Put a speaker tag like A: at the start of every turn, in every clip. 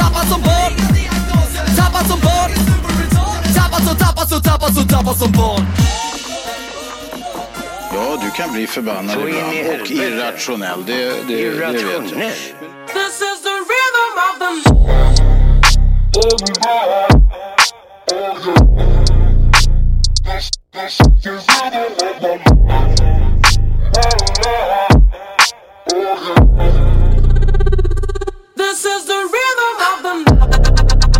A: Tappad som barn Tappad som barn Tappad som, tappad som, tappad som, tappad som barn
B: Ja, du kan bli förbannad
C: Så in i
B: ibland och
C: helvete.
B: irrationell. Det, det, det vet jag.
C: Irrationell.
D: This is the rhythm of the This is the rhythm of the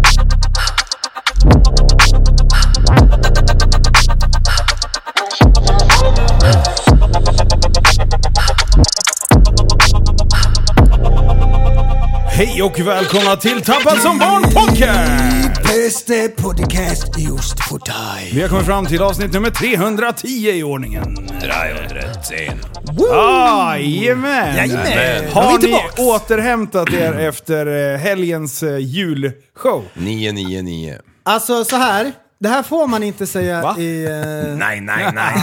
E: Hej och välkomna till Tappad som barn podcast!
F: Bästa podcast just för dig.
E: Vi har kommit fram till avsnitt nummer 310 i ordningen.
G: 310.
E: Jajamän!
F: Jajamän! Då är
E: Har
F: vi
E: ni
F: tillbaks.
E: återhämtat er efter eh, helgens eh, julshow?
G: 999.
H: Alltså så här. Det här får man inte säga
E: Va?
H: i... eh,
G: Nej, nej, nej.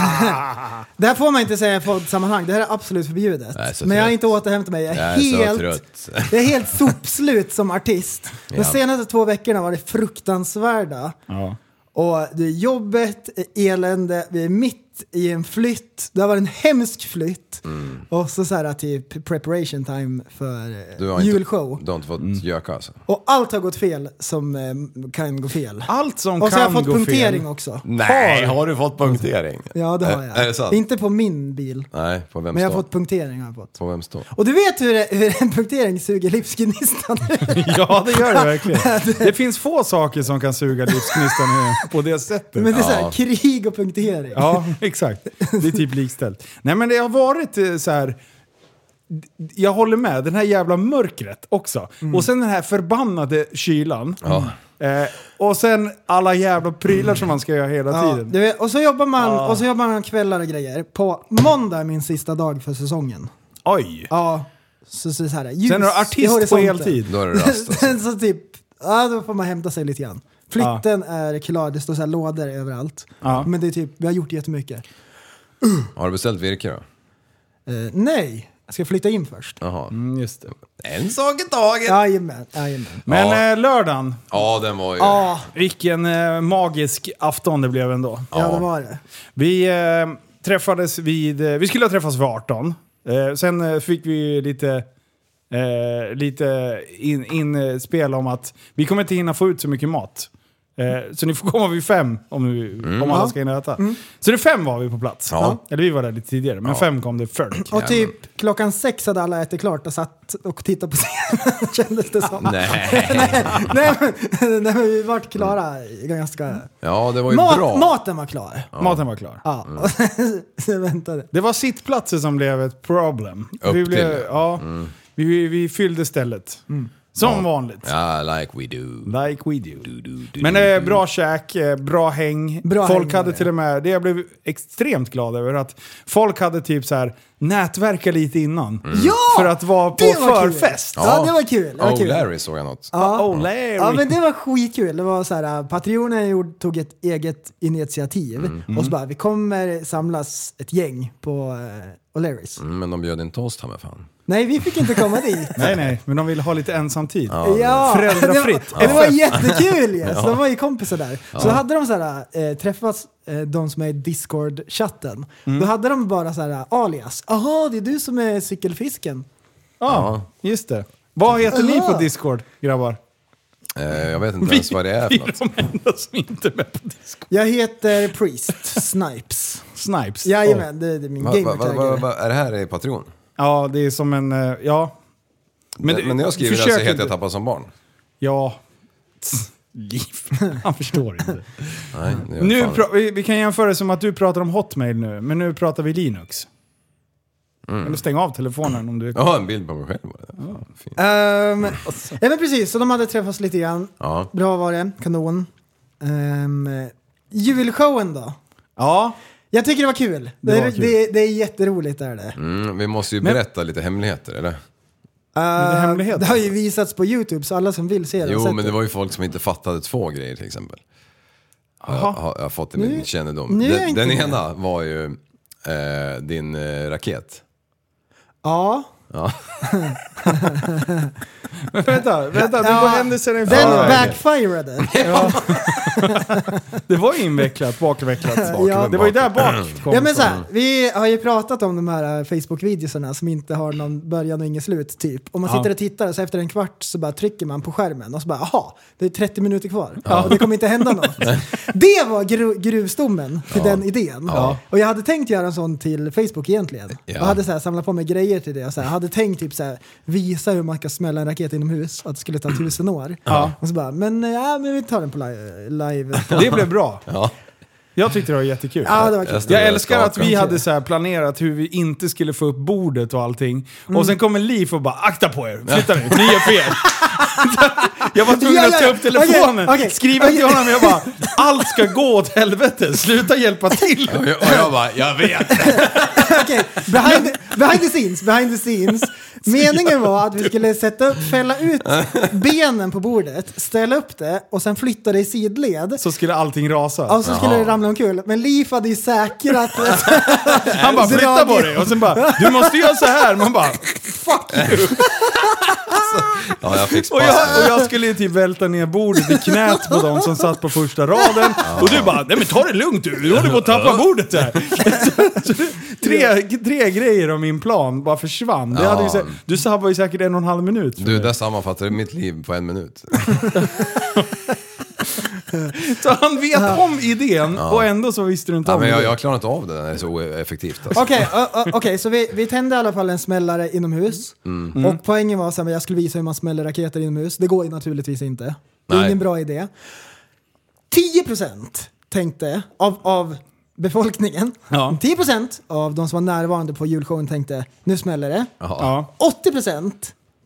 H: det här får man inte säga i poddsammanhang. Det här är absolut förbjudet.
G: Jag är så
H: Men jag har
G: trött.
H: inte återhämtat mig. Jag är,
G: Jag är så
H: helt...
G: trött.
H: Jag är helt sopslut som artist. De
G: Ja.
H: senaste två veckorna var det fruktansvärda.
E: Ja.
H: Och det är jobbet, elände, vi är mitt i en flytt. Det har varit en hemsk flytt.
G: Mm.
H: Och så, så här typ preparation time för eh,
G: Du har inte,
H: julshow.
G: Du har inte fått göka alltså?
H: Och allt har gått fel som eh, kan gå fel.
E: Allt som
H: och så har jag
E: kan
H: fått
E: gå
H: punktering
E: fel.
H: också.
G: Nej, har du fått punktering?
H: Ja, det har
G: Är-
H: jag.
G: Är det sant?
H: Inte på min bil,
G: Nej, på vems
H: men jag
G: då?
H: har fått punktering. Har jag fått.
G: På vems då?
H: Och du vet hur, det, hur en punktering suger livsgnistan?
E: Ja, det gör det verkligen. Det finns få saker som kan suga livsgnistan eh, på det sättet.
H: men det är så
G: Ja.
H: här, krig och punktering.
E: Ja, exakt. Det är typ likställt. Nej, men det har varit eh, så här... Jag håller med, den här jävla mörkret också. Och sen den här förbannade kylan. Eh, och sen alla jävla prylar som man ska göra hela
H: Ja,
E: tiden.
H: du vet, och, så jobbar man, och så jobbar man kvällar och grejer. På måndag är min sista dag för säsongen.
E: Oj!
H: Ja, så, så, så här, ljus
E: Sen är du
H: i
E: artist på
H: horisonten.
E: heltid.
G: Då är det rast alltså.
H: så typ, ja då får man hämta sig lite grann. Flytten är klar, det står så här lådor överallt.
E: Ja.
H: Men det är typ, vi har gjort jättemycket.
G: Har du beställt virke då?
H: Eh, nej, jag ska flytta in först.
G: Jaha.
E: Mm, Just det.
G: En sak i taget! Ja,
H: Jajamän, jajamän.
E: Men
G: Ja.
E: eh, lördagen,
G: den var ju...
H: Ja,
E: vilken eh, magisk afton det blev ändå.
H: ja det var det.
E: Vi eh, träffades vid... Eh, vi skulle ha träffats vid 18. Eh, sen eh, fick vi lite... Eh, lite in- inspel om att vi kommer inte hinna få ut så mycket mat. Eh, så ni får komma vid fem om, vi, om alla ska hinna äta. Så det fem var vi på plats.
G: Mm. Ja.
E: Eller vi var där lite tidigare, men fem kom det folk.
H: Och typ klockan sex hade alla ätit klart och satt och tittade på scenen kändes det som.
G: Nej.
H: nej, men, nej men vi vart klara
E: Mm.
H: ganska...
G: Ja, det var ju bra.
H: Mat, maten var klar.
E: Maten var klar.
H: Ja, och så jag väntade.
E: Det var sittplatser som blev ett problem.
G: Upp
E: vi,
G: till, Mm.
E: blev, ja, vi, vi, vi fyllde stället. Som vanligt.
G: Ja, like we do.
E: Like we do. Men eh, bra käk, eh, bra häng.
H: Bra
E: folk
H: häng var
E: hade
H: det.
E: till och med, det jag blev extremt glad över, att folk hade typ så här nätverkat lite innan.
H: Ja!
E: För att vara på
H: det var kul.
E: förfest.
H: Ja, det var kul. Det var
G: Oh,
H: kul.
G: Larry såg jag något.
H: Ja.
E: Oh, Larry.
H: Ja men det var skitkul. Det var så här, äh, Patreonen gjorde- tog ett eget initiativ
E: Mm.
H: och så bara, vi kommer samlas ett gäng på eh, O'Learys.
G: Mm, Men de bjöd inte oss, ta mig fan.
H: Nej, vi fick inte komma dit.
E: Nej, nej, men de vill ha lite ensamtid.
H: Ja,
E: Föräldrafritt.
H: Det var, det var jättekul ju! Så de var ju kompisar där. Så hade de så här, eh, träffats, eh, de som är i Discord-chatten.
G: Mm.
H: Då hade de bara så här, alias. Jaha, det är du som är cykelfisken.
E: Ja, just det. Vad heter ni på Discord, grabbar?
G: Eh, jag vet inte ens vad det är för
E: Vi
G: något.
E: är de enda som inte är med på Discord.
H: Jag heter Priest Snipes.
E: Snipes.
H: Jajamän, det, det är min
G: Va, va, va, va,
H: gamertagare.
G: va, är det här i Patreon?
E: Ja, det är som en... eh, Ja.
G: Men,
E: det-
G: men när jag skriver det här så
E: försök
G: heter jag
E: inte-
G: Tappad som barn.
E: Ja. Tss, Liv. Han förstår inte.
G: Nej, det gör
E: Nu
G: fan
E: pra- vi, vi kan jämföra det som att du pratar om Hotmail nu,
G: Mm.
E: men nu pratar vi Linux. Eller stäng av telefonen om du...
G: Jag har en bild på mig själv. fint.
H: Ehm, ja, men precis, så de hade träffats lite grann.
G: Alltså. Ja.
H: Bra var det, kanon. Ehm, julshowen då?
E: Ja,
H: Jag tycker det var kul. Det,
E: var
H: är,
E: kul.
H: Det, det är jätteroligt är det.
G: Mm, vi måste ju
E: Men-
G: berätta lite hemligheter, eller?
H: Ehm,
E: det är hemlighet.
H: det har ju visats på YouTube så alla som vill se det har
G: Jo,
H: sett
G: men det var ju folk som inte fattade två grejer till exempel. Har jag, har jag fått i min kännedom.
H: nu är jag
G: Den,
H: inte
G: den
H: med.
G: ena var ju eh, din eh, raket.
H: Ja.
G: Ja.
E: men vänta, vänta. Det
H: Ja.
E: var händelser i
H: Den
E: förväg.
H: backfirade.
E: Det var invecklat, bakvecklat.
G: Ja.
E: Det var ju där bak kom
H: Ja, men så
E: från.
H: här, vi har ju pratat om de här Facebook-videoserna som inte har någon början och ingen slut typ. Om man
E: Ja.
H: sitter och tittar och så efter en kvart så bara trycker man på skärmen och så bara aha, det är 30 minuter kvar. Och det kommer inte hända något. det var gru- gruvstommen till den idén. Och jag hade tänkt göra en sån till Facebook egentligen.
G: Ja.
H: Och hade så här, samlat på mig grejer till det. Och så här, hade tänkt typ så här, visa hur man kan smälla en raket inomhus och att det skulle ta tusen år. Och så bara, men, ja, men vi tar den på li- live.
E: Det blev bra.
G: Ja.
E: Jag tyckte det var jättekul.
H: Ja, det var kul.
G: Jag, stod
E: Jag
G: där och
E: älskar att vi
G: skakade.
E: hade så här planerat hur vi inte skulle få upp bordet och allting.
H: Mm.
E: Och sen kommer Liv och bara akta på er, flytta nu, ni gör fel. jag var tvungen
H: Ja, ja,
E: att ta upp
H: ja.
E: telefonen,
H: Okej, okej,
E: skriva till
H: okej.
E: honom jag bara allt ska gå åt helvete, sluta hjälpa till.
G: Och jag, och jag bara, jag vet!
H: Okej, behind, the- behind the scenes, behind the scenes. Meningen var att vi skulle sätta upp, fälla ut benen på bordet, ställa upp det och sen flytta det i sidled.
E: Så skulle allting rasa.
H: Och så skulle det ramla omkull. Men Leif hade ju säkrat...
E: Han bara flytta på dig och sen bara du måste göra så här. Man bara
G: Ja, jag fick
E: och jag,
G: spasten.
E: och jag skulle ju typ välta ner bordet i knät på de som satt på första raden. Och du bara nej men ta det lugnt du, du håller på att tappa bordet här. Så du- tre, tre grejer om min plan bara försvann. Det hade ju, sä- du sabbade ju säkert en och en halv minut. för
G: Du,
E: mig.
G: där sammanfattade du mitt liv på en minut.
E: Så han vet om idén och ändå så visste du inte
G: Ja,
E: om
G: men jag,
E: det.
G: jag klarar inte av det när det är så oeffektivt. Alltså.
H: Okej, ö- ö- okej, så vi, vi tände i alla fall en smällare inomhus. Och poängen var att jag skulle visa hur man smäller raketer inomhus. Det går ju naturligtvis inte. Det är
G: Nej.
H: ingen bra idé. 10% tänkte av, av befolkningen,
E: Ja.
H: 10% av de som var närvarande på julshowen tänkte nu smäller det.
G: Jaha.
E: Ja,
H: 80%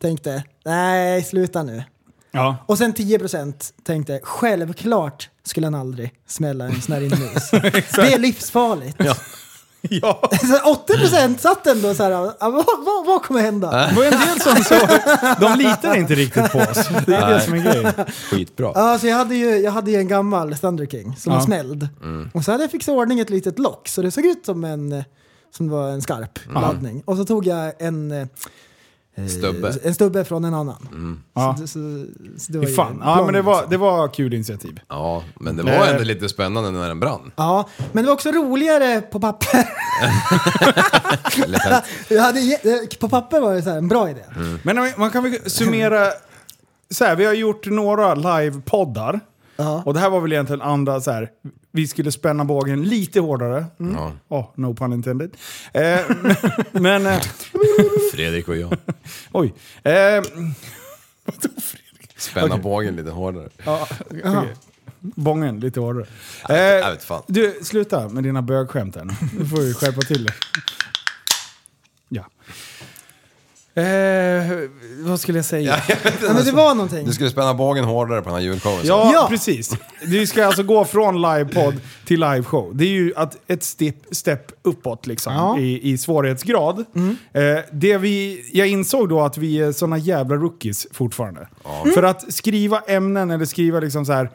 H: tänkte nej, sluta nu.
E: ja.
H: Och sen 10% tänkte självklart skulle han aldrig smälla en sån här inomhus. det är livsfarligt.
E: ja.
H: Så 80% satt ändå så här, ja, vad, vad, vad kommer hända?
E: Det var en del som så, de litar inte riktigt på oss. Det är det som är grejen.
G: Skitbra.
H: Ja, så jag, hade ju, jag hade ju en gammal Thunder King som
E: Ja. Mm.
H: var smälld. Och så hade jag fixat i ordning ett litet lock så det såg ut som en, eh, som var en skarp
E: Mm.
H: laddning. Och så tog jag en, eh,
G: Stubbe.
H: en stubbe från en annan.
E: Ja.
H: Så, så, så det var
E: Fy Mm.
H: ju
E: Fan. Ja,
H: planen
E: men det var,
H: liksom.
E: det var kul initiativ.
G: Ja, men det var ändå lite spännande när den brann.
H: Ja, men det var också roligare på papper.
G: Eller hett.
H: Jag hade, ge- eh, på papper var det så här, en bra idé.
E: Men om vi- man kan väl summera, så här, vi har gjort några livepoddar.
H: Ja.
E: Och det här var väl egentligen andra så här, vi skulle spänna bågen lite hårdare.
H: Mm.
G: Ja.
E: Oh, no pun intended. Eh, men, eh,
G: Fredrik och jag.
E: oj. Eh,
G: Spänna bågen lite hårdare.
E: ja, okej. Bången lite hårdare. Eh,
G: jag vet fan.
E: Du, sluta med dina bögskämt här nu. Nu får du skärpa till dig. Ja. Eh, vad skulle jag säga?
H: Ja,
E: alltså.
H: men det var någonting.
G: Du skulle spänna bågen hårdare på den här julshowen.
E: Ja,
H: Ja.
E: precis. Vi ska alltså gå från livepodd till liveshow. Det är ju att ett step, step uppåt liksom,
H: Ja. Mm.
E: i, i svårighetsgrad. Eh, det vi, jag insåg då att vi är såna jävla rookies fortfarande.
H: Mm.
E: För att skriva ämnen eller skriva liksom så här...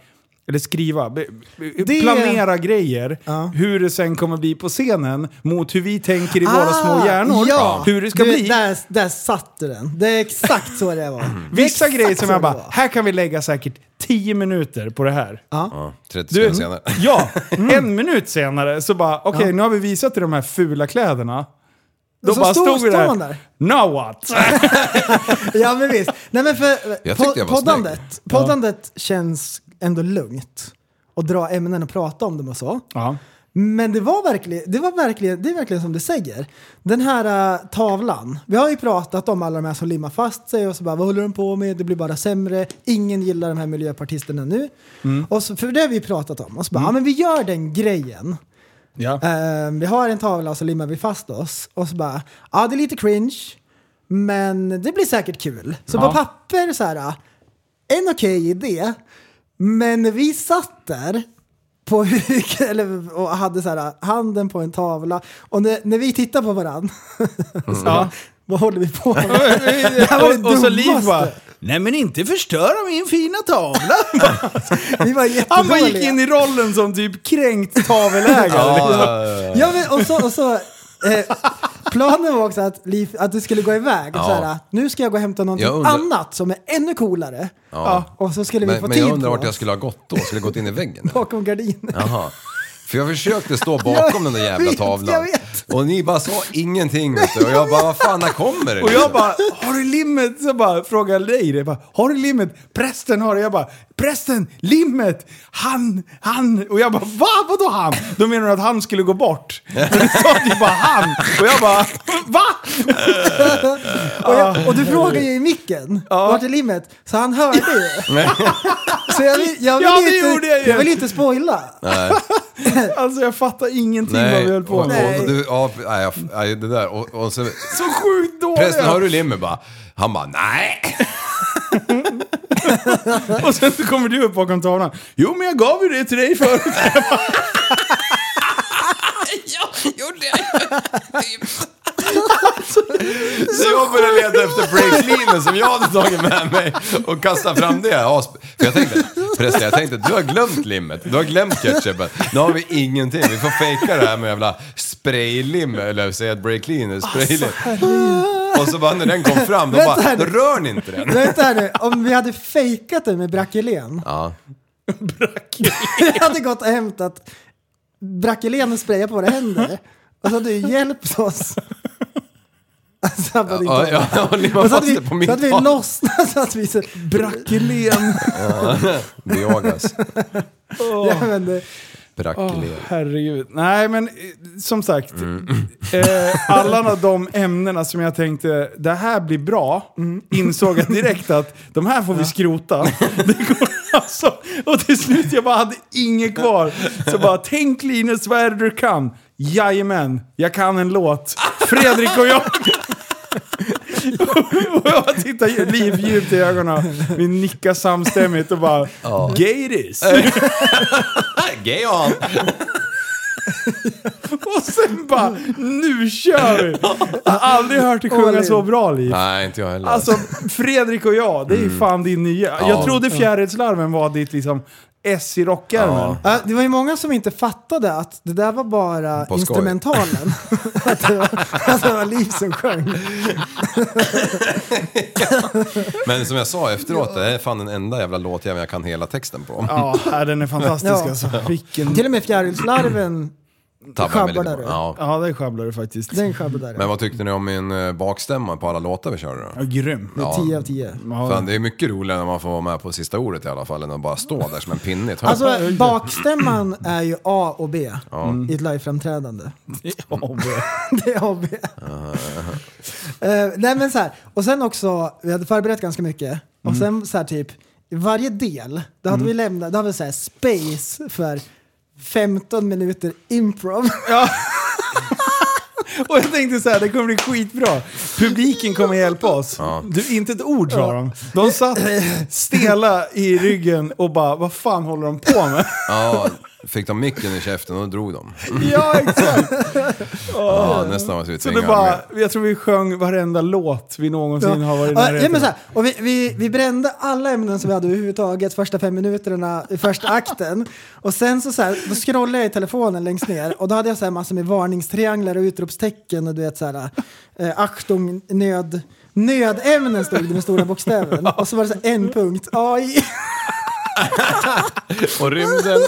E: Eller skriva, be- be-
H: Det-
E: planera grejer,
H: Ja.
E: hur det sen kommer bli på scenen mot hur vi tänker i våra
H: Ah,
E: små hjärnor.
H: Ja.
E: Hur det ska
H: du,
E: bli.
H: Där, där satte du den. Det är exakt så det var.
E: Vissa grejer som
H: så
E: jag
H: det
E: bara,
H: var.
E: här kan vi lägga säkert 10 minuter på det här.
G: Ja, 30
E: Du,
G: sekunder senare.
E: ja, en minut senare så bara, okej nu har vi visat dig de här fula kläderna. Då
H: Så
E: bara
H: stod-
E: stod vi
H: står
E: där.
H: man där.
E: Now what?
H: Ja men visst. Nej men för
G: Jag
H: po-
G: tyckte jag var
H: poddandet, poddandet känns ändå lugnt. Och dra ämnen och prata om dem och så.
E: Ja.
H: Men det var verkligen, det var verkligen, det är verkligen som du säger. Den här äh, tavlan. Vi har ju pratat om alla de här som limmar fast sig och så bara vad håller de på med? Det blir bara sämre. Ingen gillar de här miljöpartisterna nu.
E: Mm.
H: Och så, för det har vi pratat om. Och så bara, ja men vi gör den grejen.
E: Ja.
H: Ehm, vi har en tavla och så limmar vi fast oss. Och så bara, ja det är lite cringe. Men det blir säkert kul. Så
E: Ja.
H: på papper så här, äh, en okej idé. Men vi satt där på huk, eller, och hade så här, handen på en tavla. Och när, när vi tittar på varandra,
E: Ja.
H: vad håller vi på med? här var det
E: och, och så Liv
H: dummaste.
E: bara, nej men inte förstöra min fina tavla.
H: Vi var
E: Han bara
H: jättedåliga.
E: gick in i rollen som typ kränkt tavelägare.
H: Ja, men, och så, och så, eh, planen var också att, Liv, att du skulle gå iväg. Och
G: Ja.
H: så här, nu ska jag gå och hämta någonting
G: Jag undrar-
H: annat som är ännu coolare.
G: Ja.
H: Och så skulle vi
G: Men,
H: få
G: men
H: tid
G: jag undrar
H: på
G: vart jag
H: oss.
G: skulle ha gått då? Skulle jag gått in i väggen?
H: bakom gardinen.
G: Jaha. För jag försökte stå bakom den där jävla
H: vet,
G: tavlan.
H: jag vet.
G: Och ni bara sa ingenting. Vet du. Och jag bara, vad fan, när kommer det?
E: Och jag bara, har du limmet? Så bara frågar dig det. Bara, har du limmet? Prästen har det. Jag bara, prästen, limmet, han, han. Och jag bara, va? Vadå han? Då menar du att han skulle gå bort. Så det sa ju bara han. Och jag bara, va?
H: och, jag, och du frågar ju i micken, vart är limmet? Så han hörde ju. så jag vill, jag vill,
E: Ja, det
H: inte,
E: gjorde jag ju.
H: jag vill inte spoila.
E: Alltså jag fattar ingenting vad vi
G: Nej,
E: höll
G: och,
E: på
G: och,
E: med.
G: du, ja, nej, jag- nej, det där. Och, och så,
E: Så sjukt dåliga.
G: prästen, har du limmer? Bara, han bara, nej.
E: Och sen så kommer du upp bakom tavlan. Jo, men jag gav ju det till dig förut.
G: Så jag började leta efter breaklinen som jag hade tagit med mig och kasta fram det. Ja, sp- För jag tänkte, förresten jag tänkte, du har glömt limmet, du har glömt ketchupen. Nu har vi ingenting, vi får fejka det här med jävla spraylim, eller säga ett breaklean, spraylim. Och så bara när den kom fram, då
H: Vänta
G: bara,
H: här
G: då
H: nu.
G: rör ni inte den.
H: Vänta här nu, om vi hade fejkat det med Brackelén.
G: Ja.
H: Jag hade gått och hämtat Brackelén och sprayat på våra händer. Och så hade du hjälpt oss. Alltså, han bara, din
G: Ja,
H: tavla.
G: ja, och limma
H: Och så hade
G: fast
H: vi,
G: det på min
H: så hade vi
G: tavla.
H: lossnat så att vi så... Brackelén.
G: Diogas,
H: ja, men, det-
G: brackelev.
E: Herregud. Nej, men eh, som sagt. Eh, alla de ämnena som jag tänkte, det här blir bra, insåg jag direkt att de här får vi skrota. Det går alltså, och till slut, jag bara hade inget kvar. Så bara, tänk Linus, vad är det du kan? Jajamän, jag kan en låt. Fredrik och jag. och jag tittar Liv djupt i ögonen. Vi nickar samstämmigt och bara, ja. gayris.
G: Gay on!
E: Och sen bara, nu kör vi! Jag har aldrig hört dig sjunga så bra Liv.
G: Nej, inte jag heller.
E: Alltså Fredrik och jag, det är ju fan din nya. Jag
G: Mm. Ja.
E: trodde fjärilslarven var ditt liksom S i rockärmen.
H: Ja, det var ju många som inte fattade att det där var bara
G: På skoj.
H: instrumentalen. att, det var, att det var Liv som sjöng.
G: Men som jag sa efteråt, det här är fan den enda jävla låtjäveln jag kan hela texten på.
E: Ja, här, den är fantastisk
H: Ja.
E: alltså. Vilken...
H: Till och med Fjärilslarven,
G: Tabbar mig lite
H: Sjabbar
G: på.
H: där,
G: Ja.
E: Ja, den sjabblar du faktiskt.
H: den sjabblar där.
G: Men vad tyckte ni om min eh, bakstämma på alla låtar vi körde då?
E: Ja, grym.
H: Det är 10 av 10.
E: Ja.
G: Fan, det är mycket roligare när man får vara med på sista ordet i alla fall än att bara stå där som en pinne i ett hörn.
H: Alltså bakstämman är ju A och B i ett liveframträdande. det är A och B. Eh, nej men så här, och sen också, vi hade förberett ganska mycket. Och sen så här typ, i varje del, då hade vi lämnat, då hade vi så här space för 15 minuter improv.
E: Och jag tänkte så här, det kommer bli skitbra. Publiken kommer hjälpa oss. Du, inte ett ord sa de. De satt stela i ryggen och bara, vad fan håller de på med?
G: Ja, fick de micken i käften och då drog de.
E: ja, exakt.
G: Ja, nästan var det
E: Så det bara, jag tror vi sjöng varenda låt vi någonsin har varit i
H: ja, ja,
E: närheten
H: men så
E: av.
H: här, och vi, vi, vi brände alla ämnen som vi hade överhuvudtaget första fem minuterna i första akten. Och sen så, så här, då scrollade jag i telefonen längst ner och då hade jag så här massor med varningstrianglar och utropstecken och du vet så här, eh, Achtung nöd, nödämnen stod det med stora bokstäver. Och så var det så här, en punkt, AI.
G: Och rymden.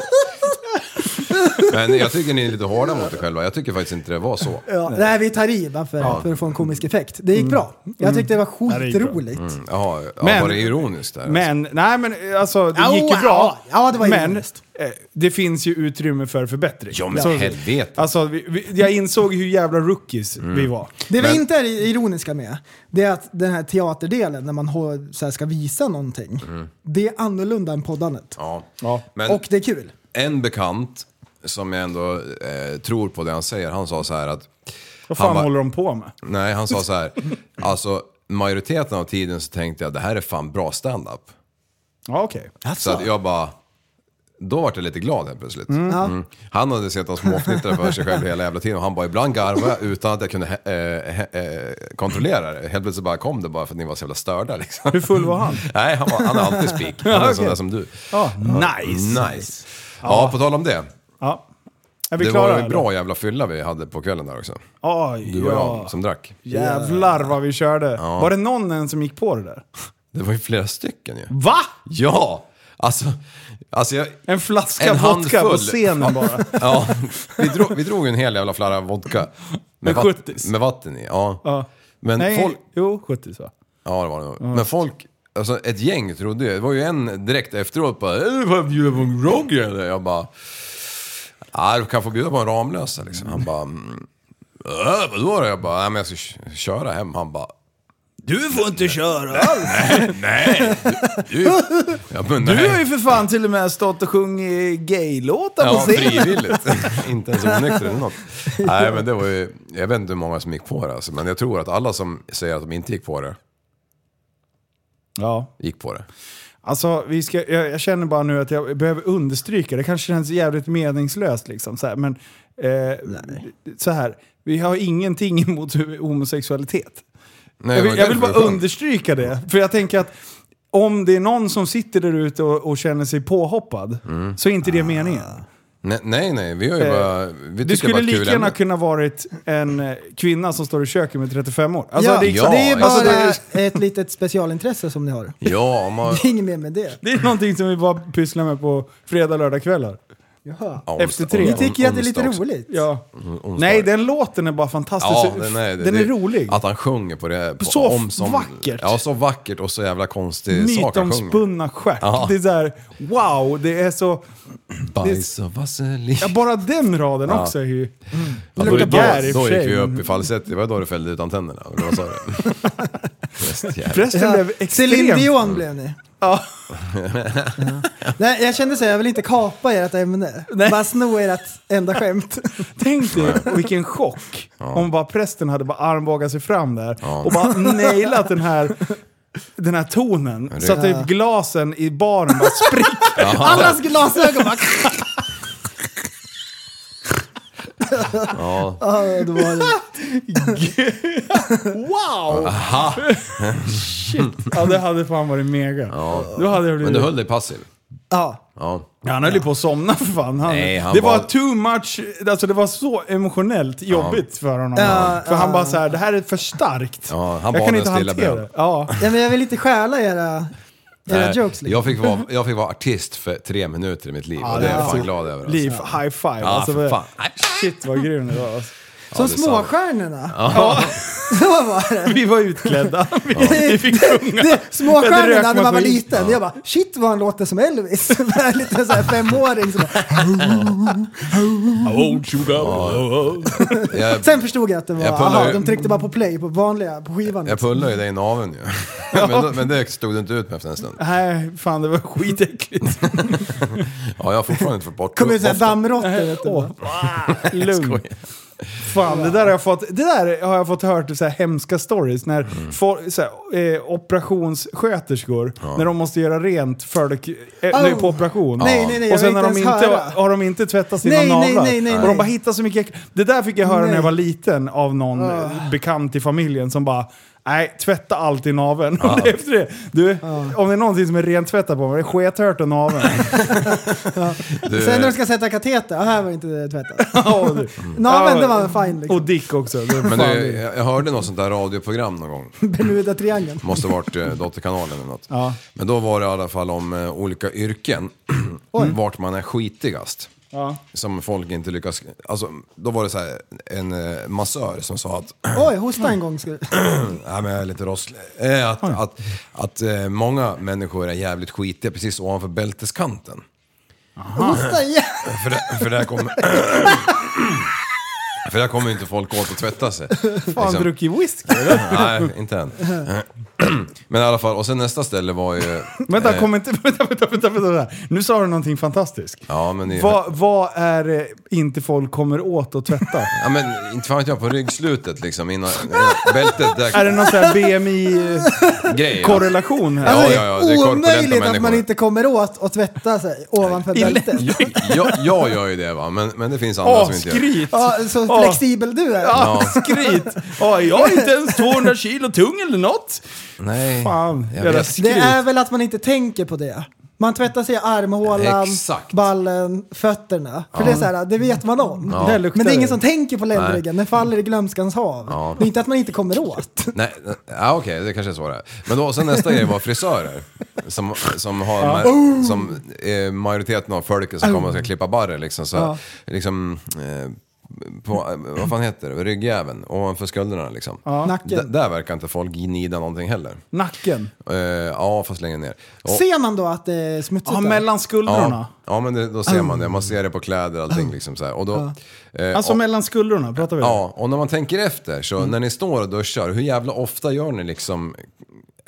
G: Men jag tycker ni är lite hårda mot er själva. Jag tycker faktiskt inte det var så.
H: Ja, nej, vi tar i bara för, för att få en komisk effekt. Det gick bra. Jag tyckte det var
E: Mm. det gick bra. Mm.
H: skitroligt.
G: Jaha, ja,
E: Men-
G: var det ironiskt där?
E: Men, nej men alltså det
H: Ja,
E: gick ju
H: ja,
E: bra.
H: ja, det var
E: men
H: ironiskt.
E: eh, det finns ju utrymme för förbättring.
G: Ja, men
E: Så-
G: helvete. Mm.
E: Alltså, vi, vi, jag insåg hur jävla rookies vi var.
H: Det vi
G: Men-
H: inte är ironiska med, det är att den här teaterdelen när man har, så här, ska visa någonting, det är annorlunda än poddandet.
G: Mm. Ja.
E: Ja.
G: Men
H: Och det är kul.
G: en bekant som jag ändå eh, tror på det han säger, han sa så här att
E: Vad fan
G: Han bara-
E: håller de på med?
G: Nej, han sa så här. Alltså, majoriteten av tiden så tänkte jag det här är fan bra standup.
E: Ja, okej.
G: Så att jag bara... Då vart jag lite glad helt plötsligt. Mm. Han hade sett oss småfnittra för sig själv hela jävla tiden och han bara ibland garvade jag utan att jag kunde eh, eh, eh, kontrollera det. Helt plötsligt bara kom det bara för att ni var så jävla störda liksom.
E: Hur full var han?
G: Nej, han, var, han är alltid spik. Han är en sån där som du.
E: Ja, nice.
G: Nice. Ja, på tal om det.
E: Ja. Är vi
G: Det
E: klara?
G: var en
E: eller?
G: bra jävla fylla vi hade på kvällen där också.
E: Oj,
G: Du och
E: ja.
G: jag som drack.
E: Jävlar vad vi körde. Var det någon än som gick på det där?
G: Det var ju flera stycken ju.
E: Va?
G: Ja! Alltså, alltså jag,
E: En flaska
G: En
E: vodka på
G: handfull.
E: scenen bara.
G: ja, vi, drog, vi drog en hel jävla flarra vodka.
E: Med
G: vatt-
E: 70s.
G: med vatten i, ja.
E: Ja.
G: Men
H: Eh,
E: Nej,
G: folk...
E: jo, 70 va?
G: Ja, det var det nog. Men folk... Alltså ett gäng trodde ju... Det var ju en direkt efteråt bara "Är du bara bjuda på en grogg eller?” Jag bara... Ja, du kan få bjuda på en Ramlösa liksom. Han bara... "Mm, Äh, vadå då? Jag bara, nej men jag ska k- köra hem. Han bara,
E: Du får inte köra alls.
G: nej! Du, du, ja, men, nej.
E: Du har ju för fan till och med stått och sjungit gaylåtar på
G: Ja,
E: scenen.
G: frivilligt. inte ens onykter eller något. Nej, men det var ju, jag vet inte hur många som gick på det alltså, men jag tror att alla som säger att de inte gick på det,
E: Ja.
G: gick på det.
E: Alltså, vi ska, jag, jag känner bara nu att jag behöver understryka, det kanske känns jävligt meningslöst liksom, så här, men eh, så här, vi har ingenting emot homosexualitet.
G: Nej,
E: Jag
G: det
E: vill,
G: var
E: jag vill bara
G: därför det var skönt.
E: understryka det, för jag tänker att om det är någon som sitter där ute och, och känner sig påhoppad,
G: Mm.
E: så är
G: Ah.
E: inte det meningen.
G: Nej, nej, nej, vi har ju
E: Eh,
G: bara... Vi
E: Det skulle lika gärna
G: kunna...
E: kunna varit en eh, kvinna som står i köket med 35 år. Alltså,
H: ja,
E: det, är liksom,
G: ja,
H: det är bara
G: alltså,
H: eh, ett litet specialintresse som ni har.
G: Ja, om man...
H: Det är inget mer med det.
E: det är någonting som vi bara pysslar med på fredag, lördag kvällar.
H: Jaha.
G: Ja,
E: Efter tre.
H: Ni tycker ju att det är lite
G: onsdag också.
H: roligt.
E: Ja.
G: onsdag.
E: Nej, den låten är bara fantastisk.
G: Ja, den är,
E: den är rolig.
G: Att han sjunger på det. På,
E: Så vackert.
G: Ja, så vackert och så jävla konstig sak han sjunger.
E: Mytomspunna stjärt.
G: Ja.
E: Det är så här, wow, det är så...
G: Bajs och vaselin.
E: Ja, bara den raden
G: Ja.
E: också är ju...
G: Ja,
E: Det
G: då,
E: luktar bär i och
G: då,
E: för
G: då gick
E: sig,
G: vi
E: men-
G: upp i falsett. Det var då du fällde ut antennerna. Och då sa det. Prästjävel.
E: Förresten
H: Ja,
E: blev
H: Céline
E: extremt...
H: Dion blev ni. Ja. Nej, jag kände så här, jag vill inte kapa ert ämne. Bara sno ert enda skämt.
E: Tänk dig vilken chock om bara prästen hade bara armbågat sig fram där och bara nailat den här, den här tonen. Så att typ glasen i baren bara spricker.
H: Allas glasögon bara...
G: Ja.
H: Ja, det var det.
E: Wow!
G: Aha.
E: Ja, det hade fan varit mega. Då hade jag blivit...
G: Men du höll dig passiv.
H: Ja.
G: Ja.
E: Ja, han höll ju på att somna för fan. Han,
G: Nej, han
E: det var
G: var-
E: too much, alltså det var så emotionellt jobbigt för honom.
H: Ja,
E: för han bara så här, det här är för starkt.
G: Ja, han
E: jag
G: bad
E: kan
G: en
E: inte
G: stilla
E: hantera
G: bön.
E: det. Ja.
H: ja, men jag vill inte stjäla era, era
G: Nej,
H: jokes. Liksom.
G: Eh, jag, fick vara, jag fick vara artist för tre minuter i mitt liv och det är jag fan glad över. alltså.
E: Liv, high five.
G: Ja,
E: alltså,
G: för fan.
E: Shit vad grym det var. Alltså.
H: Som
G: det är sant.
H: småstjärnorna. Ja. Så var det.
E: Vi var utklädda. Vi, vi fick sjunga. Ja,
H: det
E: det rök
H: småstjärnorna när man var
E: maskin.
H: liten. Jag bara, shit vad han låter som Elvis. Bara en liten så här femåring. Som bara,
G: Jag,
H: sen förstod jag att det var,
G: Jag pullar
H: aha,
G: ju-
H: de tryckte bara på play på vanliga, på skivan.
G: jag pullade ju dig i naveln ju. men, då, men det stod du inte ut med efter en stund.
E: Nej, fan det var skitäckligt.
G: Ja, jag har fortfarande inte fått bort
H: Kommer ut såhär
G: doften.
H: dammråttor vet du.
E: Åh, Lugn. Fan, det där har jag fått, det där har jag fått hört så här hemska stories när
G: Mm.
E: for, så här, eh, operationssköterskor, när de måste göra rent folk eh, när på operation.
H: Nej, nej, nej, jag
E: och sen
H: vill
E: när de
H: inte ens
E: inte,
H: höra.
E: har de inte tvättat sina
H: Nej, nej,
E: naglar.
H: nej, nej,
E: och
H: nej.
E: de bara hittar så mycket äck- Det där fick jag höra när
H: Nej. Ah.
E: jag var liten av någon eh, bekant i familjen som bara Nej, tvätta allt i naveln.
G: Ah.
E: Och det är efter det, du,
H: Ah.
E: om det är någonting som är rentvättat på mig, det är skethört och naveln.
G: Du,
H: Sen när de ska sätta kateter, ah, här var inte tvättat.
E: Ja, du.
H: Naveln,
E: Ja,
H: det var fine
E: Och
H: liksom.
E: Dick också. Det är
G: men
E: fan
G: du,
E: det.
G: jag jag hörde något sånt där radioprogram någon gång.
H: Bermuda-triangeln.
G: Måste ha varit eh, Dotterkanalen eller något.
E: Ja.
G: Men då var det i alla fall om eh, olika yrken. vart man är skitigast.
E: Ja.
G: Som folk inte lyckas... Alltså, då var det så här, en eh, massör som sa att
H: Oj, hosta en gång. Ska...
G: Nej, men jag är lite rosslig. Eh, Att, att, att eh, många människor är jävligt skitiga precis ovanför bälteskanten.
H: Hosta igen!
G: För, det, för där kommer... för där kommer ju inte folk åt att tvätta sig.
E: Fan,
G: Liksom.
E: druckit whisky?
G: Nej, inte än. Men i alla fall, och sen nästa ställe var ju...
E: Vänta,
G: eh,
E: kom inte... Vänta, vänta, vänta, vänta, vänta. Nu sa du någonting fantastiskt.
G: Ja, men det-
E: vad, vad är det inte folk kommer åt att tvätta?
G: Ja men inte fan vet jag på ryggslutet liksom innan, innan bältet
E: är
G: där
E: det någon sån här BMI-korrelation
G: grejer.
E: här?
G: Ja,
H: det
G: ja, ja, det är
H: är
G: korpulenta
H: omöjligt att man
G: människor.
H: inte kommer åt att tvätta sig ovanför
E: I
H: bältet.
E: länder.
G: Jag, jag gör ju det va, men, men det finns andra
E: Åh,
G: som inte gör det.
E: skryt!
H: Ja, så
E: Ja.
H: flexibel du är.
E: Ja, skryt! Ja, jag är inte ens 200 kilo tung eller något.
G: Nej,
E: Fan,
G: jag
E: jävla
G: vet.
E: skryt.
H: Det är väl att man inte tänker på det. Man tvättar sig i armhålan,
G: Exakt.
H: ballen, fötterna. För det är så här, det vet man om.
E: Ja. Där luktar
H: Men det är
E: det.
H: ingen som tänker på ländryggen, den faller i glömskans hav.
G: Ja.
H: Det är inte att man inte kommer åt.
G: Nej, nej, ja, okej, det kanske är så det är. Men då, sen nästa grej var frisörer. Som, som har ma- som, eh, majoriteten av folket som kommer och ska klippa barrer liksom. Så, liksom eh, på, eh, vad fan heter det, ryggjäveln, ovanför skulderna liksom. D-
H: Nacken.
G: där verkar inte folk gnida någonting heller.
E: Nacken.
G: Eh, ja, fast längre ner. Och-
H: Ser man då att det är smutsigt?
E: Ja,
H: där?
E: mellan skuldrorna.
G: Ja, ja men det, då ser man det. Man ser det på kläder och allting. Liksom så här. Och då, eh,
E: Mm. Alltså Mm.
G: och,
E: mellan skuldrorna, pratar vi om.
G: ja, och när man tänker efter, så när ni står och duschar, hur jävla ofta gör ni liksom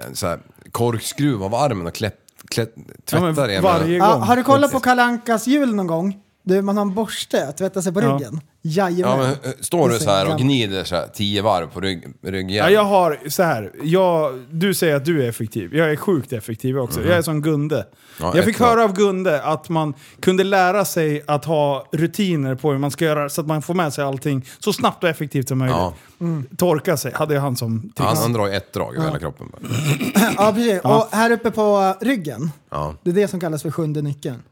G: en så här, korkskruv av armen och klätt, klätt,
E: Ja, men
G: tvättar er med-
E: varje
H: Ja,
E: gång.
H: har du kollat på Kalankas jul någon gång? Du, man har en borste att tvätta sig på
E: Ja.
H: ryggen.
G: Ja,
H: Jajamän.
G: men, eh, står du så här och
H: Gammal.
G: gnider så här, tio varv på rygg, ryggen?
E: Ja, jag har så här. Jag, du säger att du är effektiv. Jag är sjukt effektiv också. Jag är som Gunde.
G: Ja,
E: jag fick
G: ett var.
E: höra av Gunde att man kunde lära sig att ha rutiner på hur man ska göra så att man får med sig allting så snabbt och effektivt som möjligt. Mm.
G: Ja.
E: Torka sig hade han som tips.
G: han, han drar ju ett drag över hela kroppen. bara.
H: Ja, precis. Och här uppe på ryggen,
G: Ja,
H: det är det som kallas för sjunde nyckeln.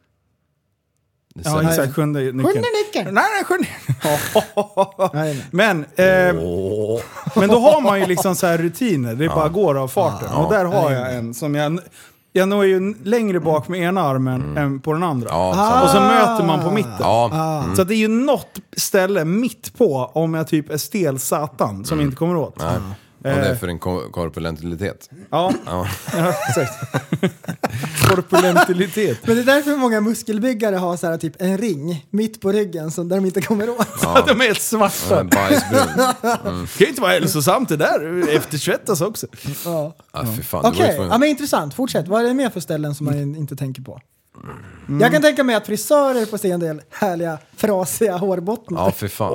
G: det
E: Ja,
G: ser-
E: exakt. Sjunde nyckeln.
H: Sjunde nyckeln.
E: Nej, nej, sjunde...
H: Jajamän.
E: Men, eh, men då har man ju liksom så här rutiner. Det bara går av farten. Och där har jag en som jag... Jag når ju n- längre bak med ena armen än på den andra.
G: Mm. ja, samma.
E: Och så möter man på mitten. Ah.
G: ja.
E: Så att det är ju något ställe mitt på om jag typ är stel satan
G: Mm.
E: som inte kommer åt.
G: Och
E: Eh.
G: det är för en ko- korpulentilitet.
E: Ja,
G: Ja.
E: ja exakt. Korpulentilitet.
H: Men det är därför många muskelbyggare har så här, typ en ring mitt på ryggen som där de inte kommer åt.
E: Att de är helt svarta.
G: Bajsbrun.
E: Det kan ju inte vara hälsosamt det där. Eftertvättas också.
H: Ja.
G: Ja, Ah, fy fan. det var ju
H: Okej,
G: tvungen-
H: ja, men intressant. Fortsätt. Vad är det mer för ställen som man
E: Mm.
H: inte tänker på? Jag kan tänka mig att frisörer får se en del härliga, frasiga hårbottnar.
G: Ja, Mm. för fan.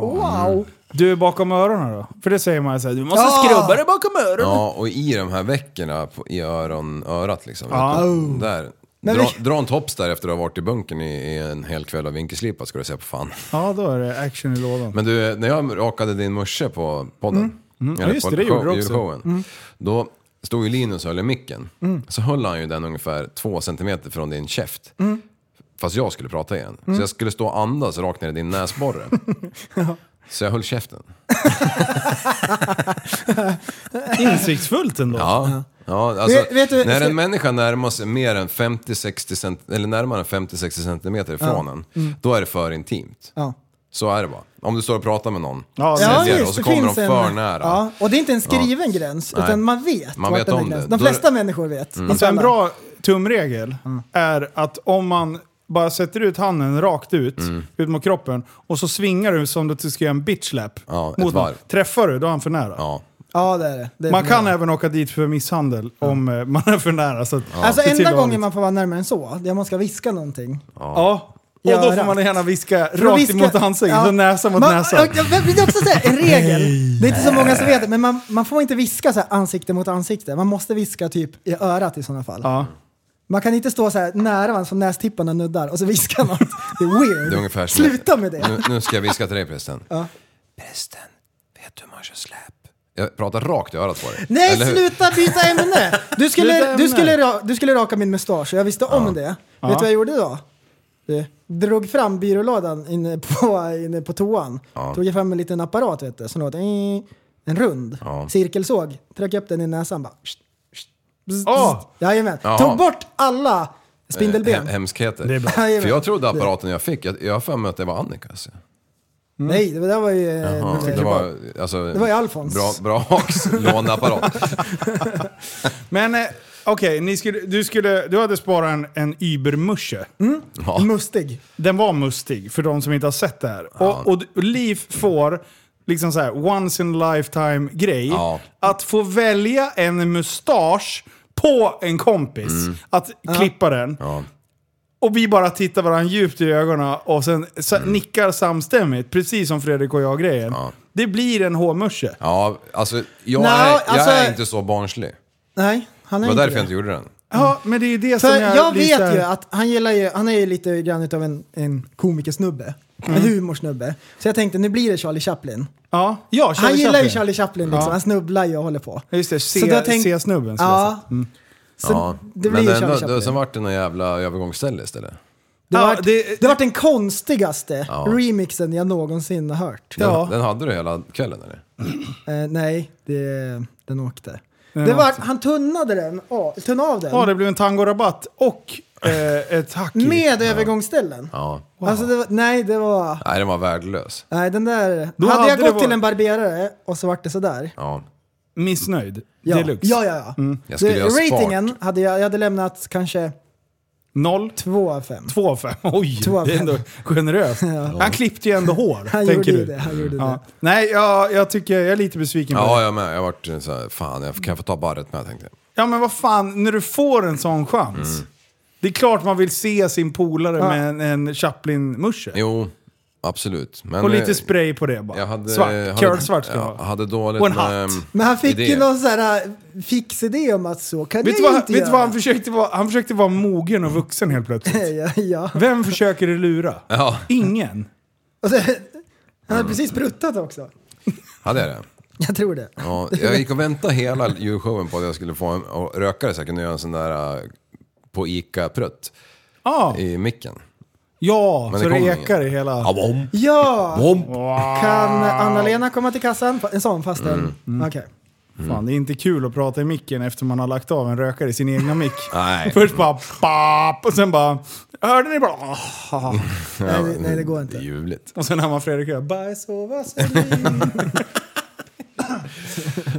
H: Wow!
E: Du, bakom öronen då? För det säger man ju såhär, du måste
H: Ja.
E: skrubba dig bakom öronen.
G: Ja, och i de här veckorna på, i öron, örat liksom.
E: Ja.
G: Där.
H: Men
G: Dra,
H: vi-
G: dra en tops där efter att ha varit i bunkern i, i en hel kväll och vinkelslipat ska du se på fan.
E: Ja, då är det action i lådan.
G: Men du, när jag rakade din morse på podden.
E: Mm. Ja, just det, det gjorde du också. Mm.
G: djurshowen, Då stod ju Linus och höll i micken. Så höll han ju den ungefär två centimeter från din käft.
E: Mm.
G: Fast jag skulle prata igen. Så jag skulle stå och andas rakt ner i din näsborre. Så jag höll käften.
E: Insiktsfullt ändå.
G: Ja. Ja, alltså,
H: Vet- vet du-
G: när en människa närmar sig mer än 50-60 cent, eller närmare än 50-60 centimeter ifrån en,
H: Mm.
G: då är det för intimt.
H: Ja.
G: Så är det bara. Om du står och pratar med någon,
E: Ja,
G: sen
E: ja,
G: ser du, och så kommer de
H: finns en-
G: för nära.
H: Ja, och det är inte en skriven gräns,
G: Nej.
H: utan man vet
G: Man
H: vart
G: vet
H: den här
G: om det.
H: gränsen-
G: Då
H: De
G: är
H: flesta människor vet. Inte
E: Alltså en
H: alla.
E: bra tumregel är att om man bara sätter ut handen rakt ut,
G: Mm.
E: ut mot kroppen, och så svingar du som att du ska göra en bitchlap.
G: Ja, ett
E: mot någon.
G: varv.
E: Träffar du, då är han för nära.
G: Ja.
H: Ja, det är det. det är
E: Man
H: det.
E: kan även åka dit för misshandel om eh, man är för nära. Så att,
H: Alltså
E: se till
H: enda
E: att ha
H: gången
E: lite-
H: man får vara närmare än så, det är om man ska viska någonting.
E: Ja. Och då
H: Göra.
E: får man gärna viska
H: För att
E: rakt emot ansiktet,
H: ja.
E: så näsa mot
H: man,
E: näsa.
H: Jag, jag vill också säga en regel. Det är inte så många som vet det, men man, man får inte viska så här ansikte mot ansikte. Man måste viska typ i örat i sådana fall.
E: Ja.
H: Man kan inte stå så här nära varandra som nästipparna nuddar och så viska något. Det är weird.
G: Det är ungefär som-
H: Sluta med det.
G: Nu, nu ska jag viska till dig prästen. Prästen, vet du hur man kör släp? Jag pratar rakt i örat på dig.
H: Nej,
G: Eller hur? Eh,
H: sluta byta ämne! Du
E: Byta
H: skulle,
E: ämne.
H: du skulle, ra, du skulle raka min mustasch och jag visste om det. Vet du vad jag gjorde då? Du, drog fram byrålådan inne på, inne på toan. Tog fram en liten apparat vet du, som låter... En rund
G: Ja.
H: cirkelsåg. Tryck upp den i näsan bara.
E: Åh!
H: Jajamän.
G: Jaha. Eh,
H: Tog bort alla spindelben.
G: Hem- Hemskheter.
E: Det är bra.
H: Jajamän.
G: För jag trodde apparaten jag fick, jag jag har för mig att det var Annikas.
H: Eh, Nej, det där var ju... eh,
G: Ja,
H: det-
G: det, var, alltså,
H: Det var ju Alfons.
G: Bra, bra haks låneapparat.
E: Men eh, okej, ni skulle, du, skulle, du hade sparat en, en Ubermusche.
G: Ja.
H: Mustig.
E: Den var mustig, för de som inte har sett det här. Och, och, d- Liv får liksom så här, once in a lifetime grej.
G: Ja.
E: Att få välja en mustasch på en kompis.
H: Mm.
E: Att klippa den.
G: Ja.
E: Och vi bara tittar varandra djupt i ögonen och sen sa-
H: Mm.
E: nickar samstämmigt. Precis som Fredrik och jag-grejen.
G: Ja.
E: Det blir en hårmusche.
G: Ja, alltså jag,
H: Nej,
G: är, jag
H: alltså-
G: är inte så barnslig.
H: Nej, han är
G: Det var
H: inte
G: därför
H: det.
G: jag inte gjorde den.
E: Ja, men det är ju det
H: Mm. För
E: som jag...
H: jag,
E: blir så
H: vet
E: här-
H: ju att han gillar ju, han är ju lite grann av en, en komikersnubbe. En humorsnubbe. Så jag tänkte nu blir det Charlie Chaplin.
E: Ja, ja Mm. Charlie
H: han gillar ju
E: Chaplin.
H: Charlie Chaplin liksom.
E: Ja.
H: Han snubblar ju och håller på.
E: Ja, Just det,
H: Så då
E: se,
H: tänk-
E: se snubben. som jag
H: Ja.
E: sa.
H: Så
G: ja.
H: det blir
G: Men
H: ju
G: det,
H: Charlie
G: ändå,
H: Chaplin.
G: det, sen vart det någon jävla övergångsställe istället.
H: Det,
E: Ja,
H: vart,
E: det-
H: det, vart den konstigaste
G: Ja.
H: remixen jag någonsin har hört.
G: Den,
E: Ja.
G: den hade du hela kvällen eller?
H: Eh, nej, det, den åkte.
E: Den
H: det var,
E: åkte.
H: han tunnade den, av- tunnade av den
E: Ja, det blev en tangorabatt och eh, ett hack i.
H: med övergångsställen.
G: Ja.
H: Alltså det var, nej, det var...
G: Nej, den var värdelös.
H: Nej, den där...
E: Då
H: hade
E: hade
H: jag
E: det
H: gått
E: varit-
H: till en barberare och så vart det sådär.
G: Ja.
E: Missnöjd.
H: Ja, ja,
E: Deluxe. Mm.
H: ja. ja.
G: Jag skulle
H: Det,
G: ha sparat.
H: ratingen hade jag, jag hade lämnat kanske
E: Noll.
H: 2 av 5.
E: Två av fem. Oj,
H: Två av
E: det är
H: fem.
E: ändå generöst. Han klippte ju ändå hår,
H: Han
E: tänker
H: gjorde
E: du.
H: ju det, han gjorde
E: Ja. Nej, jag, jag tycker jag är lite besviken på
G: Ja,
E: det.
G: jag med. Jag vart så här, fan, jag, kan jag få ta barret med tänkte jag.
E: Ja, men vad fan, när du får en sån chans.
G: Mm.
E: Det är klart man vill se sin polare
H: Ja.
E: med en, en Chaplin-musche.
G: Jo, absolut. Men,
E: Och
G: eh,
E: lite spray på det bara.
G: jag hade,
E: svart.
G: hade-
E: Curl-svart ska det
G: Jag
E: vara.
G: hade dåligt
E: Och en hatt.
G: ehm,
H: det. Men han fick ju
G: idéer.
H: någon sån här äh, fix-idé om att så kan
E: Vet du
H: jag
E: vad,
H: inte
E: vet du vad
H: göra.
E: han försökte vara? Han försökte vara mogen och vuxen helt plötsligt.
H: ja, ja.
E: Vem försöker du lura?
G: Ja,
E: Ingen.
H: Och så, han hade precis pruttat också.
G: hade jag det?
H: Jag tror det.
G: Ja, jag gick och väntade hela julshowen på att jag skulle få en och rökare så jag kunde göra en sån där eh, på ICA-prutt
E: Ah,
G: i micken.
E: ja,
G: Men
E: så
G: det
E: det
G: kom
E: ekar
G: ingen.
E: i hela...
G: Ja, bom,
H: Ja!
G: bom.
H: Kan Anna-Lena komma till kassan? En sån fast en...
G: Mm.
H: Mm. Okej.
E: Fan, det är inte kul att prata i micken efter man har lagt av en rökare i sin egna mick.
G: Nej.
E: Först bara pap och sen bara... Hörde ni bara... ah."
H: Nej, det- nej, det går
G: Det är
H: inte.
G: ljuvligt.
E: Och sen hör man Fredrik göra bajs och vass.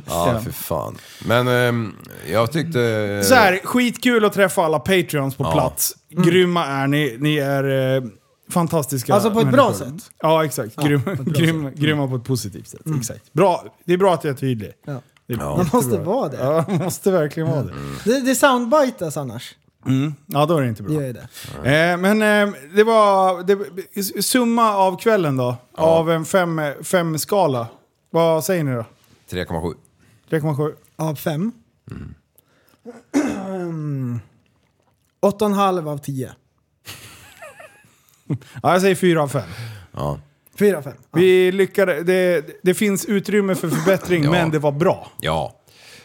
G: Ja, för fan. Men ehm, jag tyckte... eh,
E: Så här, skitkul att träffa alla Patreons på
G: Ja.
E: plats.
H: Mm.
E: Grymma är ni. Ni är eh, fantastiska
H: Alltså på ett bra
E: människor.
H: sätt.
E: Ja, exakt. Grym, grym, grymma på ett positivt sätt.
H: Mm.
E: Exakt. Bra. Det är bra att jag är tydlig.
H: Ja.
E: Det är
H: Man måste
E: jättebra.
H: vara det.
E: Ja, man måste verkligen vara det.
G: Mm.
H: Det, det soundbitas annars.
E: Ja, då är det inte bra.
H: Det är det.
E: Eh, men eh, det var det, summa av kvällen då. Av en fem, fem skala. Vad säger ni då?
G: 3,7.
E: 3,7?
H: Av fem. Åtta och en halv av tio.
E: Ja, jag säger 4 av 5.
G: Ja.
H: Fyra av fem. Ja.
E: Vi lyckades, det, det finns utrymme för förbättring,
G: Ja.
E: men det var bra.
G: Ja.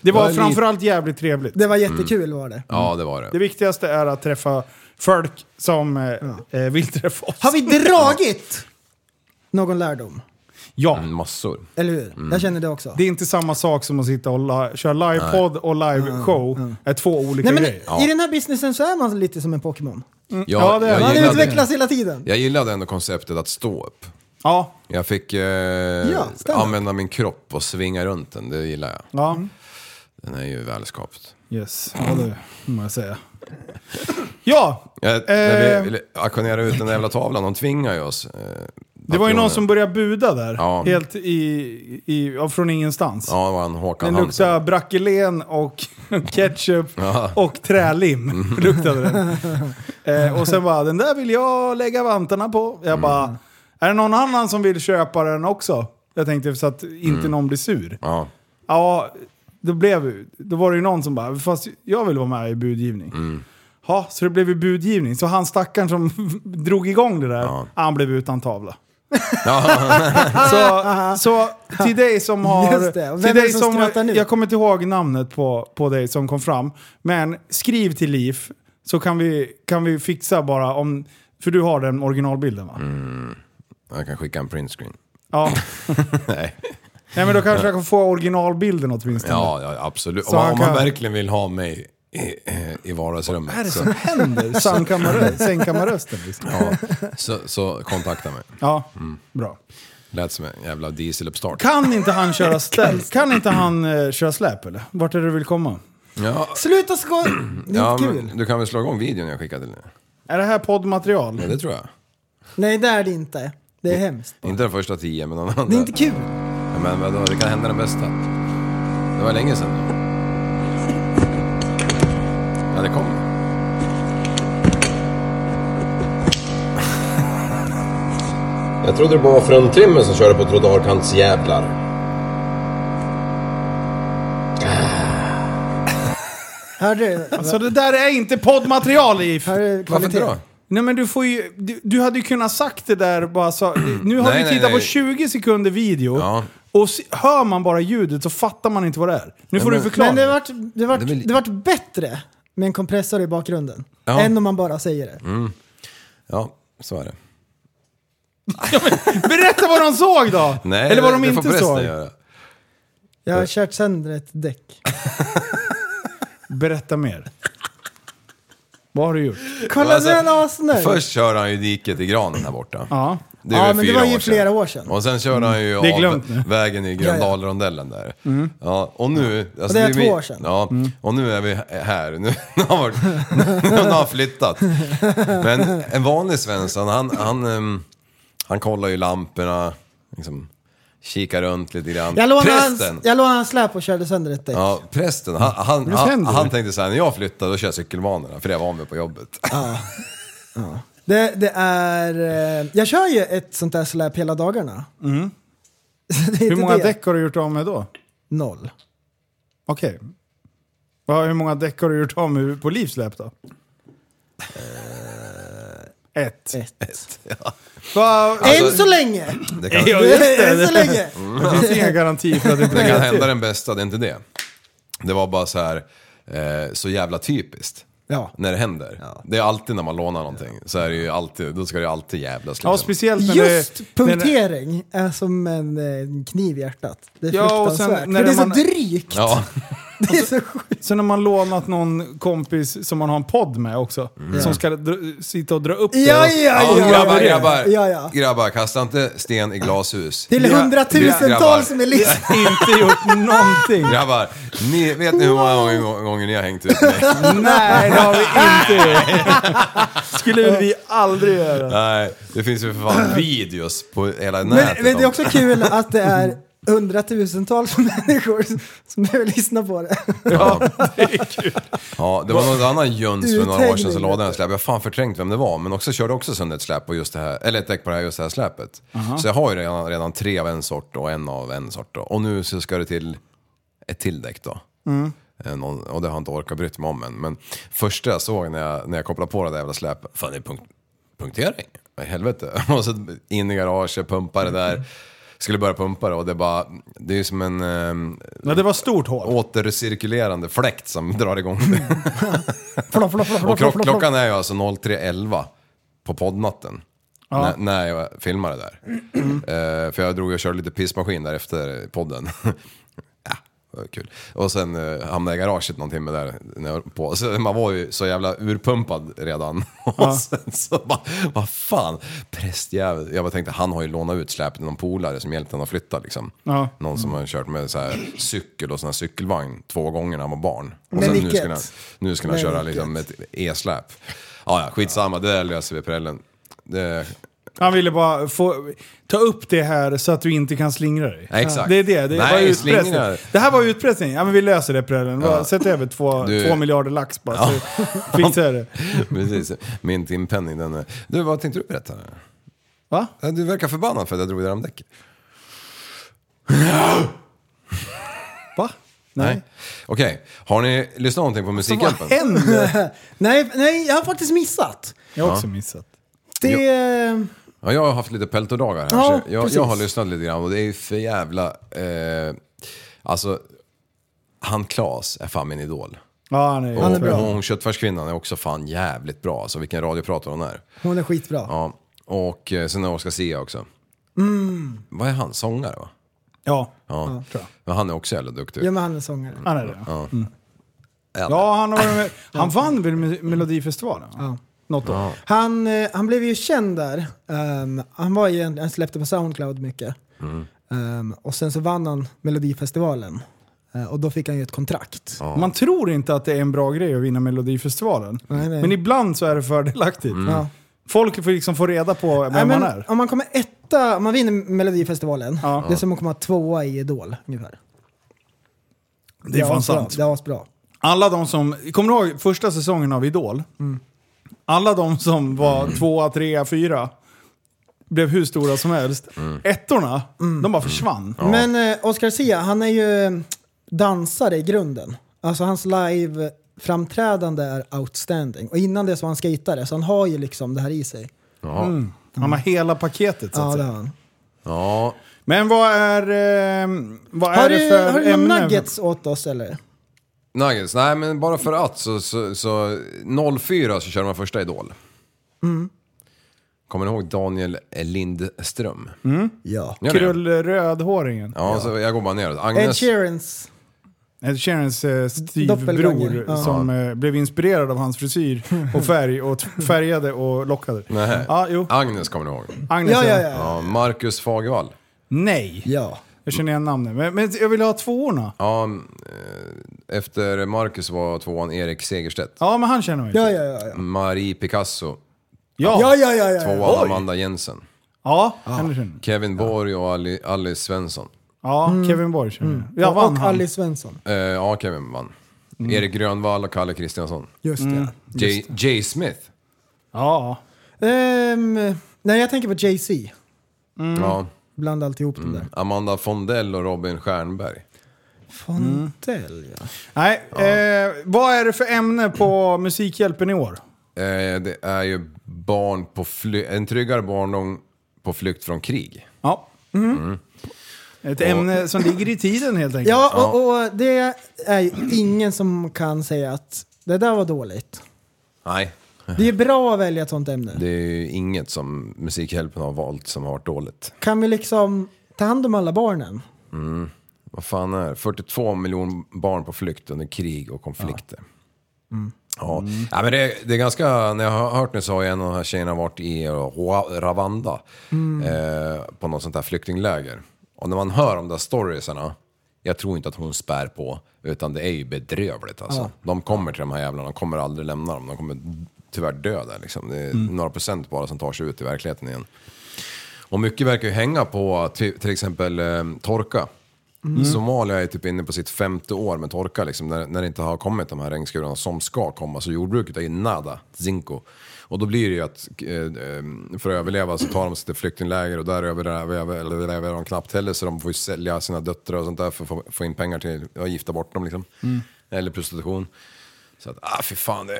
E: Det var
G: Jag är lite-
E: framförallt jävligt trevligt.
H: Det var jättekul var det.
G: ja, det var det.
E: Det viktigaste är att träffa folk som eh, eh, vill träffa oss.
H: Har vi dragit någon lärdom?
E: Ja.
G: Mm, Massor.
H: Eller hur? Jag känner det också.
E: Mm. Det är inte samma sak som att sitta och la- köra livepodd och liveshow. är två olika
H: Nej, men
E: grejer.
G: Ja.
H: I den här businessen så är man lite som en Pokémon.
G: Jag,
E: Ja, det är det.
G: jag,
H: Man
G: gillade,
H: utvecklas hela tiden.
G: jag gillade ändå konceptet att stå upp.
E: Ja.
G: Jag fick eh,
H: stand up.
G: använda min kropp och svinga runt den, det gillar jag.
E: ja.
H: Mm.
G: Den är ju välskapt.
E: Yes, ja det må jag säga. Ja,
G: Jag, när
E: Eh.
G: vi ville auktionera ut den där jävla tavlan, de tvingar ju oss. Eh,
E: det var ju någon som började buda där.
G: Ja.
E: Helt i, i, ja, från ingenstans.
G: Ja, det var han Håkan
E: Den
G: Hansen.
E: luktade brackelén och ketchup
G: Ja. Mm.
E: och trälim. Luktade den. Eh, och sen bara, den där vill jag lägga vantarna på. Jag
G: Mm.
E: bara, är det någon annan som vill köpa den också? Jag tänkte så att inte
G: Mm.
E: någon blir sur.
G: Ja.
E: Ja, då, blev, då var det ju någon som bara, fast jag vill vara med i budgivning.
G: Mm.
E: Ja, så det blev ju budgivning. Så han stackaren som drog igång det där,
G: Ja.
E: han blev utan tavla.
G: Ja.
E: Så, så till dig som har...
H: Just det. Och vem
E: Till
H: är det
E: dig
H: som
E: som
H: skrattar nu?
E: Jag kommer inte ihåg namnet på, på dig som kom fram. Men skriv till Liv så kan vi, kan vi fixa bara om... För du har den originalbilden va?
G: Mm. Jag kan skicka en printscreen.
E: Ja.
G: Nej.
E: Nej men då kanske jag kan få originalbilden åtminstone.
G: Ja, ja absolut. Om
E: Så
G: man,
E: han
G: om man
E: kan-
G: verkligen vill ha mig i, i vardagsrummet.
E: Vad är det
G: så-
E: som händer? Sandkammarö- Sängkammarrösten liksom.
G: Alltså. Mm. Ja, Mm. så, så kontakta mig.
E: Ja, bra.
G: Lät som en jävla dieseluppstart.
E: Kan inte han köra ställ? Kan inte han eh, köra släp eller? Vart är det du vill komma?
G: Ja,
H: Sluta skoja! Det är
G: ja,
H: inte kul.
G: men, du kan väl slå igång videon jag skickade till dig?
E: Är det här poddmaterial?
G: Ja, det tror jag.
H: Nej, det är det inte. Det är hemskt.
G: Inte den första tio, men den andra.
H: Det är inte kul.
G: Men vadå, det kan hända den bästa. Det var länge sedan då. Ja, det kom.
I: Jag trodde det bara var fruntimmer som körde på trottoarkantsjävlar.
H: Hörde du?
E: Alltså det där är inte poddmaterial If.
H: Här är
G: Varför inte
H: kvalitet.
G: då?
E: Nej men du får ju, du, du hade ju kunnat sagt det där bara så. Nu har
G: Nej,
E: vi
G: nej,
E: tittat på
G: nej.
E: 20 sekunder video.
G: Ja.
E: Och se, hör man bara ljudet så fattar man inte vad det är. Nu får
G: men-
E: du förklara.
H: Men det vart, det, vart,
G: Det
H: det,
G: blir-
H: vart bättre med en kompressor i bakgrunden.
G: Ja.
H: Än om man bara säger det.
G: Ja, så är det.
E: Berätta vad de såg då!
G: Nej,
E: Eller vad
G: det-
E: de
G: det får
E: inte
G: prästen
E: såg.
G: göra.
H: Jag har kört sönder ett däck.
E: Berätta mer. Vad har du gjort?
H: Kolla
G: Alltså,
H: nu är han asnöjd.
G: Först kör han ju diket i granen här borta.
E: Ja.
G: är
H: Ja, men
G: väl
H: det
G: fyra
H: var ju
G: år
H: flera år sedan.
G: Och sen körde han ju
E: Det är
G: av
E: glömt nu.
G: vägen i Gröndalrondellen där. Ja, och nu... Alltså,
H: det är
G: vi-
H: två år sedan.
G: Ja, och nu är vi här. Nu, nu, har, varit, nu har han flyttat. Men en vanlig Svensson, han, han, ehm, han kollar ju lamporna, liksom, kikar runt lite grann.
H: Jag lånade hans,
G: Prästen!
H: jag lånade hans släp och körde sönder ett däck.
G: Ja, prästen, han, han,
E: det
G: han,
E: händer.
G: han tänkte så här, när jag flyttar då kör jag cykelvanorna, för det var med på jobbet.
H: Det, det är... eh, Jag kör ju ett sånt där släp hela dagarna. det är
E: Mm. Hur
H: inte
E: många
H: det.
E: däck har du gjort av med då?
H: Noll.
E: Okej. Vad- Hur många däck har du gjort av med på livsläpp då? Ett.
H: Ett.
E: Va,
H: Än så länge!
G: Alltså, Det kan,
E: Ja, just det.
H: Än så länge!
E: det finns ingen garanti för att det inte
G: det
E: är
G: kan
E: ett
G: hända den bästa, det är inte det. Det var bara så här, eh, så jävla typiskt.
H: Ja.
G: När det händer. Det är alltid när man lånar någonting, så är det ju alltid, då ska det ju alltid jävlas liksom.
E: Ja, speciellt när det,
H: Just
E: när det-
H: punktering är som en eh, kniv i hjärtat. Det är
E: Ja, och sen
H: fruktansvärt.
E: när
H: För det är så
E: man-
H: drygt.
G: Ja,
H: Det är så sjukt.
E: Sen har man lånat någon kompis som man har en podd med också. Som ska dra, sitta och dra upp det.
H: Ja, ja,
G: ja,
H: ja,
G: grabbar,
H: ja, ja.
G: grabbar,
H: Ja, ja.
G: grabbar, kasta inte sten i glashus.
H: Till
G: Gra- grabbar,
H: hundratusentals som är lyssnare.
E: Och inte gjort någonting.
G: Grabbar, ni, vet ni hur många gånger- gånger ni har hängt ut mig?
E: Nej, det har vi inte gjort. skulle väl vi aldrig göra.
G: Nej, det finns ju för fan videos på hela nätet.
H: Men, men det är
G: om-
H: också kul att det är hundratusentals människor som- som behöver lyssna på det.
G: Ja, ja, det var någon annan jöns för några år sedan som
H: Uthängning.
G: lade en släp. Jag har fan förträngt vem det var, men också körde också sönder ett släp på just det här, eller ett däck på det här, just det här släpet. Så jag har ju redan, redan tre av en sort och en av en sort. Då. Och nu så ska det till ett till däck då.
E: Mm.
G: Eh, Någon, och det har jag inte orkat bryta mig om än. Men första jag såg när jag, när jag kopplade på det där jävla släpet, fan det är punkt, punktering. Vad i helvete. Och så in i garaget, pumpa det där. Skulle börja pumpa det och det bara, det är ju som en... ehm,
E: Men det var stort hål.
G: återcirkulerande fläkt som drar igång det. Och klock, klockan är ju alltså 03.11 på poddnatten. När, när jag filmade där. Eh, för jag drog och körde lite pissmaskin där efter podden. ja, det var kul. Och sen eh, hamnade jag i garaget någon timme där. När jag höll på. Så man var ju så jävla urpumpad redan. och sen så bara, vad fan, prästjävel. Jag bara tänkte, han har ju lånat ut släpet till någon polare som hjälpte honom att flytta liksom.
E: Ja.
G: Någon som har kört med så här cykel och sån här cykelvagn två gånger när han var barn. Och
H: Men
G: sen nu
H: vilket?
G: skulle han, nu skulle han
H: Men
G: köra
H: vilket?
G: liksom ett e-släp. Ja, ja, skitsamma, det där löser vi prällen. Det,
E: Han ville bara få, ta upp det här så att du inte kan slingra dig.
G: Ja, exakt.
E: Det är det. Det,
G: Nej,
E: var utpressning.
G: slingrar.
E: det här var utpressning. Ja, men vi löser det prällen. Bara Sätt över två,
G: Du-
E: två miljarder lax bara så Alltså, fixar jag det.
G: precis, min timpenning den är... Du, vad tänkte du berätta?
E: Va?
G: Ja, Du verkar förbannad för att jag drog det där om däcket.
E: Va? Nej. Alltså,
G: Okej, har ni lyssnat någonting på
E: Vad
G: Musikhjälpen?
E: händer?
H: nej, nej, jag har faktiskt missat.
E: Jag har också missat.
H: Det...
G: Ja, jag har haft lite peltodagar här.
H: Ja,
G: så jag,
H: precis.
G: jag har lyssnat lite grann och det är ju för jävla... Eh, alltså, han Klas är fan min idol.
E: Ja, han är,
H: Han är bra.
G: Och hon köttfärskvinnan är också fan jävligt bra. Alltså vilken radioprator hon är.
H: Hon är skitbra.
G: Ja. Och eh, sen är Oscar Zia också. Vad är han? Sångare va?
E: Ja,
G: Ja. Men han är också jävligt duktig.
H: Ja, men han är sångare.
E: han är det. Ja, Mm.
G: Äldre.
E: han, har varit med, han vann väl Mel- Melodifestivalen? Ja. Något år.
H: Han, eh, han blev ju känd där. Ehm, han, var ju en, han släppte på Soundcloud mycket.
E: Mm.
H: Ehm, och sen så vann han Melodifestivalen. Eh, och då fick han ju ett kontrakt.
E: Man tror inte att det är en bra grej att vinna Melodifestivalen.
H: Nej, nej.
E: Men ibland så är det fördelaktigt.
H: Ja.
E: Folk får liksom få reda på vem
H: Nej, men
E: man är.
H: Om man kommer etta åtta, om man vinner Melodifestivalen,
E: Ja.
H: det är som att komma tvåa i Idol ungefär.
E: Det är fan
H: asbra.
E: sant.
H: Det är asbra.
E: Alla de som, kommer du ihåg första säsongen av Idol?
H: Mm.
E: Alla de som var tvåa, trea, fyra blev hur stora som helst. Ettorna,
H: Mm.
E: de bara försvann.
H: Men eh, Oscar Sia, han är ju dansare i grunden. Alltså hans live-framträdande är outstanding. Och innan det så var han skejtare, så han har ju liksom det här i sig.
E: Han har hela paketet så att
H: Ja, det
E: säga.
H: har han.
G: Ja,
E: Men vad är, ehm, vad
H: Har
E: är det
H: du,
E: för
H: har du några
E: ämne?
H: nuggets åt oss eller?
G: Nuggets. Nej, men bara för att så, så, så 04 så körde man första Idol. Kommer ni ihåg Daniel Lindström?
H: Ja.
G: Gör ni det?
E: Krull eh, rödhåringen.
G: Ja, så jag går bara neråt.
H: Ed
G: Agnes...
H: Sheerans.
E: Ed Sheerans eh, styvbror
H: Doppelganger, ja.
E: som eh, blev inspirerad av hans frisyr och färg och t- färgade och lockade.
G: Nej.
E: Ja, jo.
G: Agnes kommer ni ihåg?
E: Agnes.
H: Ja, ja, ja.
G: Ja, Marcus Fagervall.
E: Nej.
H: Ja.
E: Jag känner igen namnet. Men, men jag vill ha tvåorna. Ja.
G: Ja, eh, efter Marcus var tvåan Erik Segerstedt.
E: men han känner mig.
H: Ja, ja, ja. ja.
G: Marie Picasso.
E: Ja,
H: Ja, ja, ja, ja. ja.
G: Tvåan Amanda Jensen.
E: Ja, henne känner jag.
G: Kevin Borg och Ali, Alice Svensson.
E: Ja, Kevin Borg känner jag. Mm. Ja, vann
H: och
E: han.
H: Alice Svensson.
G: Eh, ja, Kevin vann. Erik Grönvall och Kalle Kristiansson.
H: Mm. Just
E: Mm.
H: det.
G: Jay, Jay Smith.
E: Ja.
H: Ehm, nej, jag tänker på Jay-Z. Mm.
G: Ja.
H: Bland alltihop mm. där.
G: Amanda Fondell och Robin Stjernberg.
H: Fontell, ja.
E: Nej, eh, vad är det för ämne på Musikhjälpen i år?
G: Eh, det är ju barn på fly- en tryggare barndom på flykt från krig.
E: Ja. Mm. Ett ämne som ligger i tiden helt enkelt.
H: Ja, och, och det är ju ingen som kan säga att det där var dåligt.
G: Nej,
H: Det är bra att välja ett sånt ämne.
G: det är ju inget som Musikhjälpen har valt som har varit dåligt.
H: Kan vi liksom ta hand om alla barnen?
G: Vad fan är det? 42 miljoner barn på flykt under krig och konflikter. Ja. ja, men det, det är ganska, när jag har hört nu så har ju en av de här tjejerna varit i Rwa- Rwanda eh, på något sånt här flyktingläger. Och när man hör de där storiesarna, jag tror inte att hon spär på, utan det är ju bedrövligt alltså. De kommer till de här jävlarna, de kommer aldrig lämna dem, de kommer tyvärr dö där liksom. Det är några procent bara som tar sig ut i verkligheten igen. Och mycket verkar ju hänga på ty- till exempel eh, torka.
E: Mm.
G: Somalia är typ inne på sitt femte år med torka, liksom, när, när det inte har kommit de här regnskurarna som ska komma. Så jordbruket är ju nada, zinko. Och då blir det ju att eh, eh, för att överleva så tar de sig till flyktingläger och där överlever överlever de knappt heller så de får ju sälja sina döttrar och sånt där för att få, få in pengar till att gifta bort dem. Liksom.
E: Mm.
G: Eller prostitution. Så att, ah fy fan, det är,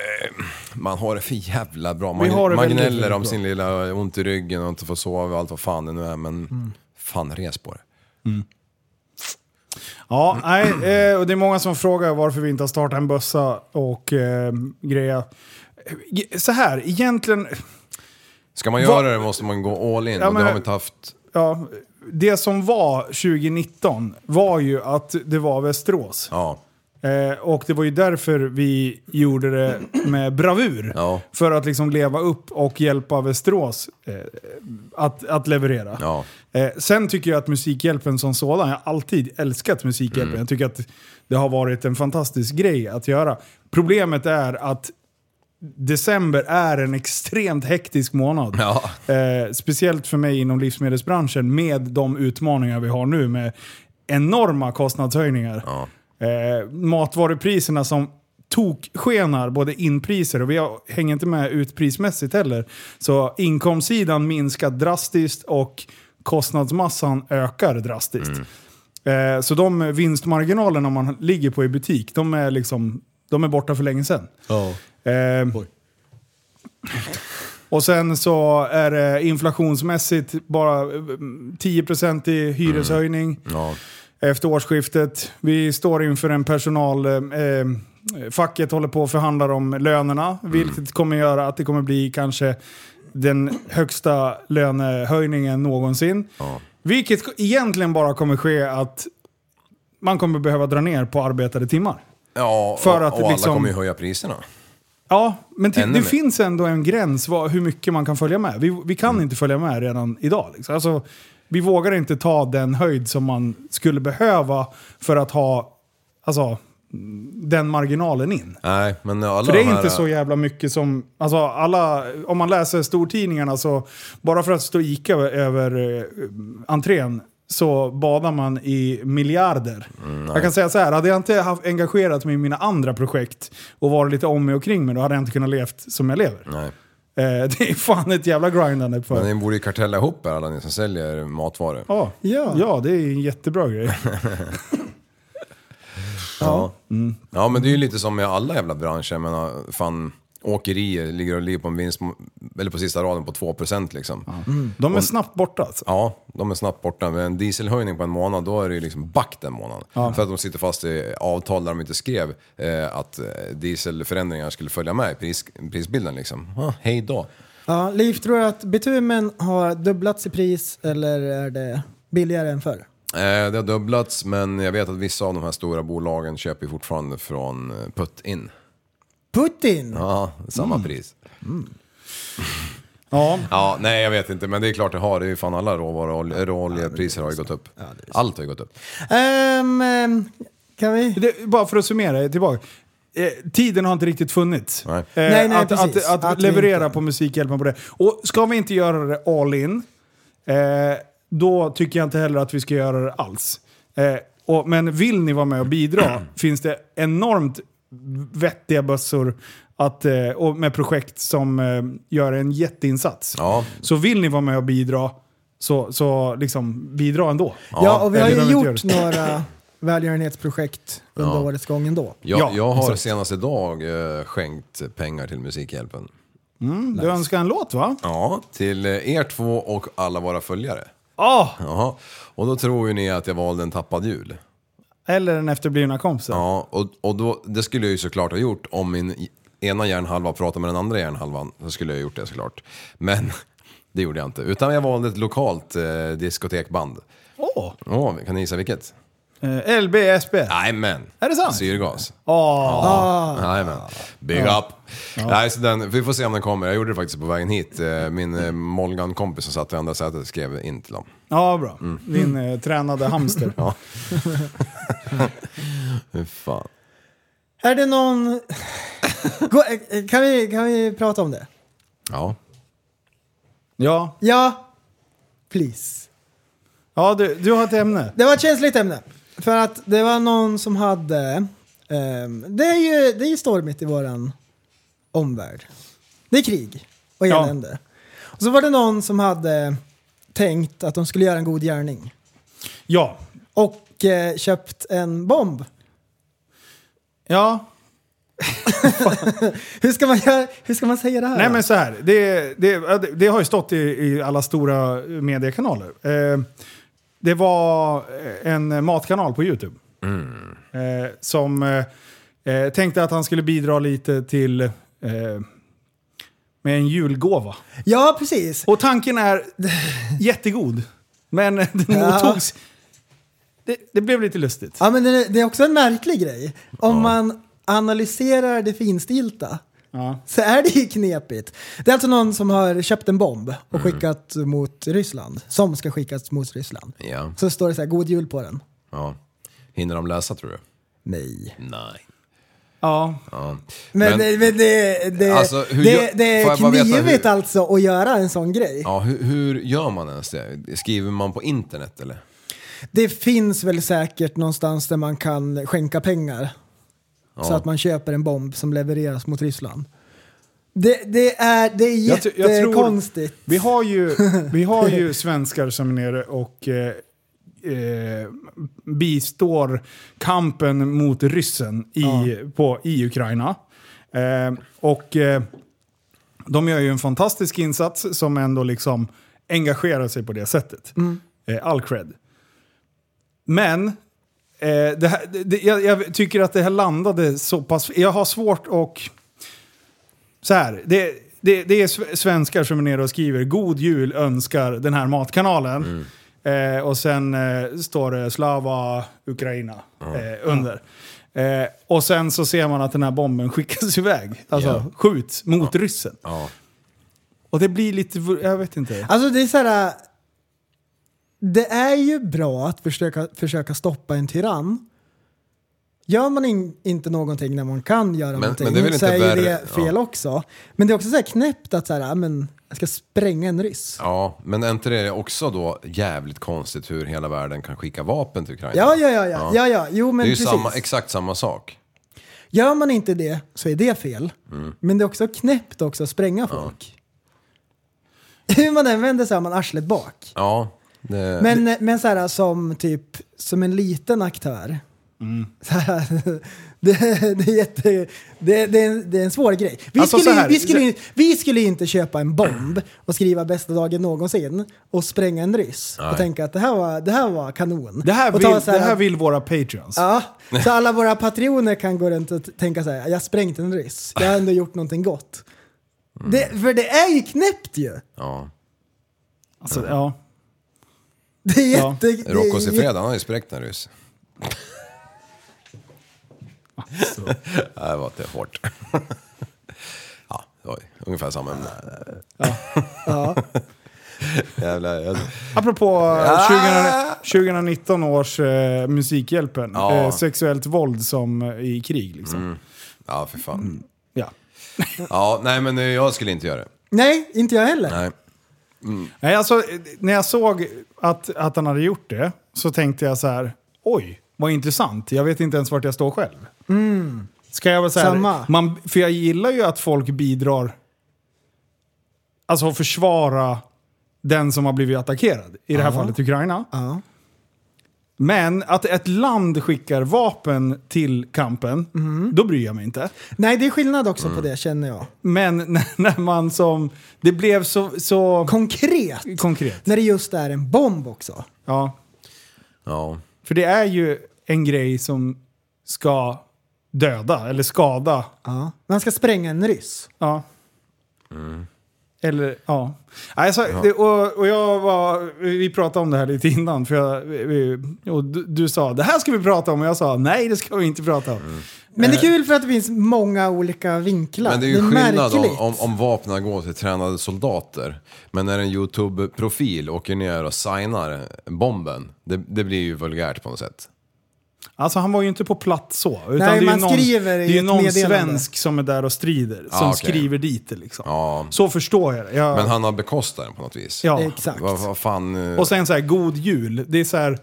G: man har det för jävla bra. Man,
E: Vi har det
G: man
E: väldigt,
G: gnäller
E: väldigt
G: om
E: bra.
G: sin lilla ont i ryggen och inte får sova och allt vad fan det nu är. Men
E: Mm.
G: fan, res på det.
E: Ja, nej, eh, och det är många som frågar varför vi inte har startat en bössa och eh, grejer. Så här, egentligen,
G: Ska man göra det måste man gå all in.
E: Ja,
G: och
E: men-
G: det har vi inte haft...
E: ja, det som var 2019 var ju att det var Västerås.
G: Ja.
E: Eh, och det var ju därför vi gjorde det med bravur.
G: Ja.
E: För att liksom leva upp och hjälpa Västerås eh, att, att leverera.
G: Ja.
E: Eh, sen tycker jag att Musikhjälpen som sådan, jag har alltid älskat Musikhjälpen.
G: Mm.
E: Jag tycker att det har varit en fantastisk grej att göra. Problemet är att december är en extremt hektisk månad.
G: Ja.
E: Eh, speciellt för mig inom livsmedelsbranschen med de utmaningar vi har nu med enorma kostnadshöjningar. Eh, matvarupriserna som tokskenar, både inpriser och vi har- hänger inte med utprismässigt heller. Så inkomstsidan minskar drastiskt och kostnadsmassan ökar drastiskt. Eh, så de vinstmarginalerna man ligger på i butik, de är, liksom, de är borta för länge sedan. Eh, och sen så är det inflationsmässigt bara eh, 10% i hyreshöjning
G: Ja.
E: efter årsskiftet. Vi står inför en personal... Eh, eh, facket håller på att förhandla om lönerna, vilket kommer göra att det kommer bli kanske den högsta lönehöjningen någonsin. Vilket egentligen bara kommer ske att man kommer behöva dra ner på arbetade timmar.
G: Ja,
E: För
G: och,
E: att
G: och
E: det
G: alla
E: liksom-
G: kommer ju höja priserna.
E: Ja, men till,
G: Ännu
E: det
G: mer.
E: finns ändå en gräns vad, hur mycket man kan följa med. Vi, vi
G: Mm.
E: kan inte följa med redan idag. Liksom. Alltså, vi vågar inte ta den höjd som man skulle behöva för att ha alltså, den marginalen in.
G: Nej, men alla
E: För det
G: de
E: är
G: här, äh,
E: inte så jävla mycket som, alltså alla, om man läser stortidningarna så, bara för att stå Ica över, över eh, entrén så badar man i miljarder.
G: Mm,
E: jag kan säga så här, hade jag inte haft, engagerat mig i mina andra projekt och varit lite om mig och kring mig, då hade jag inte kunnat levt som jag lever.
G: Nej.
E: Eh, det är fan ett jävla grindande för.
G: Mm. Men ni borde ju kartella ihop er alla ni som säljer matvaror.
E: Ja.
H: Ja.
E: ja, det är en jättebra grej.
G: Ja. ja, men det är ju lite som med alla jävla branscher. Jag menar, fan, åkerier ligger och ligger på en vinst, eller på sista raden på 2% liksom.
E: Mm. De är snabbt borta alltså.
G: Ja, de är snabbt borta. Med en dieselhöjning på en månad, då är det ju liksom back den månaden. För att de sitter fast i avtal där de inte skrev eh, att eh, dieselförändringar skulle följa med i pris, prisbilden liksom. Ah, hej då.
H: Ja, Liv, tror du att bitumen har dubblats i pris eller är det billigare än förr?
G: Eh, det har dubblats, men jag vet att vissa av de här stora bolagen köper ju fortfarande från eh, put-in.
H: Putin!
G: Ja, samma
E: Mm.
G: pris.
E: Ja.
G: Ja, nej jag vet inte, men det är klart det har. Det är ju fan alla råvaru- råoljepriser har ju gått upp. Allt har ju gått upp.
H: Ehm, ehm, kan vi?
E: Det, bara för att summera tillbaka. Eh, tiden har inte riktigt funnits. Eh,
G: Nej.
H: Nej, nej,
E: att, att,
H: precis.
E: att,
H: Att vi
E: leverera
H: inte-
E: på Musikhjälpen på det. Och ska vi inte göra det all in, eh, då tycker jag inte heller att vi ska göra det alls. Eh, och, men vill ni vara med och bidra finns det enormt vettiga bössor att, eh, och med projekt som eh, gör en jätteinsats.
G: Ja.
E: Så vill ni vara med och bidra, så, så liksom bidra ändå.
H: Ja, och vi har
E: eller
H: ju
E: de inte
H: gjort några välgörenhetsprojekt under årets gång ändå.
G: Jag,
E: Ja,
G: jag har
E: exakt.
G: senast idag eh, skänkt pengar till Musikhjälpen.
E: Du önskar en låt va?
G: Ja, till eh, er två och alla våra följare.
E: Ja!
G: Jaha. Och då tror ju ni att jag valde en tappad jul.
E: Eller den efterblivna kompisen.
G: Ja, och, och då, det skulle jag ju såklart ha gjort om min i- ena hjärnhalva pratade med den andra hjärnhalvan. Så skulle jag ha gjort det såklart. Men det gjorde jag inte. Utan jag valde ett lokalt eh, diskotekband.
E: Åh!
G: Åh, kan ni gissa vilket?
E: Eh, LBSB.
G: Jajamän!
E: Är det sant?
G: Syrgas.
E: Åh.
G: Jajamän. Big up! Nej, så den, vi får se om den kommer. Jag gjorde det faktiskt på vägen hit. Eh, Min eh, Molgan-kompis som satt i andra sätet skrev in till dem.
E: Ja, bra. Din eh, tränade hamster.
G: Mm. Ja. Hur fan.
H: Är det någon... Gå- eh, kan, vi, kan vi prata om det?
G: Ja.
E: Ja,
H: Ja, please.
E: ja du, du har ett ämne.
H: Det var ett känsligt ämne. För att det var någon som hade... ehm, det, är ju, det är ju stormigt i våran omvärld. Det är krig och
E: Ja.
H: elände. Och så var det någon som hade tänkt att de skulle göra en god gärning.
E: Ja.
H: Och eh, köpt en bomb.
E: Ja,
H: Hur ska man, göra, hur ska man säga det här?
E: nej men så här. Det, det, det har ju stått i, i alla stora mediekanaler. Eh, det var eh, en matkanal på YouTube.
G: Mm.
E: Eh, som eh, eh, tänkte att han skulle bidra lite till... Eh, med en julgåva.
H: Ja, precis.
E: Och tanken är jättegod. Men den mottogs... Det, det blev lite lustigt.
H: Ja, men det, det är också en märklig grej. Om man analyserar det finstilta
E: Ja.
H: så är det ju knepigt. Det är alltså någon som har köpt en bomb och skickat mot Ryssland. Som ska skickas mot Ryssland.
G: Ja.
H: Så står det så här, god jul på den.
G: ja. Hinner de läsa tror du?
H: Nej.
G: Nej.
E: Ja.
G: Ja.
H: Men,
G: Men-
H: men, det, det,
G: Alltså, hur
H: det,
G: gör-
H: det
G: får
H: är
G: jag bara veta
H: knivigt
G: hur-
H: alltså att göra en sån grej.
G: Ja, hur, hur gör man ens det? Skriver man på internet eller?
H: Det finns väl säkert någonstans där man kan skänka pengar. Så att man köper en bomb som levereras mot Ryssland. Det, det är, det är
E: Jag tr- jag tror-
H: jättekonstigt.
E: Vi har, ju, vi har ju svenskar som är nere och eh, eh, bistår kampen mot ryssen i, på, i Ukraina. Eh, och eh, de gör ju en fantastisk insats som ändå liksom engagerar sig på det sättet. Eh, all cred. Men eh, det här, det- det, jag, jag tycker att det här landade så pass... Jag har svårt att... Så här, det, det, det är sve- svenskar som är nere och skriver “God jul önskar den här matkanalen”.
G: Mm.
E: Eh, och sen eh, står det “Slava Ukraina” eh, under. Eh, och sen så ser man att den här bomben skickas iväg. Alltså
G: Ja.
E: skjuts mot ryssen.
G: Ja.
E: Och det blir lite... Jag vet inte.
H: Alltså det är så här. äh, Det är ju bra att försöka, försöka stoppa en tyrann. Gör man in, inte någonting när man kan göra någonting
G: men det är väl
H: så
G: inte
H: är ju
G: värre-
H: det fel
G: ja.
H: också. Men det är också så här knäppt att så här, ja, men jag ska spränga en ryss.
G: Ja, men är inte det också då jävligt konstigt hur hela världen kan skicka vapen till Ukraina?
H: Ja, ja, ja, ja, ja, ja. Jo, men
G: det är ju
H: precis.
G: samma, exakt samma sak.
H: Gör man inte det så är det fel.
E: Mm.
H: Men det är också knäppt också att spränga folk. Hur man än vänder så har man arslet bak.
G: Ja, det,
H: Men, men så här, som typ som en liten aktör.
E: Mm.
H: Så här, det, det, är jätte, det, det, är en- det är en svår grej. Vi,
E: Alltså,
H: skulle,
E: så här-
H: vi, skulle, vi skulle inte köpa en bomb och skriva bästa dagen någonsin och spränga en ryss och tänka att det här var, det här var kanon.
E: Det här,
H: och
E: vill,
H: ta så här-
E: det här vill våra patreons.
H: Ja, så alla våra patroner kan gå runt och t- tänka så här, jag sprängt en ryss, jag har ändå gjort någonting gott. Det, för det är ju knäppt ju!
G: ja.
E: Alltså, ja.
H: Det är
E: Ja.
H: jätte... det är
G: Rockos i
H: jätte-
G: fredag, han har ju spräckt en ryss.
E: Alltså.
G: Nej, det var inte hårt. ja, det var ju ungefär samma ämne. Jävlar, jag...
E: Apropå
G: Ja.
E: 20, 2019 års eh, Musikhjälpen,
G: Ja. Mm.
E: eh, sexuellt våld som eh, i krig liksom.
G: Ja, för fan.
E: Ja.
G: Ja, nej men eh, jag skulle inte göra det.
H: Nej, inte jag heller.
G: Nej.
E: Nej, alltså, eh, när jag såg att, att han hade gjort det så tänkte jag så här, oj, vad intressant. Jag vet inte ens vart jag står själv. Mm. Ska jag väl säga
H: Samma.
E: Man, för jag gillar ju att folk bidrar, alltså att försvara den som har blivit attackerad. I det här fallet Ukraina.
H: Ja.
E: Men att ett land skickar vapen till kampen,
H: Mm.
E: då bryr jag mig inte.
H: Nej, det är skillnad också på det känner jag.
E: Men när, när man som... Det blev så, så
H: Konkret,
E: konkret.
H: när det just är en bomb också.
E: Ja.
G: Ja.
E: För det är ju en grej som ska döda eller skada.
H: Ja. Man ska spränga en ryss.
E: Ja.
G: Mm.
E: Eller, ja. Alltså, Det, och, och jag var, vi pratade om det här lite innan. För jag, vi, och du, du sa det här ska vi prata om och jag sa nej det ska vi inte prata om.
G: Mm.
H: Men det är kul för att det finns många olika vinklar.
G: Men det är ju skillnad om,
H: märkligt.
G: om, om vapnen går till tränade soldater. Men när en YouTube-profil åker ner och signar bomben, det, det blir ju vulgärt på något sätt.
E: Alltså han var ju inte på plats så. Utan
H: Nej,
E: det är ju
H: man
E: någon,
H: skriver
E: det
H: i
E: är ju
H: ett
E: någon
H: meddelande.
E: svensk som är där och strider. som
G: Ah, okej.
E: skriver dit det liksom.
G: Ja.
E: Så förstår jag det. Jag,
G: Men han har bekostat den på något vis.
E: ja.
H: Exakt.
G: Vad, vad fan... eh,
E: Och sen så här, god jul. Det är så här...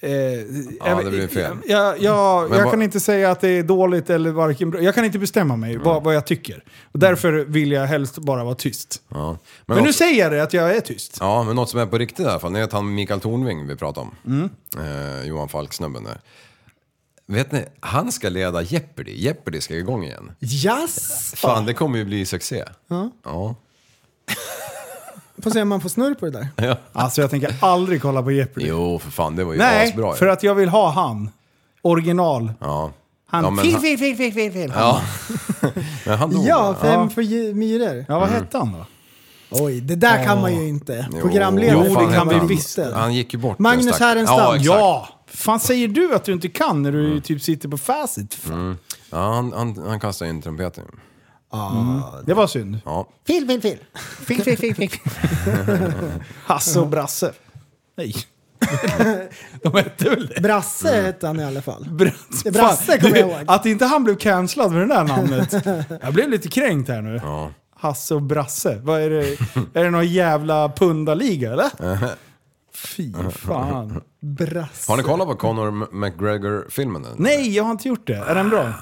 E: Eh, jag,
G: det blir fel.
E: Jag, jag,
G: Men
E: jag
G: vad-
E: kan inte säga att det är dåligt eller varken bra. Jag kan inte bestämma
G: Mm.
E: mig vad, vad jag tycker. Och därför vill jag helst bara vara tyst.
G: ja.
E: Men, nu säger jag det, att jag är tyst.
G: Ja, men något som är på riktigt i alla fall, det är att han Mikael Tornving vi pratar om.
E: Mm.
G: Eh, Johan Falk-snubben där. Vet ni, han ska leda Jeopardy. Jeopardy ska igång igen.
H: Yes!
G: Fan, det kommer ju bli succé. Ja. ja.
H: Får se om man får snurr på det där.
E: Alltså jag tänker aldrig kolla på Jeopardy.
G: Jo, för fan, det var ju
E: Nej,
G: asbra. ju.
E: för att jag vill ha han. Original.
G: Ja.
E: Han,
G: Ja, men
E: fel,
G: han-
E: fel, fel, fel, fel, fel.
G: Ja. men han dog.
H: Ja, fem
E: Ja.
H: för ju- myror.
E: Ja,
G: Mm.
E: vad hette han då?
H: Oj, det där kan man ju inte.
G: Jo.
H: Programledare
G: Jo,
E: det
H: man
E: kan vi
H: inte.
E: visst.
G: Han gick ju bort.
H: Magnus
G: den stackaren.
H: Härenstam.
G: Ja, exakt. Ja.
E: Ja! fan säger du att du inte kan när
G: Mm.
E: du typ sitter på facit? Fan.
G: han, han, han kastade in trumpeten. Mm.
E: Det var synd.
G: Ja.
H: Fel, fel, fel. Fel, fel, fel, fel.
E: Hasse och Brasse. Nej. De hette väl det?
H: Brasse hette han i alla fall.
E: Br-
H: Brasse
E: Fan,
H: kommer
E: du,
H: jag ihåg.
E: Att inte han blev cancellad med det där namnet. Jag blev lite kränkt här nu.
G: Ja.
E: Hasse och Brasse. Vad är det? Är det någon jävla pundaliga eller? Fy fan.
H: Brasse.
G: Har ni kollat på Conor M- McGregor-filmen? än?
E: Nej, jag har inte gjort det. Är den
G: Ah,
E: bra?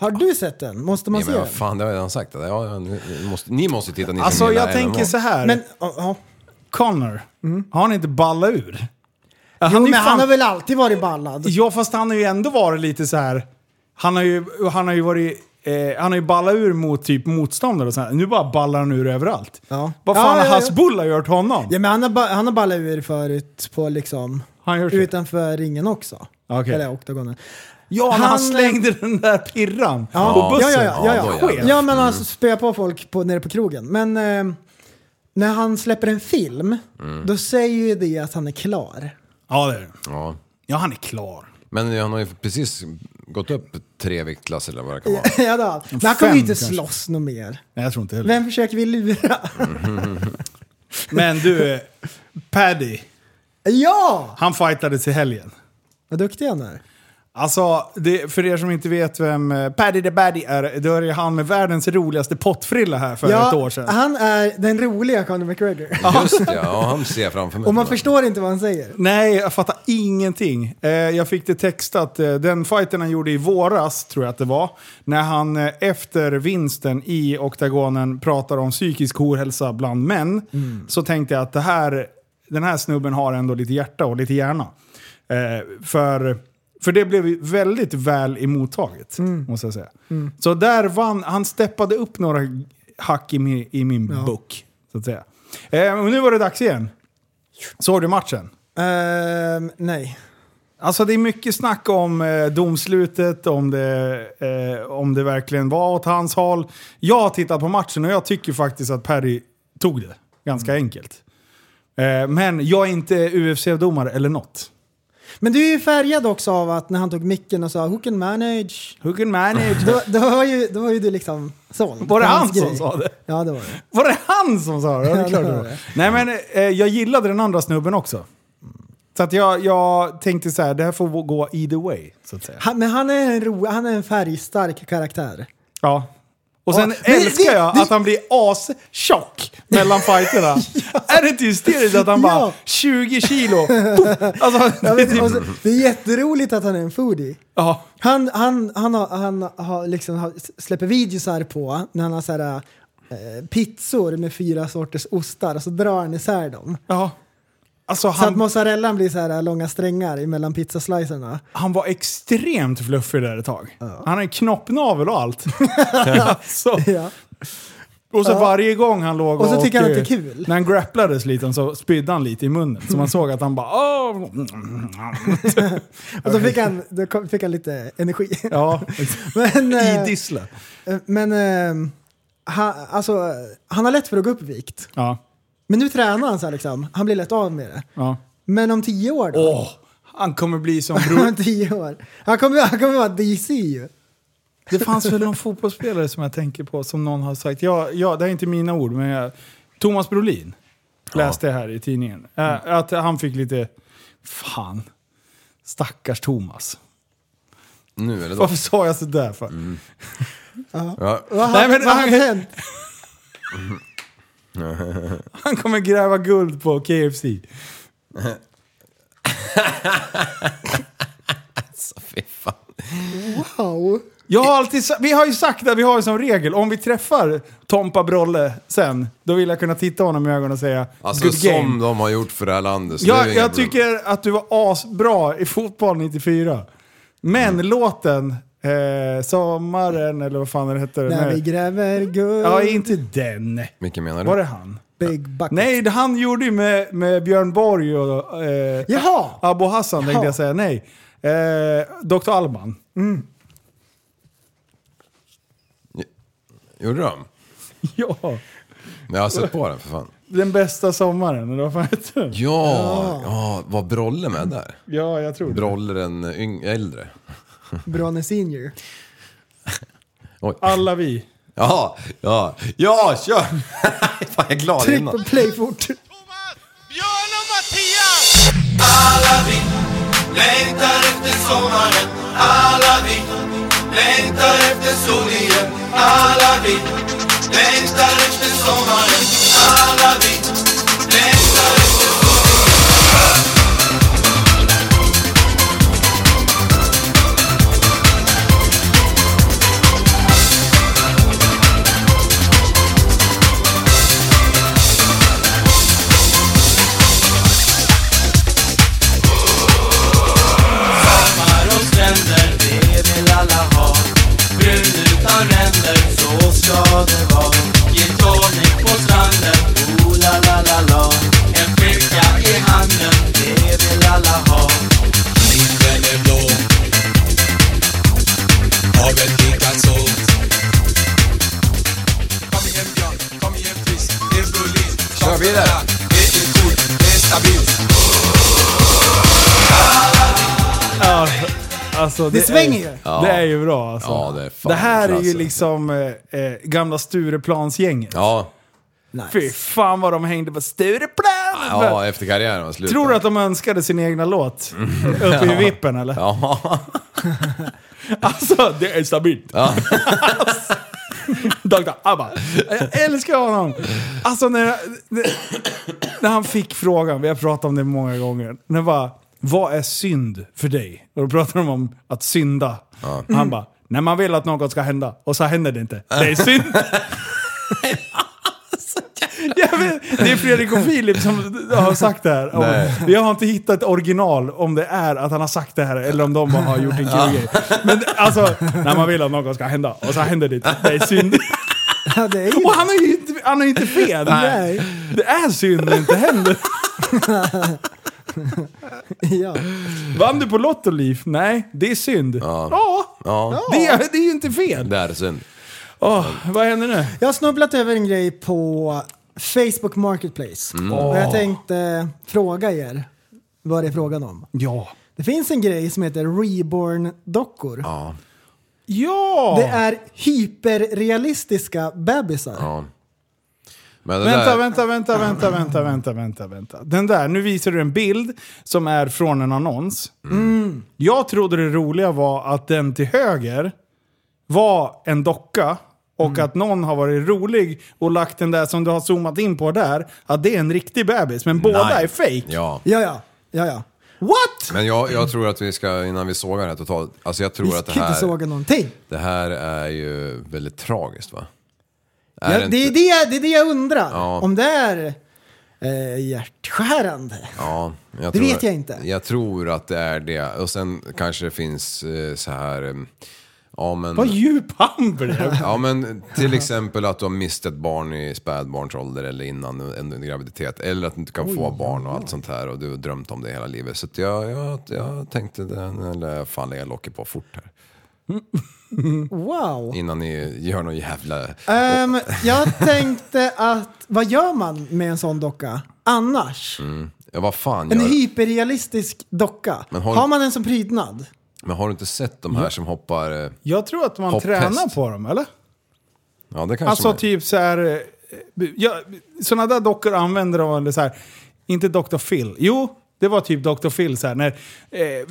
H: Har du sett den? Måste man
G: Nej,
H: se
G: men
H: den?
G: vad fan, det har jag redan sagt. Ja, ja, ni, ni måste, ni måste titta, ni som
E: Alltså
G: gillar
E: jag tänker
G: MMA.
E: så här.
H: Men, ja, ja.
E: Connor, har han inte ballat ur? Han är
H: Jo,
E: ju
H: men han
E: fan-
H: har väl alltid varit ballad?
E: Ja, fast han har ju ändå varit lite så här. Han har ju, han har ju varit... Eh, han har ju ballat ur mot typ motståndare och så här. Nu bara ballar han ur överallt.
H: Ja.
E: Vad fan
H: Ja,
E: har
H: ja, ja.
E: Hasbulla gjort honom?
H: Ja, men han har, ba- han har ballat ur förut på liksom...
E: Han gör så.
H: utanför ringen också.
E: Okej.
H: Eller oktagonen.
E: ja, när han,
H: han-
E: slängde den där pirran
H: Ja.
E: på bussen.
H: Ja, ja, ja, ja,
G: då
H: ja.
G: jävlar.
H: ja men alltså spöa på folk på, nere på krogen. Men eh, när han släpper en film,
E: Mm.
H: då säger ju det att han är klar.
E: Ja, det är det.
G: Ja.
E: Ja, han är klar.
G: Men han har ju precis gått upp tre viktklasser eller vad det kan vara.
H: ja, då. Men han kommer
E: Fem
H: ju inte
E: kanske.
H: slåss något mer.
E: Nej, jag tror inte heller.
H: Vem försöker vi lura?
E: Men du, eh, Paddy,
H: ja!
E: han fightades i helgen.
H: Vad duktig han är.
E: Alltså, det, för er som inte vet vem eh, Paddy the Baddy är, då är det han med världens roligaste pottfrilla här för ett år sedan.
H: han är den roliga Conor McGregor.
G: Just det, ja, han ser framför mig.
H: Och man förstår inte vad han säger.
E: Nej, jag fattar ingenting. Eh, jag fick det textat. Eh, den fighten han gjorde i våras, tror jag att det var, när han eh, efter vinsten i oktagonen pratar om psykisk ohälsa bland män, så tänkte jag att det här, den här snubben har ändå lite hjärta och lite hjärna. Eh, för, för det blev ju väldigt väl emottaget, måste jag säga. Så där vann, han steppade upp några hack i min, i min bok, så att säga. Eh, och nu var det dags igen. Såg du matchen?
H: Ehm, nej.
E: Alltså det är mycket snack om eh, domslutet, om det, eh, om det verkligen var åt hans håll. Jag har tittat på matchen och jag tycker faktiskt att Perry tog det ganska enkelt. Eh, men jag är inte UFC-domare eller något.
H: Men du är ju färgad också av att när han tog micken och sa “Who can manage?”
E: Who can manage?
H: då, då, var ju, då var ju du liksom såld.
E: Var det
H: på hans
E: han som
H: grej.
E: sa det?
H: Ja, det var det.
E: Var det han som sa det? Ja, det, är klart det var. Nej men eh, jag gillade den andra snubben också. Så att jag, jag tänkte så här, det här får gå either way. Så att säga.
H: Han, men han är, en ro, han är en färgstark karaktär.
E: Ja. Och sen
H: Ja, men
E: älskar
H: det-
E: jag
H: det-
E: att han blir astjock mellan fighterna. Är det inte hysteriskt att han bara
H: Ja.
E: 20 kilo? Poof! Alltså, det
H: Ja,
E: är
H: men, och så,
E: typ,
H: det är jätteroligt att han är en foodie.
E: ja.
H: Han, han, han, har, han har liksom, har- släpper videosar på när han har så här, eh, pizzor med fyra sorters ostar och så drar han isär dem.
E: ja. Alltså
H: Så att
E: han,
H: mozzarellan blir så här långa strängar mellan pizzaslicerna.
E: han var extremt fluffig där ett tag. Han har en knoppnavel och allt. alltså.
H: Ja.
E: Och så
H: Ja.
E: varje gång han låg
H: Och så tycker han att det är
E: eh,
H: kul.
E: När han grapplades lite så spydde han lite i munnen. Så man såg att han bara... "Åh."
H: Och så fick han, då kom- fick han lite energi.
E: Ja.
H: Men, eh,
E: I dissla.
H: men eh, han, alltså, han har lätt för att gå upp i vikt.
E: Ja.
H: Men nu tränar han så här liksom. Han blir lätt av med det.
E: ja.
H: Men om tio år då?
E: Åh, han kommer bli som bror
H: Om tio år. Han kommer, han kommer vara DC ju.
E: Det fanns väl någon fotbollsspelare som jag tänker på som någon har sagt. Ja, ja, det är inte mina ord, men jag, Thomas Brolin läste jag här i tidningen. Äh, Att han fick lite... Fan. Stackars Thomas.
G: Nu eller då?
E: Varför sa jag sådär för?
G: Ja.
H: Vad,
E: Mm. Nej,
H: Nej,
E: men
H: vad
E: han-
H: hade hänt?
E: Han kommer gräva guld på KFC.
G: Fy fan.
H: Wow.
E: Jag har alltid, sa- vi har ju sagt det, vi har ju som regel, om vi träffar Tompa Brolle sen, då vill jag kunna titta honom i ögonen och säga
G: Alltså
E: good game.
G: som de har gjort för det här landet. så det är
E: Jag,
G: ju inga
E: jag
G: problem.
E: tycker att du var asbra i fotboll 94. Men låten, eh, sommaren eller vad fan den hette. Den
H: När vi
E: här.
H: gräver guld.
E: Ja, inte den.
G: Vilken menar du?
E: Var det han?
H: Big bucket.
E: Nej, det han gjorde ju med, med Björn Borg och eh,
H: Jaha!
E: Abu Hassan tänkte
H: Jaha.
E: jag säga. Nej. Eh, Dr. Alban.
G: Gjorde de?
E: Ja,
G: Jag har sett på den för fan.
E: den bästa sommaren. Eller vad fan heter den?
G: Ja, ja. var Brolle med där?
E: Ja, jag tror det.
G: Brolle den yng- äldre.
H: Bronne senior.
G: Oj.
E: Alla vi.
G: Ja, ja, ja, kör! fan, jag är glad
H: Tryck på
G: innan.
H: play fort.
A: Alla vi längtar efter sommaren Alla vi längtar efter sol igen Alla vi längtar efter sommaren Alla vi längtar efter sommar och stränder Det vill alla ha Brun utan ränder, så ska det vara Gin tonic på stranden, oh la la la la En flicka i handen, det vill alla ha Himlen är blå Havet likaså Kom igen Björn, kom igen Chris, det är Berlin
G: Kör vidare.
A: Det är coolt, det är stabilt
E: Alltså,
H: Det
E: är-
H: svänger ju.
E: Det är ju bra alltså.
G: Ja, det är fan
E: det här är ju
G: klasse.
E: liksom eh, eh, gamla Stureplansgänget.
G: Ja,
E: Fy fan vad de hängde på Stureplan! jävla bra.
G: Ja, efter karriären var slut.
E: Tror du att de önskade sin egna låt uppe i vippen eller?
G: Mm. Ja.
E: Alltså, det är stabilt.
G: Ja.
E: Dr. Abba. Jag älskar honom. Alltså när, när han fick frågan, vi har pratat om det många gånger, när bara, vad är synd för dig? Och då pratar de om att synda. Han bara, när man vill att något ska hända och så händer det inte. Det är synd. Jag vet, det är Fredrik och Filip som har sagt det här.
G: Nej.
E: Och Jag har inte hittat ett original om det är att han har sagt det här eller om de bara har gjort en kul grej. Men alltså, när man vill att något ska hända och så händer det inte. Det är synd.
H: Ja, det är ju...
E: Och han har ju inte, han har ju inte fel.
H: Nej.
E: Det är synd när det inte händer.
H: Ja.
E: Vann du på Lottoliv? Nej, det är synd. Ja,
G: ja.
E: Det, är, det är ju inte fel.
G: Där, synd.
E: Åh, vad händer nu?
H: Jag har snubblat över en grej på Facebook Marketplace.
G: Mm.
H: Och jag tänkte fråga er vad det är frågan om.
E: Ja.
H: Det finns en grej som heter reborn-dockor.
E: Ja!
H: Det är hyperrealistiska bebisar.
G: Ja. Men det
E: Vänta,
G: där,
E: vänta, vänta, vänta, vänta, vänta, vänta, vänta. Den där, nu visar du en bild som är från en annons. Mm. Jag trodde det roliga var att den till höger var en docka och
H: Mm.
E: att någon har varit rolig och lagt den där som du har zoomat in på där, att det är en riktig bebis, men båda
G: Nej.
E: är fake.
G: Ja.
H: Ja, ja, ja, ja.
E: What?
G: Men jag, jag tror att vi ska, innan vi sågar det här totalt, alltså jag
H: Vi
G: tror att det
H: kan inte
G: här,
H: såga någonting.
G: det här är ju väldigt tragiskt va? Är
H: Ja, det, är
G: inte?
H: det, jag- det är det jag undrar.
G: Ja.
H: Om det är eh, hjärtskärande.
G: Ja, jag
H: Det
G: tror,
H: vet jag inte.
G: Jag tror att det är det. Och sen kanske det finns eh, så här... eh, Ja men,
E: Vad djup han blev.
G: ja men till exempel att du har mist ett barn i spädbarnsålder eller innan en, en graviditet. Eller att du inte kan få barn och allt sånt här och du har drömt om det hela livet. Så att jag, jag, jag tänkte den, eller fan lägga locket på fort här.
H: Wow.
G: Innan ni gör någon jävla...
H: Ehm, jag tänkte att, vad gör man med en sån docka annars?
G: Ja vad fan
H: En
G: Mm, gör
H: hyperrealistisk docka.
G: Men har-
H: Har man den som prydnad?
G: Men har du inte sett de här som hoppar... eh,
E: Jag tror att man
G: Hopphäst.
E: tränar på dem, eller?
G: Ja det kanske
E: Alltså
G: man...
E: typ så här... eh, Ja, sådana där dockor använder de eller så här... Inte Dr. Phil. Jo, det var typ Dr. Phil så här när eh,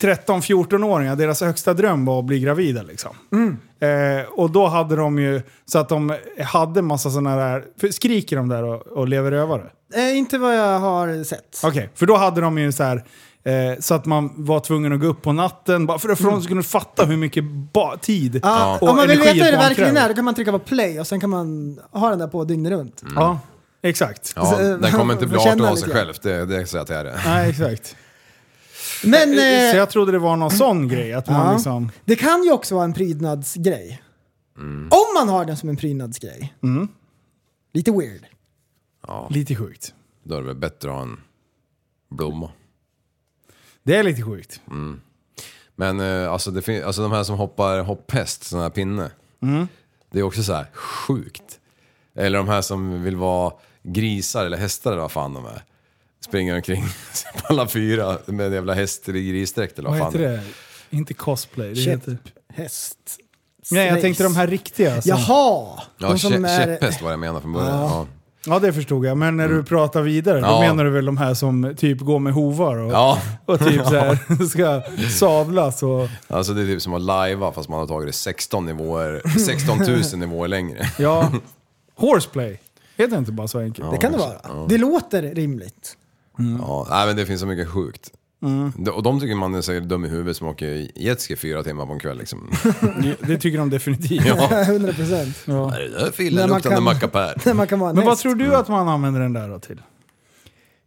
E: 13-14-åringar, deras högsta dröm var att bli gravida liksom.
H: Mm.
E: Eh, och då hade de ju, så att de hade massa sådana där, för skriker de där och, och lever rövare?
H: Eh, inte vad jag har sett.
E: Okej, för då hade de ju så här... Eh, så att man var tvungen att gå upp på natten bara för att mm. kunna fatta hur mycket ba- tid
H: Ja,
E: och
H: Om man vill
E: energi
H: veta hur
E: ett
H: det
E: barn
H: verkligen
E: kräver.
H: är, då kan man trycka på play och sen kan man ha den där på dygnet runt.
G: Mm.
E: Ja, exakt.
G: Ja, den kommer inte bli
H: Får känna
G: 18 av sig
H: lite grann.
G: själv, det, det säger jag till er.
E: Nej, exakt.
H: Men eh,
E: Så jag trodde det var någon sån grej. Att man
H: ja,
E: liksom...
H: det kan ju också vara en prydnadsgrej.
G: Mm.
H: Om man har den som en prydnadsgrej.
E: Mm.
H: Lite weird.
E: Lite sjukt.
G: Då är det väl bättre att ha en blomma.
E: Det är lite sjukt.
G: Men eh, alltså, det fin- alltså de här som hoppar hopphäst, sån här pinne. Det är också så här sjukt. Eller de här som vill vara grisar eller hästar eller vad fan de är. Springer omkring på alla fyra med en jävla häst eller grisdräkt eller vad,
E: Vad
G: fan
E: heter det? Inte cosplay. Det heter...
H: Häst.
E: Nej, typ. jag
H: Race.
E: tänkte de här riktiga. Som...
H: Jaha!
G: Ja,
H: de som
G: kä-
H: är...
G: käpphäst var det jag menade från början. Ja.
E: Ja, det förstod jag. Men när du pratar vidare, då
G: Ja.
E: menar du väl de här som typ går med hovar och,
G: Ja.
E: och typ så här, ska sablas och...
G: alltså det är typ som att lajva fast man har tagit det 16 nivåer, 16 000 nivåer längre.
E: Ja. Horseplay. Heter det inte bara så enkelt?
H: Det kan det vara. Det låter rimligt.
G: Ja, nej, men det finns så mycket sjukt. De- Och de tycker man är så dum i huvudet som åker jetski fyra timmar på en kväll liksom.
E: Det, det tycker de definitivt.
H: 100 procent.
G: Vad är det där för
H: När man
G: illaluktande
H: kan-
G: mackapär?
H: När man kan vara en
E: Men vad
H: häst.
E: tror du att man använder den där då till?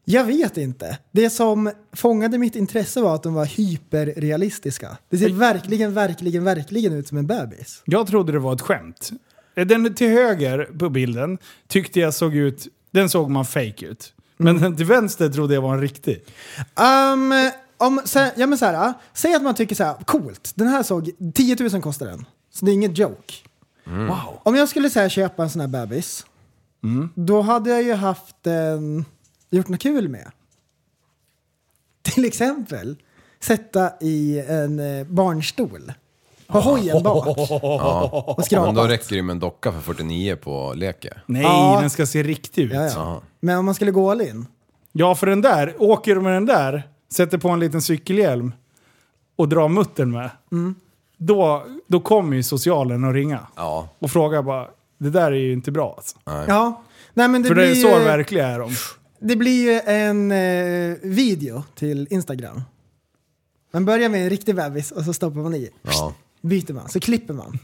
H: Jag vet inte. Det som fångade mitt intresse var att de var hyperrealistiska. Det ser verkligen, verkligen, verkligen ut som en bebis.
E: Jag trodde det var ett skämt. Den till höger på bilden tyckte jag såg ut... Den såg man fake ut. Men
H: Mm.
E: den till vänster trodde jag var en riktig.
H: Um, om, så, ja, men så här, säg att man tycker så här, coolt, den här såg, 10 000 kostar den. Så det är ingen joke.
E: Wow.
H: Om jag skulle så här, köpa en sån här bebis, då hade jag ju haft en, gjort något kul med. Till exempel sätta i en eh, barnstol. Har hojen bak. Och
G: Men då
H: skrapat.
G: räcker det med en docka för 49 på Leke.
E: Nej,
H: Ja.
E: den ska se riktig ut.
H: Ja,
E: Ja,
H: ja. Men om man skulle gå all in.
E: för den där, åker du med den där, sätter på en liten cykelhjälm och drar muttern med.
H: Mm.
E: Då, då kommer ju socialen att ringa
G: Ja.
E: och fråga bara, det där är ju inte bra alltså.
H: Ja. Nej, men det,
E: För det
H: blir
E: är så
H: ju,
E: verkliga är de.
H: det blir ju en eh, video till Instagram. Man börjar med en riktig bebis och så stoppar man i.
G: Ja.
H: Byter man, så klipper man.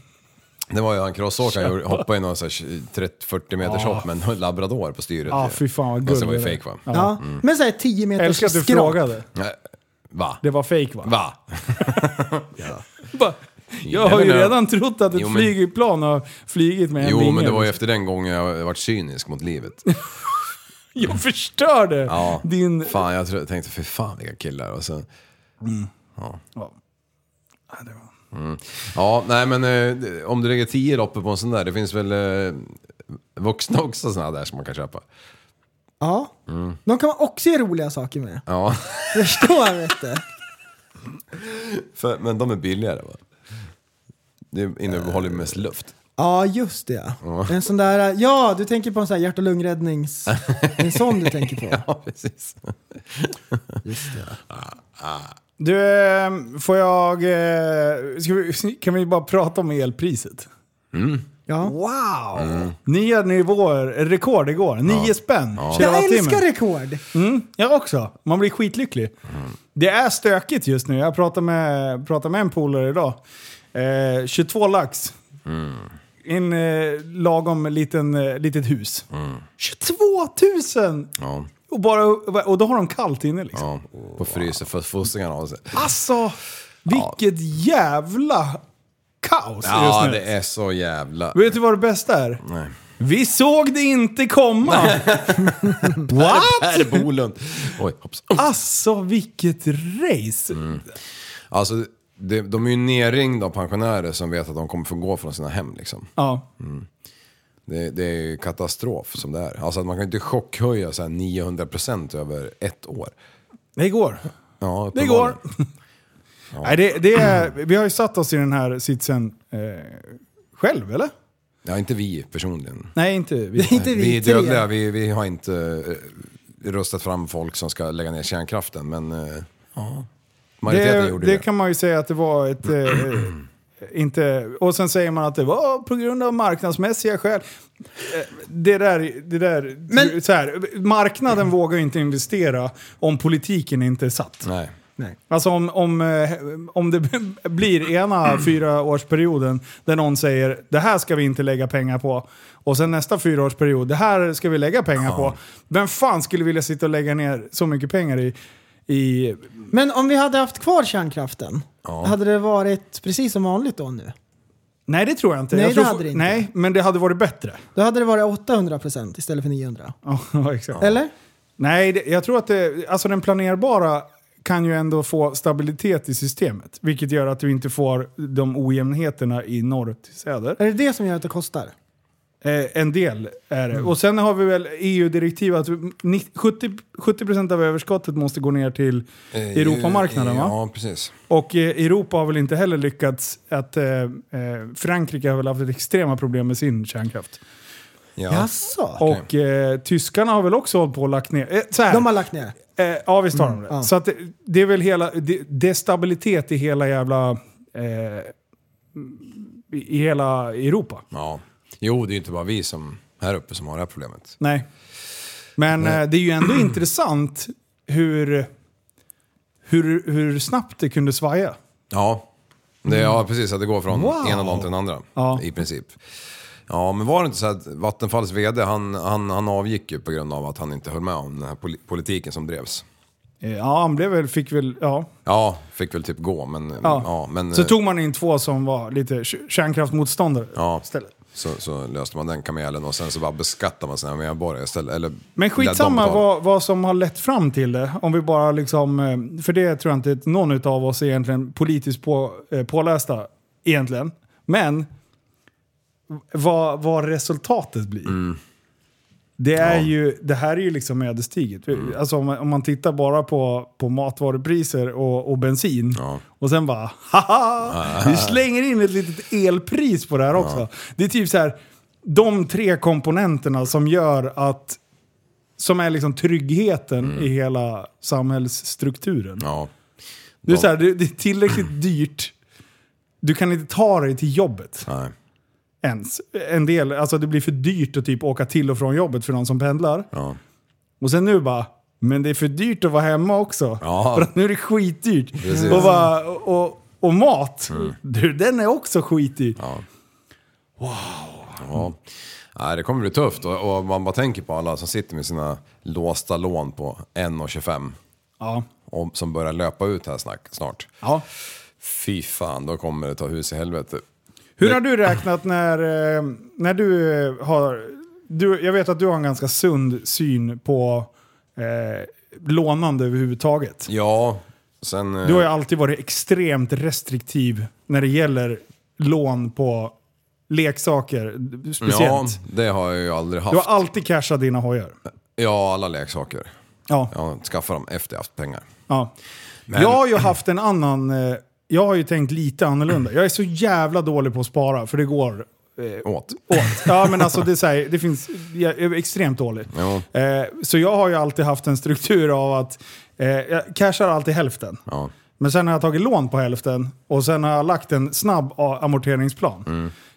G: Det var ju han crossåkaren, gjorde- hoppade i någon sån här 30-40 meters hopp med en labrador på styret.
E: Ja,
G: ju.
E: fy fan vad
G: Fast det
E: guld.
G: var ju
E: det där.
G: fake va?
H: Ja. Men såhär 10 meters
E: Älskar att du
H: skrap.
E: frågade.
G: Nej. Va?
E: Det var fake va?
G: Va?
E: Bara, Jag har ju
G: Never know.
E: redan trott att ett
G: eh, Jo, men-
E: flygplan har flugit med en
G: Jo,
E: vinge. liksom.
G: men det var ju efter den gången jag varit cynisk mot livet.
E: Jag förstörde
G: Ja.
E: din...
G: Fan, jag tro- tänkte för fan vilka killar. Och sen,
E: Ja. det var-
G: ja, nej men eh, om du lägger 10 loppor på en sån där, det finns väl eh, vuxna också såna där som man kan köpa?
H: Ja.
G: Mm.
H: De kan man också göra roliga saker med.
G: Ja,
H: Förstår vet du.
G: för, men de är billigare va? Det innehåller ju mest luft.
H: Ja, just det. En sån där, ja du tänker på en sån här hjärt och lungräddnings... En sån du tänker på.
G: Ja, precis.
E: Du, eh, får jag... eh, Ska vi, kan vi bara prata om elpriset?
H: Ja.
E: Wow!
G: Mm.
E: Nya nivåer, rekord igår. Nio spänn
H: Jag
E: kilowattimmen.
H: älskar rekord!
E: Jag också. Man blir skitlycklig. Det är stökigt just nu. Jag pratade med, pratade med en polare idag. Eh, 22 lax. En eh, lagom liten, eh, litet hus. 22 000!
G: Ja,
E: Och, bara, och då har de kallt inne liksom.
G: ja. På frysen för fossingarna av sig.
E: Alltså, vilket jävla kaos
G: Ja,
E: just nu.
G: det är så jävla...
E: Vet du vad det bästa är?
G: Nej.
E: Vi såg det inte komma!
G: Här är Bolund. Oj, hopps.
E: Alltså vilket race!
G: Alltså, det, de är ju nerringda av pensionärer som vet att de kommer få gå från sina hem liksom.
E: Ja.
G: Det, det är ju katastrof som det är. Alltså att man kan ju inte chockhöja så här 900% över ett år.
E: Det går.
G: Ja,
E: Det går. Nej, det, det är, vi har ju satt oss i den här sitsen eh, själv, eller?
G: Ja, inte vi personligen.
E: Nej, inte vi.
H: Inte vi,
G: Vi är
H: tre.
G: dödliga, vi, vi har inte eh, röstat fram folk som ska lägga ner kärnkraften, men eh, ja. majoriteten
E: Det,
G: gjorde
E: det
G: det.
E: kan man ju säga att det var ett... Eh, inte, och sen säger man att det var på grund av marknadsmässiga skäl. Eh, Det där, det där
H: Men-
E: så här, marknaden vågar ju inte investera om politiken inte är satt.
G: Nej.
E: Alltså om, om, eh, om det blir ena fyraårsperioden där någon säger det här ska vi inte lägga pengar på och sen nästa fyraårsperiod det här ska vi lägga pengar på. Vem fan skulle vilja sitta och lägga ner så mycket pengar i... i
H: Men om vi hade haft kvar kärnkraften, hade det varit precis som vanligt då nu?
E: nej det tror jag inte.
H: Nej,
E: jag tror,
H: det hade det inte.
E: Nej, men det hade varit bättre.
H: Då hade det varit 800 procent istället för 900.
E: Ja, exakt.
H: Eller?
E: Nej, det, jag tror att det, alltså den planerbara kan ju ändå få stabilitet i systemet. Vilket gör att du inte får de ojämnheterna i norr till söder.
H: Är det det som gör att det kostar?
E: Eh, en del är
H: Mm.
E: det. Och sen har vi väl EU-direktiv att ni- 70, 70% av överskottet måste gå ner till
H: Eh,
E: Europamarknaden va?
G: Ja, precis.
E: Och eh, Europa har väl inte heller lyckats att... Eh, eh, Frankrike har väl haft ett extrema problem med sin kärnkraft.
G: Ja.
H: Jaså?
E: Och eh, tyskarna har väl också hållit på och lagt ner... Eh, så här.
H: De har lagt ner?
E: Eh, ja, visst har de det.
H: ja.
E: Så att det, det är väl hela... Det, det är stabilitet i hela jävla... Eh, I i hela Europa.
G: Ja. Jo, det är ju inte bara vi som här uppe som har det här problemet.
E: Nej. Men eh, det är ju ändå intressant hur, hur, hur snabbt det kunde svaja.
G: Ja, det, ja precis. Att det går från ena dagen till den andra.
E: Mm. Ja.
G: I princip. Ja, men var det inte så att Vattenfalls VD, han, han, han avgick ju på grund av att han inte höll med om den här poli- politiken som drevs.
E: Eh, Ja, han blev väl, fick väl, ja.
G: Ja, fick väl typ gå, men...
E: ja.
G: Ja, men
E: så
G: eh,
E: tog man in två som var lite k- kärnkraftmotståndare
G: ja,
E: istället.
G: Så, så löste man den kamelen och sen så bara beskattar man sina medborgare istället. Eller
E: Men skitsamma
G: lät dem betala.
E: vad, vad som har lett fram till det. Om vi bara liksom, eh, för det tror jag inte att någon av oss är egentligen politiskt på, eh, pålästa egentligen. Men vad, vad resultatet blir. Det, är ju, det här är ju liksom ödesdigert. Alltså om, man- om man tittar bara på, på matvarupriser och, och bensin och sen bara haha! Vi slänger in ett litet elpris på det här också. Det är typ så här, de tre komponenterna som gör att som är liksom tryggheten i hela samhällsstrukturen.
G: Mm. Ja.
E: Det, är så här, det, det är tillräckligt dyrt. Du kan inte ta dig till jobbet
G: Nej.
E: ens. En del, alltså det blir för dyrt att typ åka till och från jobbet för någon som pendlar.
G: Ja.
E: Och sen nu bara, men det är för dyrt att vara hemma också.
G: Ja.
E: För att nu är det skitdyrt.
G: Precis. Mm.
E: Och, bara, och, och mat, du, den är också skitdyr.
G: Ja. Nej, det kommer bli tufft och, och man bara tänker på alla som sitter med sina låsta lån på 1,25
E: Ja.
G: om- som börjar löpa ut här snack, snart.
E: Ja.
G: Fy fan, då kommer det ta hus i helvete.
E: Hur
G: Det-
E: har du räknat när, eh, när du eh, har... Du, jag vet att du har en ganska sund syn på eh, lånande överhuvudtaget.
G: Ja, sen... eh,
E: Du har ju alltid varit extremt restriktiv när det gäller lån på leksaker. Speciellt.
G: Ja, det har jag ju aldrig haft.
E: Du har alltid cashat dina hojar.
G: Ja, alla leksaker.
E: Ja.
G: Jag har skaffat dem efter jag haft pengar.
E: Ja. Jag har ju haft en annan... eh, Jag har ju tänkt lite annorlunda. Jag är så jävla dålig på att spara, för det går
G: Åt.
E: åt. Ja, men alltså det, är så här, det finns... Jag är extremt dålig.
G: Ja.
E: Eh, så jag har ju alltid haft en struktur av att eh, jag cashar alltid hälften.
G: Ja.
E: Men sen har jag tagit lån på hälften och sen har jag lagt en snabb a- amorteringsplan. Eh,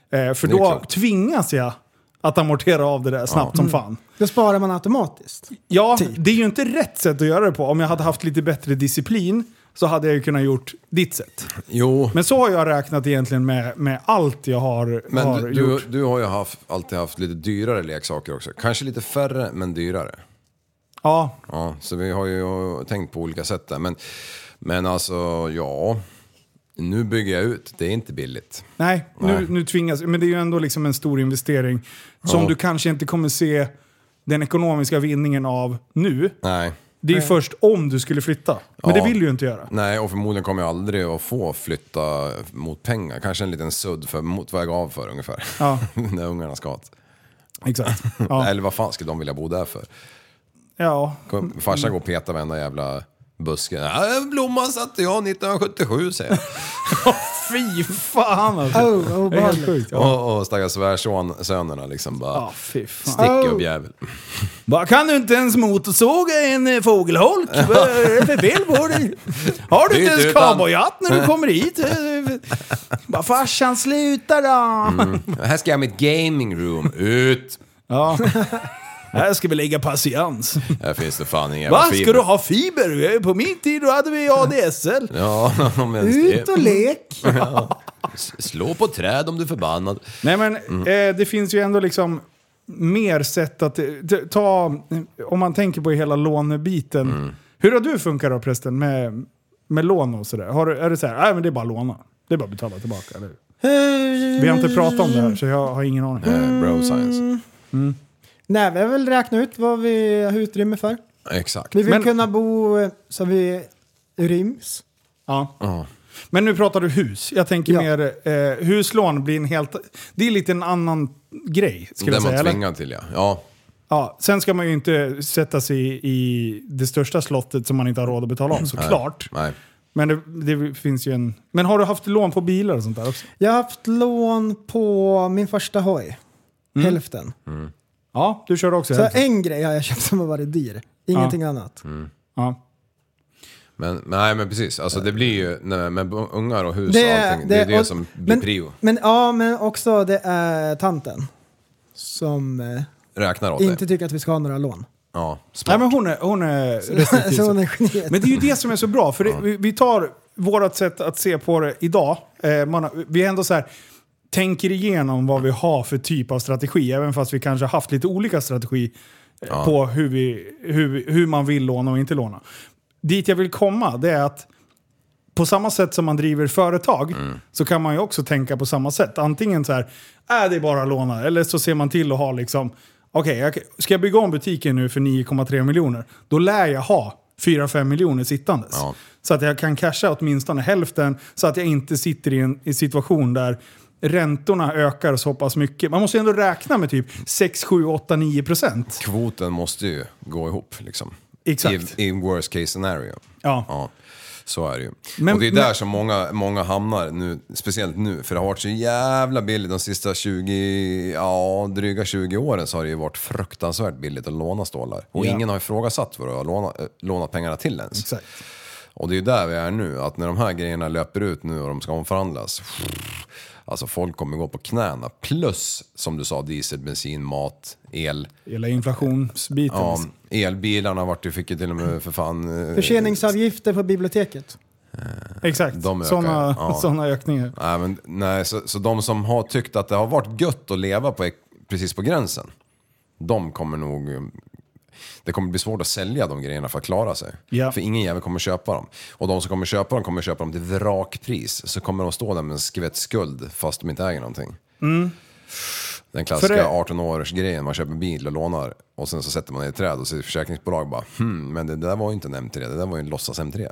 E: för
G: Mm. Det är
E: då
G: klokt.
E: tvingas jag att amortera av det där snabbt som fan.
H: Då sparar man automatiskt.
E: Ja, det är ju inte rätt sätt att göra det på. Om jag hade haft lite bättre disciplin så hade jag ju kunnat gjort ditt sätt.
G: Jo,
E: Men så har jag räknat egentligen med, med allt jag har, har
G: men du, du,
E: gjort.
G: du har ju haft, alltid haft lite dyrare leksaker också. Kanske lite färre, men dyrare.
E: Ja,
G: Ja, så vi har ju tänkt på olika sätt där. Men, men alltså, ja. Nu bygger jag ut. Det är inte billigt.
E: nej,
G: Nej.
E: Nu, nu tvingas... Men det är ju ändå liksom en stor investering som
G: Ja.
E: du kanske inte kommer se den ekonomiska vinningen av nu.
G: Nej.
E: Det är ju först om du skulle flytta. Men
G: Ja.
E: det vill du ju inte göra.
G: Nej, och förmodligen kommer jag aldrig att få flytta mot pengar. Kanske en liten sudd för motväg av för ungefär.
E: Ja.
G: När ungarna ska åt.
E: Exakt. Ja.
G: Eller vad fan skulle de vilja bo där för?
E: ja.
G: Kom- Farsan går och petar varenda jävla buske. "Ja, en Blomma satte jag 1977 säger jag.
E: Fy fan alltså.
H: Oh,
E: det är helt
H: obehagligt.
E: sjukt. Ja.
G: Och, och stackars svärsönerna liksom bara.
E: Ja, fy fan.
G: Stick upp jävel.
E: Bara, kan du inte ens motorsåga en eh, fågelholk? Vad är det för fel på dig? Har du
G: Det är
E: inte
G: inte
E: ens
G: utan-
E: cowboyhatt när du kommer hit? Eh, Bara farsan sluta då!
G: Mm. Här ska jag ha mitt gaming room. Ut!
E: Ja. Här ska vi lägga patiens.
G: Här finns det fan ingen
E: Va?
G: jävla
E: Ska du ha fiber? På min tid då hade vi ADSL.
G: Ja, om ens
H: Ut
G: det.
H: och lek!
G: S- Slå på träd om du är förbannad.
E: Nej men eh, det finns ju ändå liksom mer sätt att eh, t- ta, eh, om man tänker på hela lånebiten. Hur har du funkat då prästen med, med lån och sådär? Har, du- är det så här, nej men det är bara att låna. Det är bara att betala tillbaka. Eller? Vi har inte pratat om det här så jag har ingen aning.
G: Eh, bro science.
H: Nej, vi har väl räknat ut vad vi har utrymme för.
G: Exakt.
H: Vi vill
E: Men-
H: kunna bo eh, så vi ryms.
E: Ja.
G: Ja.
E: Men nu pratar du hus. Jag tänker
H: Ja.
E: mer, eh, huslån blir en helt, det är lite en annan grej. Ska
G: Det
E: vi
G: är
E: säga,
G: man
E: eller?
G: tvingad till ja. ja.
E: Ja, sen ska man ju inte sätta sig i, i det största slottet som man inte har råd att betala av såklart.
G: Nej.
E: Men det, det finns ju en... Men har du haft lån på bilar och sånt där också?
H: Jag har haft lån på min första hoj.
G: Mm.
H: Hälften.
E: Ja, du körde också
H: Så
E: hälften.
H: en grej har jag köpt som har varit dyr. Ingenting annat.
G: Mm,
E: Ja.
G: Men, nej men precis, alltså det blir ju, nej, men ungar och hus och
H: Det,
G: allting, det, är det
H: och-
G: som blir
H: men,
G: prio.
H: Men, ja, men också det är tanten. Som eh,
G: Räknar åt
H: inte
G: det.
H: tycker att vi ska ha några lån.
G: Ja, smart.
E: Nej, men hon är, hon är restriktiv.
H: Så hon är geniet.
E: Men det är ju det som är så bra, för det, vi, vi tar vårt sätt att se på det idag. Eh, man, har- vi är ändå så här, tänker igenom vad vi har för typ av strategi, även fast vi kanske har haft lite olika strategi eh, på hur, vi, hur, vi- hur man vill låna och inte låna. Dit jag vill komma, det är att på samma sätt som man driver företag
G: Mm.
E: så kan man ju också tänka på samma sätt. Antingen så här, är det är bara att låna, eller så ser man till att ha liksom, okej, jag- ska jag bygga om butiken nu för 9,3 miljoner, då lär jag ha 4-5 miljoner sittandes.
G: Ja.
E: Så att jag kan casha åtminstone hälften, så att jag inte sitter i en i en situation där räntorna ökar så pass mycket. Man måste ju ändå räkna med typ 6, 7, 8, 9 procent.
G: Kvoten måste ju gå ihop liksom.
E: Exakt.
G: I, i worst case scenario.
E: Ja.
G: ja. Så är det ju.
E: Men-
G: och det är där
E: men-
G: som många, många hamnar nu, speciellt nu, för det har varit så jävla billigt de sista 20, ja dryga 20 åren så har det ju varit fruktansvärt billigt att låna stålar. Och
E: Ja.
G: ingen har ifrågasatt vad du har lånat, eh, lånat pengarna till ens.
E: Exakt.
G: Och det är ju där vi är nu, att när de här grejerna löper ut nu och de ska omförhandlas. Alltså folk kommer gå på knäna. Plus, som du sa, diesel, bensin, mat, el.
E: Hela inflationsbiten.
G: Ja, elbilarna vart ju, fick ju till och med för fan... eh,
H: Förseningsavgifter på biblioteket.
E: Exakt.
G: de ökar,
E: Sådana
G: ja.
E: såna ökningar.
G: Nej, men, nej så, så de som har tyckt att det har varit gött att leva på, precis på gränsen, de kommer nog... eh, Det kommer bli svårt att sälja de grejerna för att klara sig.
E: Ja.
G: För ingen jävel kommer köpa dem. Och de som kommer köpa dem kommer köpa dem till vrakpris. Så kommer de stå där med en skvätt skuld fast de inte äger någonting. Den klassiska
E: Mm. För det-
G: 18-årsgrejen, man köper bil och lånar och sen så sätter man det i ett träd och så är försäkringsbolag bara hmm, men det där var ju inte en M3, det där var ju en låtsas M3.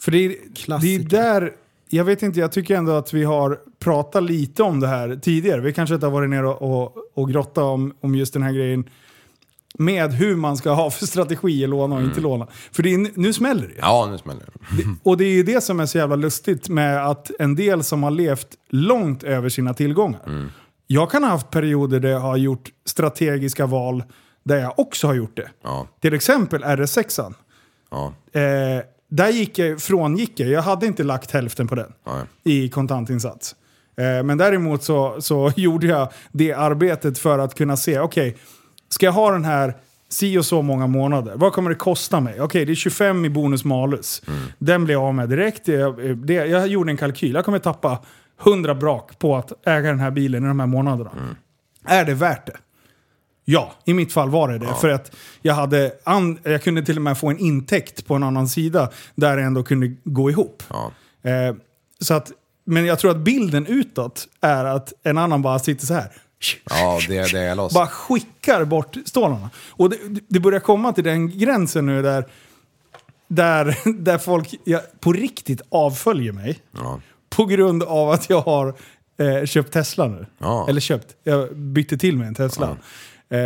E: För det är, det är
H: Klassiker.
E: där, jag vet inte, jag tycker ändå att vi har pratat lite om det här tidigare. Vi kanske inte har varit nere och, och, och grottat om, om just den här grejen med hur man ska ha för strategi att låna och inte låna. För det är, n- nu smäller det ju.
G: Mm. Ja, nu smäller det.
E: Och det är ju det som är så jävla lustigt med att en del som har levt långt över sina tillgångar.
G: Mm.
E: Jag kan ha haft perioder där jag har gjort strategiska val där jag också har gjort det.
G: Ja.
E: Till exempel RS6. an
G: Ja.
E: Eh, där gick jag, frångick jag. Jag hade inte lagt hälften på den
G: Nej.
E: i kontantinsats. Eh, men däremot så, så gjorde jag det arbetet för att kunna se, okej, ska jag ha den här si och så många månader? Vad kommer det kosta mig? Okej, det är 25 i bonus malus. Den blir jag av med direkt. Jag, det, jag gjorde en kalkyl. Jag kommer tappa 100 brak på att äga den här bilen i de här månaderna. Är det värt det? Ja, i mitt fall var det det. För att jag, hade an- jag kunde till och med få en intäkt på en annan sida där det ändå kunde gå ihop.
G: Ja.
E: Eh, så att, men jag tror att bilden utåt är att en annan bara sitter så här.
G: Ja, det är det jag loss.
E: Bara skickar bort stålarna. Och det, det börjar komma till den gränsen nu där, där, där folk ja, på riktigt avföljer mig.
G: Ja.
E: På grund av att jag har eh, köpt Tesla nu.
G: Ja.
E: Eller köpt, jag bytte till mig en Tesla. Eh,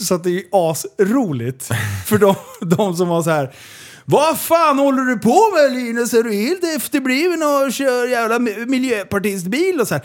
E: så att det är asroligt för de, de som har så här. Vad fan håller du på med Linus? Är du helt efterbliven och kör jävla mi- miljöpartistbil? Och så här.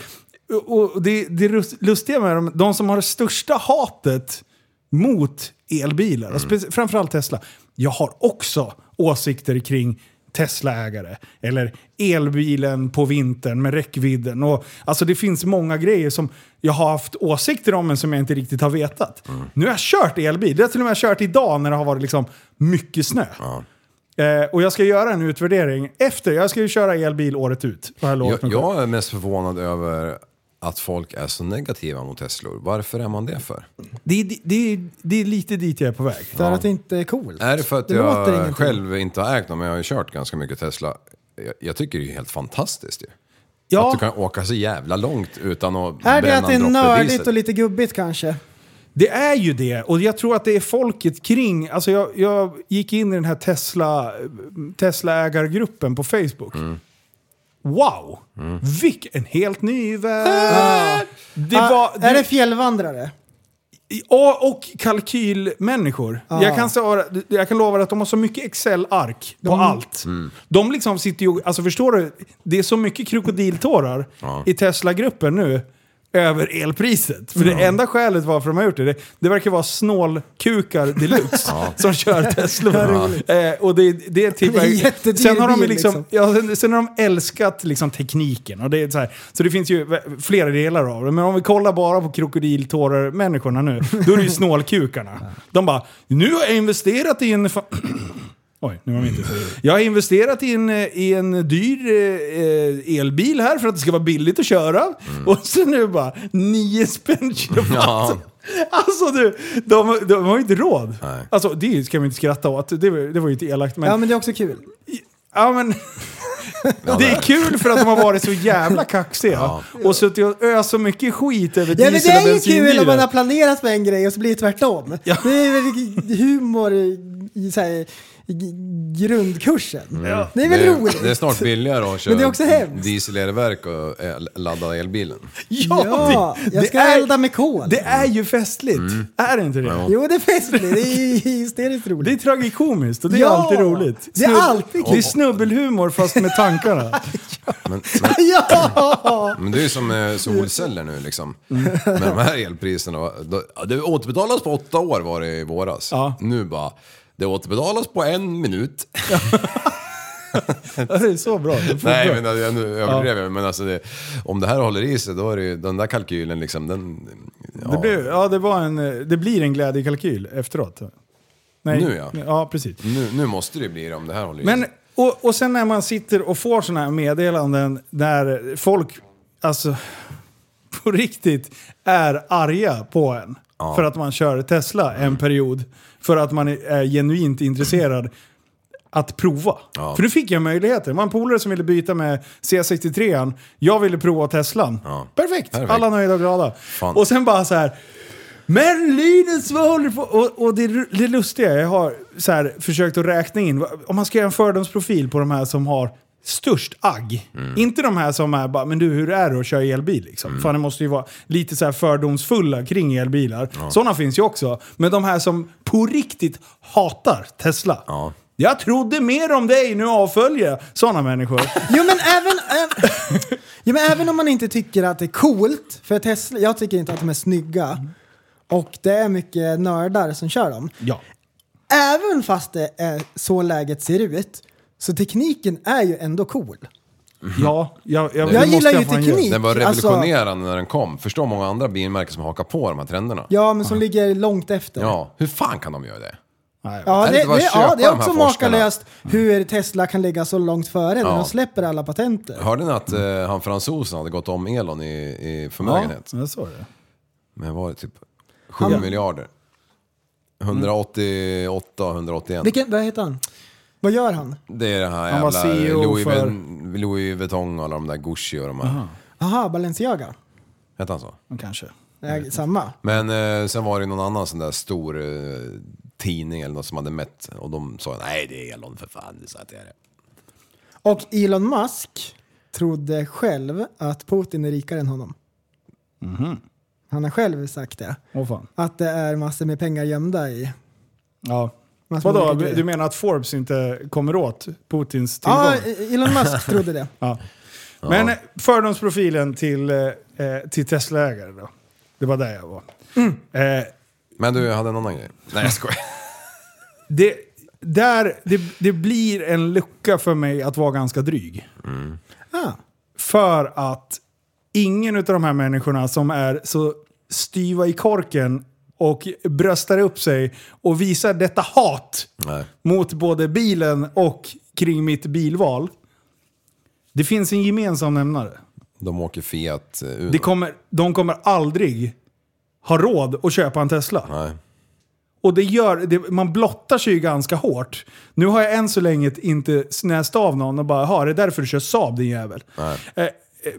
E: Och och det, det rus- lustiga med dem, de som har det största hatet mot elbilar, och speci- framförallt Tesla. Jag har också åsikter kring Tesla-ägare. Eller elbilen på vintern med räckvidden. Och, alltså det finns många grejer som jag har haft åsikter om men som jag inte riktigt har vetat. Nu har jag kört elbil. Det har jag till och med kört idag när det har varit liksom mycket snö. Eh, och jag ska göra en utvärdering efter. Jag ska ju köra elbil året ut. har jag lovat
G: Jag,
E: mig själv.
G: jag är mest förvånad över att folk är så negativa mot Teslor. Varför är man det för?
E: Det, är- det, är- det är lite dit jag är på väg.
H: Det är att det inte är coolt.
G: Är det för att
H: Det låter
G: jag
H: ingenting.
G: själv inte har ägt dem, men jag har ju kört ganska mycket Tesla. Jag, jag tycker det är helt fantastiskt ju.
E: Ja.
G: Att du kan åka så jävla långt utan att
H: Är det
G: bränna
H: att det
G: en
H: är
G: droppe
H: nördigt
G: diesel.
H: och lite gubbigt kanske?
E: Det är ju det, och jag tror att det är folket kring. Alltså jag, jag gick in i den här Tesla, Tesla-ägargruppen på Facebook.
H: Mm.
E: Wow! Vilken helt ny värld! Det
H: ah,
E: var,
H: Är
E: du-
H: det fjällvandrare?
E: Ja, och kalkylmänniskor.
H: Ja.
E: Jag, kan svara, jag kan lova att de har så mycket Excel-ark på allt. De liksom sitter ju... Alltså förstår du? Det är så mycket krokodiltårar i Tesla-gruppen nu över elpriset. För det enda skälet varför de har gjort det, det, det verkar vara snålkukar deluxe som kör Tesla. Eh, och det, det är typ...
H: Det är en jättedyr
E: sen har de ju
H: bil,
E: liksom, Ja,
H: liksom.
E: sen, sen har de älskat liksom, tekniken. Och det är så, här, så det finns ju v- flera delar av det. Men om vi kollar bara på krokodiltårar-människorna nu, då är det ju snålkukarna. De bara, nu har jag investerat i en... fa- Oj, nu var vi inte Jag har investerat i en, eh, i en dyr eh, eh, elbil här för att det ska vara billigt att köra.
H: Mm.
E: Och sen nu bara, nio spänn kilowatt.
G: Ja.
E: Alltså du, de, de har ju inte råd.
G: Nej.
E: Alltså det ska vi inte skratta åt, det, var- det var ju inte elakt. Men,
H: Ja, men det är också kul.
E: Ja, men... Det är kul för att de har varit så jävla kaxiga. Och suttit och öst så mycket skit över
H: Ja, men det
E: diesel och
H: är ju kul om man
E: bensinbilar.
H: har planerat med en grej och så blir det tvärtom. Det är väl humor i, i, så här, g- grundkursen. Det är väl
G: det,
H: roligt?
G: det är snart billigare att köra
H: Men det är också hemskt.
G: dieselelverk och el, ladda elbilen.
H: Ja, jag ska elda med kol.
E: Det är ju festligt.
G: Mm.
E: Är det inte det?
H: Jo, det är festligt. Det är hysteriskt roligt.
E: Det är tragikomiskt och det är
H: Ja!
E: alltid roligt.
H: Det är
E: Snubb-
H: alltid kul.
E: det är snubbelhumor fast med tankarna.
G: Men, men,
H: Ja!
G: men det är ju som eh, solceller nu liksom. Med de här elpriserna. Då, ja, det återbetalas på åtta år var det i våras.
E: Ja.
G: Nu bara, det återbetalas på en minut.
E: Ja, det är så bra. Det är
G: Nej
E: bra.
G: men alltså, jag- nu överdrev jag men alltså det, om det här håller i sig då är det ju, den där kalkylen liksom den... Ja,
E: det, blir, ja, det, var en, eh, det blir en glädjekalkyl efteråt. Nej.
G: Nu, ja.
E: Ja, precis.
G: nu, nu måste det bli det om det här håller i
E: Men,
G: sig.
E: och, och sen när man sitter och får sådana här meddelanden där folk, alltså på riktigt, är arga på en. För att man kör Tesla en period. För att man är- är genuint intresserad att prova. För nu fick jag möjligheter. Det var en polare som ville byta med C63. an Jag ville prova Teslan. Perfekt.
G: Perfekt.
E: Alla nöjda och glada. Och sen bara så här. Men Linus, vad håller du på Och, och det, ru- det lustiga, jag har så här, försökt att räkna in, vad- om man ska göra en fördomsprofil på de här som har störst agg. Inte de här som är bara, men du hur är det att köra elbil liksom? Fan det måste ju vara lite så här fördomsfulla kring elbilar. Sådana finns ju också. Men de här som på riktigt hatar Tesla.
G: Ja.
E: Jag trodde mer om dig, nu avföljer jag. Sådana människor.
H: Jo men, även, även, jo men även om man inte tycker att det är coolt, för Tesla, jag tycker inte att de är snygga, och det är mycket nördar som kör dem.
E: Ja.
H: Även fast det är så läget ser ut, så tekniken är ju ändå cool.
E: Ja, jag, jag,
H: Jag
E: det måste
H: gillar ju
E: fan
H: teknik.
G: Den var
H: Alltså-
G: revolutionerande när den kom. Förstå många andra bilmärken som hakar på de här trenderna.
H: Ja, men som ligger långt efter.
G: Ja, hur fan kan de göra det?
E: göra.
H: Ja,
G: Kan
H: det,
G: inte bara
H: det,
G: köpa
H: ja, det är
G: de här
H: också
G: forskarna. Mm.
H: makalöst hur Tesla kan ligga så långt före när
G: Ja.
H: de släpper alla patenter.
G: Hörde ni att eh, han fransosen hade gått om Elon i, i förmögenhet?
E: Ja, jag såg det.
G: Men var det typ 7 miljarder? 188, 181.
H: Vilken, vad heter han? Vad gör han?
G: Det är det här
E: Han var
G: jävla
E: CEO
G: Louis,
E: för-
G: Vin- Louis Vuitton och alla de där Gucci och de här.
H: Aha, Balenciaga.
G: Hette han så?
E: Men Kanske.
H: Nej, samma.
G: Men eh, sen var det någon annan sån där stor eh, tidning eller något som hade mätt och de sa nej det är Elon för fan, det sa att det är det.
H: Och Elon Musk trodde själv att Putin är rikare än honom.
G: Mhm.
H: Han har själv sagt det.
E: Åh fan.
H: Att det är massor med pengar gömda i.
E: Ja.
H: Massor med
E: Vadå,
H: olika grejer. Ah,
E: du menar att Forbes inte kommer åt Putins tillgång?
H: Ja, Elon Musk trodde det.
E: Ja. Men eh, fördomsprofilen till, eh, eh, till Tesla-ägare då? Det var där jag var.
H: Mm.
E: Eh,
G: Men du, jag hade en annan grej. Nej jag skojar.
E: det, där, det, det blir en lucka för mig att vara ganska dryg.
H: Ah,
E: För att ingen av de här människorna som är så styva i korken och bröstar upp sig och visar detta hat
G: Nej.
E: mot både bilen och kring mitt bilval. Det finns en gemensam nämnare.
G: De åker Fiat eh, Uno.
E: Det kommer, de kommer aldrig ha råd att köpa en Tesla.
G: Nej.
E: Och det gör, det, man blottar sig ju ganska hårt. Nu har jag än så länge inte snäst av någon och bara “Jaha, det är därför du kör Saab din jävel”. Eh, eh,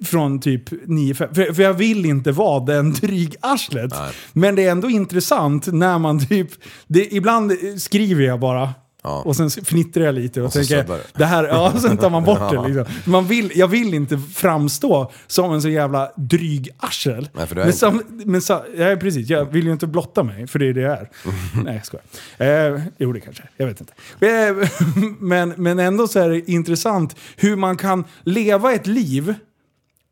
E: från typ 9-5. För, för jag vill inte vara den drygarslet. Men det är ändå intressant när man typ... Det, ibland skriver jag bara.
G: Ja.
E: Och sen fnittrar jag lite och,
G: Och så
E: tänker
G: suddar du.
E: det här, ja, sen tar man bort det liksom. Man vill, jag vill inte framstå som en så jävla dryg arsel.
G: Nej, för det är
E: men
G: inte.
E: sam, men sa, ja, precis, jag vill ju inte blotta mig, för det är det jag är. Nej, jag skojar. Eh, jo, det kanske jag är. Jag vet inte. Eh, men, men ändå så är det intressant hur man kan leva ett liv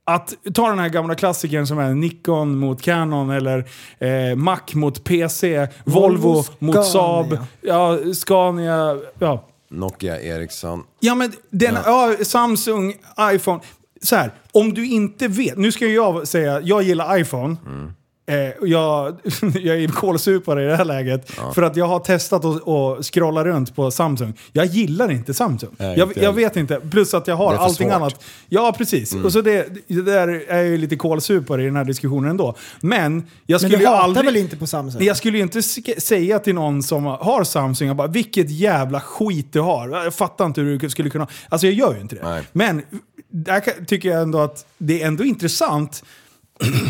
E: att ta den här gamla klassikern som är Nikon mot Canon eller eh, Mac mot PC, Volvo,
H: Volvo, Scania.
E: mot Saab, ja, Scania, ja,
G: Nokia Ericsson.
E: Ja men den, ja. Samsung, iPhone. Så här, om du inte vet. Nu ska jag säga, jag gillar iPhone.
G: Mm.
E: Eh, och jag, jag är kolsupare i det här läget. För att jag har testat att att scrolla runt på Samsung. Jag gillar inte Samsung.
G: Nej,
E: jag,
G: inte
E: jag
G: jag.
E: vet inte. Plus att jag har
G: Det är för
E: allting
G: svårt. Mm.
E: annat. Ja, precis. Och så det, det där är jag ju lite kolsupare i den här diskussionen ändå. Men jag
H: men
E: skulle
H: du
E: ju
H: hatar
E: aldrig...
H: väl inte på Samsung?
E: Jag skulle ju inte sk- säga till någon som har Samsung, jag bara, vilket jävla skit du har. Jag fattar inte hur du skulle kunna... Alltså jag gör ju inte det.
G: Nej.
E: Men där kan- tycker jag ändå att det är ändå intressant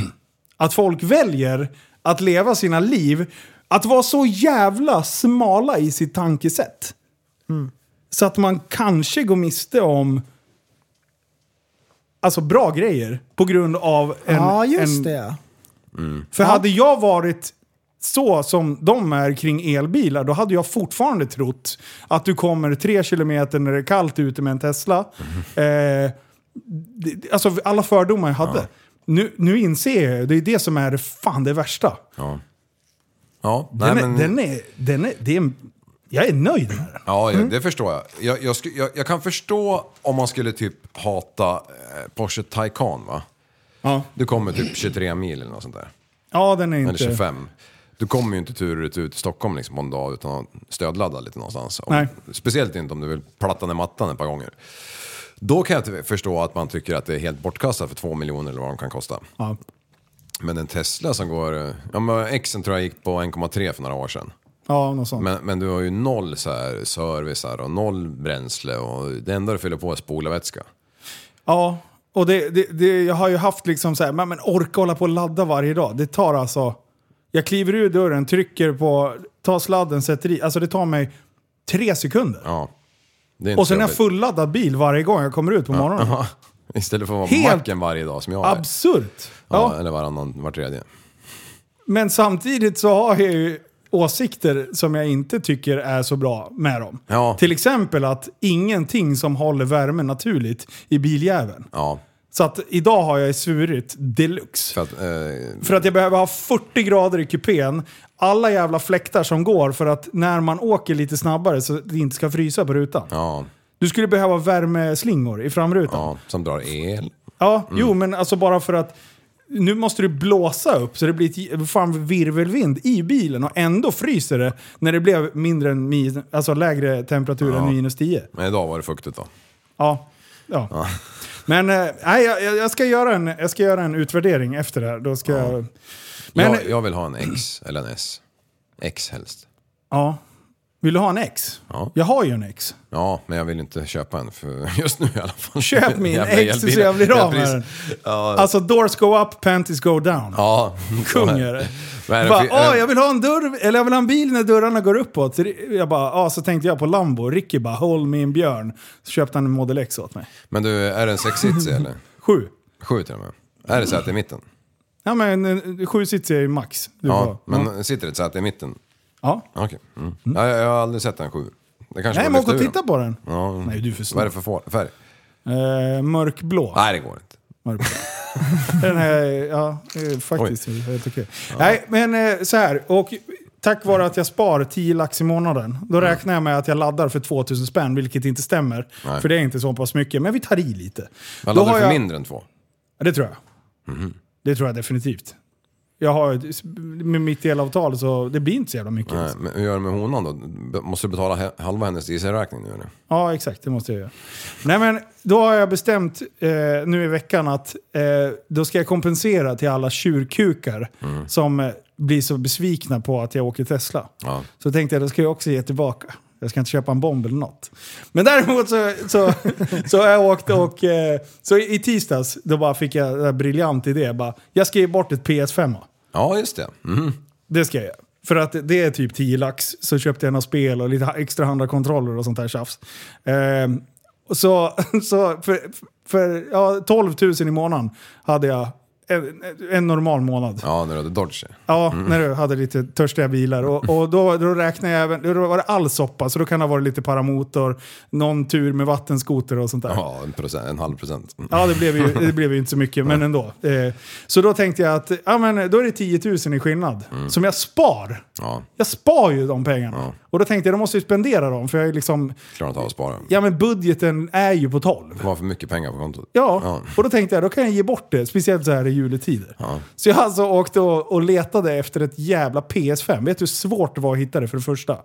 E: att folk väljer att leva sina liv, att vara så jävla smala i sitt tankesätt.
H: Mm.
E: Så att man kanske går miste om alltså bra grejer på grund av en...
H: ja, just
E: en,
H: det.
E: För hade jag varit så som de är kring elbilar, då hade jag fortfarande trott att du kommer tre kilometer när det är kallt ute med en Tesla.
G: Mhm.
E: Eh, det- alltså alla fördomar jag hade. Nu, nu inser jag ju, det är det som är fan det värsta.
G: Ja, nej,
E: Den,
G: men-
E: är, den, är, den, är, det är, en- jag är nöjd med den.
G: Ja, ja, det förstår jag. Jag, jag, sku- jag. jag kan förstå om man skulle typ hata eh, Porsche Taycan va?
E: Ja.
G: Du kommer typ 23 mil eller något sånt där.
E: Ja, den är inte...
G: Eller 25. Du kommer ju inte tur ut ut till Stockholm liksom på en dag utan att stödladda lite någonstans. Om,
E: Nej.
G: Speciellt inte om du vill platta ner mattan ett par gånger. Då kan jag inte förstå att man tycker att det är helt bortkastat för två miljoner eller vad de kan kosta.
E: Ja.
G: Men en Tesla som går... eh, Ja, men Xen tror jag gick på 1,3 för några år sedan.
E: ja, något sånt.
G: Men, men du har ju noll så här service här och noll bränsle och det enda du fyller på är spolarvätska.
E: Ja, och det, det, det, jag har ju haft liksom så här, men, men orka hålla på och ladda varje dag. Det tar alltså... Jag kliver ur dörren, trycker på, tar sladden, sätter i. Alltså det tar mig tre sekunder.
G: Ja. Det är inte
E: och sen är
G: så
E: jag
G: jobbigt.
E: fulladdad bil varje gång jag kommer ut på morgonen.
G: Ja. Istället för att vara på
E: Helt
G: macken varje dag som jag är.
E: Absurt!
G: Ja,
E: Ja.
G: Eller varannan, var tredje.
E: Men samtidigt så har jag ju åsikter som jag inte tycker är så bra med dem.
G: Ja.
E: Till exempel att ingenting som håller värmen naturligt i biljäveln.
G: Ja,
E: Så att idag har jag svurit deluxe.
G: för att... Eh,
E: För att jag behöver ha 40 grader i kupén, alla jävla fläktar som går för att när man åker lite snabbare så det inte ska frysa på rutan.
G: ja,
E: Du skulle behöva värmeslingor i framrutan. Ja,
G: ja, som drar E. el.
E: jo men alltså bara för att nu måste du blåsa upp så det blir ett j- fan virvelvind i bilen och ändå fryser det när det blev mindre än min, alltså lägre temperatur än minus 10.
G: Men idag var det fuktigt då.
E: Ja. ja. Men eh, nej, jag, jag- jag, ska göra en, jag ska göra en utvärdering efter det här. Då ska jag... Men,
G: jag, jag vill ha en X eller en S. X helst.
E: Ja. Vill du ha en X?
G: Ja.
E: Jag har ju en X.
G: Ja, men jag vill inte köpa en för just nu i alla fall.
E: Köp min
G: Jävla
E: X så
G: elbil.
E: jag blir av med
G: Elpris.
E: den. Alltså doors go up, panties go down.
G: Ja.
E: Kung är det.
G: Vad är det
E: Bara,
G: för-
E: "Åh, jag vill ha en dörr, eller jag vill ha en bil när dörrarna går uppåt. Så det- Jag bara, ah, så tänkte jag på Lambo. Ricky bara, håll min björn. Så köpte han en Model X åt mig.
G: Men du, är det en sexsitsig eller?
E: Sju.
G: Sju till och med. Är det säte i mitten?
E: Ja men eh, sju sitter ju max. Du
G: Ja,
E: får-
G: men sitter det ett säte i mitten?
E: ja.
G: Okej. Mm. Ja, jag, jag har aldrig sett en sju. Det kanske
E: Nej
G: var
E: men åk och
G: luftburen.
E: titta på den.
G: Ja.
E: Nej du är för
G: Vad är
E: snabb.
G: det för får- färg?
E: Eh, mörkblå.
G: Nej, det går inte.
E: Mörkblå. Den här, ja, eh, faktiskt helt okej. Nej, men eh, så här. Och tack vare att jag spar 10 lax i månaden, då
G: Mm.
E: räknar jag med att jag laddar för 2000 spänn, vilket inte stämmer.
G: Nej.
E: För det är inte så pass mycket, men vi tar i lite.
G: Vad laddar du för Mhm.
E: jag,
G: mindre än två?
E: Ja, Det tror jag. Det tror jag definitivt. Jag har ett, med mitt elavtal så det blir inte så jävla mycket.
G: Nej,
E: alltså.
G: men hur gör du med honan då? B- Måste du betala he- halva hennes dieselräkning nu eller?
E: Ja, exakt. Det måste jag göra. Nej, men då har jag bestämt eh, nu i veckan att eh, då ska jag kompensera till alla tjurkukar som eh, blir så besvikna på att jag åker Tesla.
G: Ja.
E: Så tänkte jag, då ska jag också ge tillbaka. Jag ska inte köpa en bomb eller något. Men däremot så, så, så har jag åkt och... Eh, så i tisdags, då bara fick jag en där briljant idé. Jag, bara, jag ska ge bort ett PS5.
G: Ja, just det.
E: Mm.
G: Mhm.
E: Det ska jag göra. För att det är typ 10 lax. Så köpte jag några spel och lite ha- extra handrakontroller och sånt där tjafs. Ehm, och så, så för, för ja, 12 000 i månaden hade jag en, en normal månad.
G: Ja, Mm. när du hade Dodge.
E: Ja, när du hade lite törstiga bilar. Och, och då, då räknade jag även, då var det all soppa, så då kan det ha varit lite paramotor, någon tur med vattenskoter och sånt där.
G: Ja, en, procent, en halv procent. Mm.
E: Ja, det blev ju, det blev ju inte så mycket, men ändå. Eh, så då tänkte jag att ja, men, då är det 10 000 i skillnad,
G: Mm.
E: som jag spar.
G: Ja,
E: Jag spar ju de pengarna.
G: Ja.
E: Och då tänkte jag, då måste jag ju spendera dem, för jag är liksom...
G: klarar inte av att spara.
E: Ja, men budgeten är ju på 12.
G: Det var för mycket pengar på kontot.
E: Ja,
G: Ja.
E: och då tänkte jag då kan jag ge bort det, speciellt så här i juletider.
G: Ja.
E: Så jag alltså åkte och, och letade efter ett jävla PS5. Vet du hur svårt det var att hitta det för det första?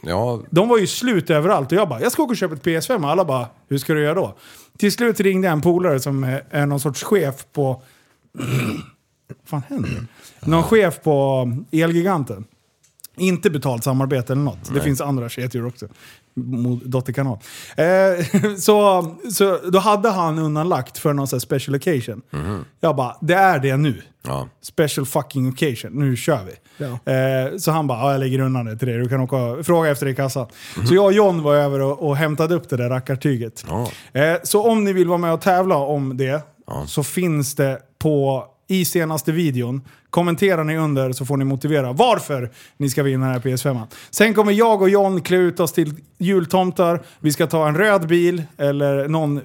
G: ja
E: De var ju slut överallt och jag bara, jag ska åka och köpa ett PS5 och alla bara, hur ska du göra då? Till slut ringde jag en polare som är- är någon sorts chef på... Vad fan händer? Någon chef på Elgiganten. Inte betalt samarbete eller något. Det finns andra kedjor också. Mo- Dotterkanal. Eh, så, så då hade han undanlagt för någon sån här special occasion. Jag bara, det är det nu.
G: Ja.
E: Special fucking occasion, nu kör vi.
H: Ja.
E: Eh, så han bara, ja, jag lägger undan det till dig, du kan åka och fråga efter det i kassan. Så jag och John var över och, och hämtade upp det där rackartyget. Eh, så om ni vill vara med och tävla om det, så finns det på i senaste videon. Kommenterar ni under så får ni motivera varför ni ska vinna den här PS5. -an. Sen kommer jag och John klä ut oss till jultomtar. Vi ska ta en röd bil eller någon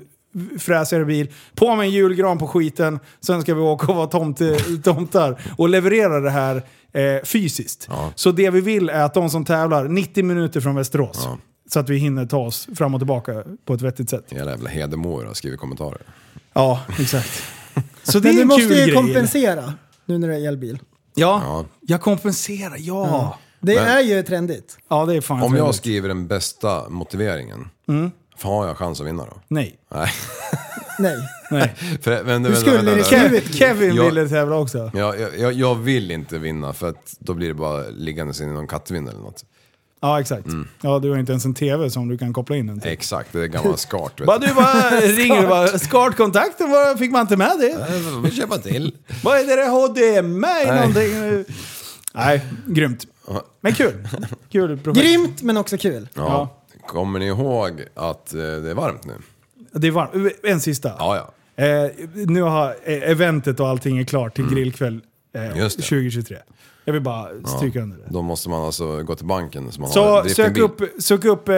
E: fräsigare bil. På med en julgran på skiten. Sen ska vi åka och vara tomte, tomtar och leverera det här eh, fysiskt. Så det vi vill är att de som tävlar 90 minuter från Västerås. Så att vi hinner ta oss fram och tillbaka på ett vettigt sätt.
G: Hela jävla Hedemora har skrivit kommentarer.
E: Ja, exakt. Så det
H: Men
E: är
H: du
E: en
H: måste
E: kul
H: ju
E: grej.
H: kompensera nu när det är elbil.
E: Ja.
G: Ja.
E: jag kompenserar, ja. ja.
H: Det
G: Men-
H: är ju trendigt.
E: det är Mm. fan
G: Om jag
E: trevligt.
G: skriver den bästa motiveringen, fan har jag chans att vinna då?
E: Nej,
G: Nej.
H: Nej.
E: nej.
G: För, vänta, vänta,
H: skulle
G: vänta,
H: ni
G: vänta.
H: skriva?
E: Kevin, Kevin
G: Jag-
E: ville tävla också.
G: Ja, jag, jag, jag vill inte vinna för att då blir det bara liggandes i någon kattvind eller något.
E: Ja, exakt.
G: Mm.
E: Ja, du har inte ens en TV som du kan koppla in den till.
G: Exakt, det är gammal skart. Vet
E: Bara
G: du.
E: du bara ringer och bara skartkontakten, vad fick man inte med det?
G: Jag får köpa till.
E: Vad är det där HDMI
G: Nej.
E: någonting? nu? Nej, grymt. Men kul. Kul projekt.
H: Grymt men också kul.
G: Ja. Kommer ni ihåg att eh, det är varmt nu?
E: Det är varmt. En sista.
G: Ja, ja. Mm.
E: Eh, nu har eh, eventet och allting är klart till grillkväll eh,
G: Just det.
E: 2023. Jag vill bara stryka under det.
G: Då måste man alltså gå till banken. Så, man har
E: Så
G: en drifting
E: sök
G: bil.
E: upp, sök upp eh,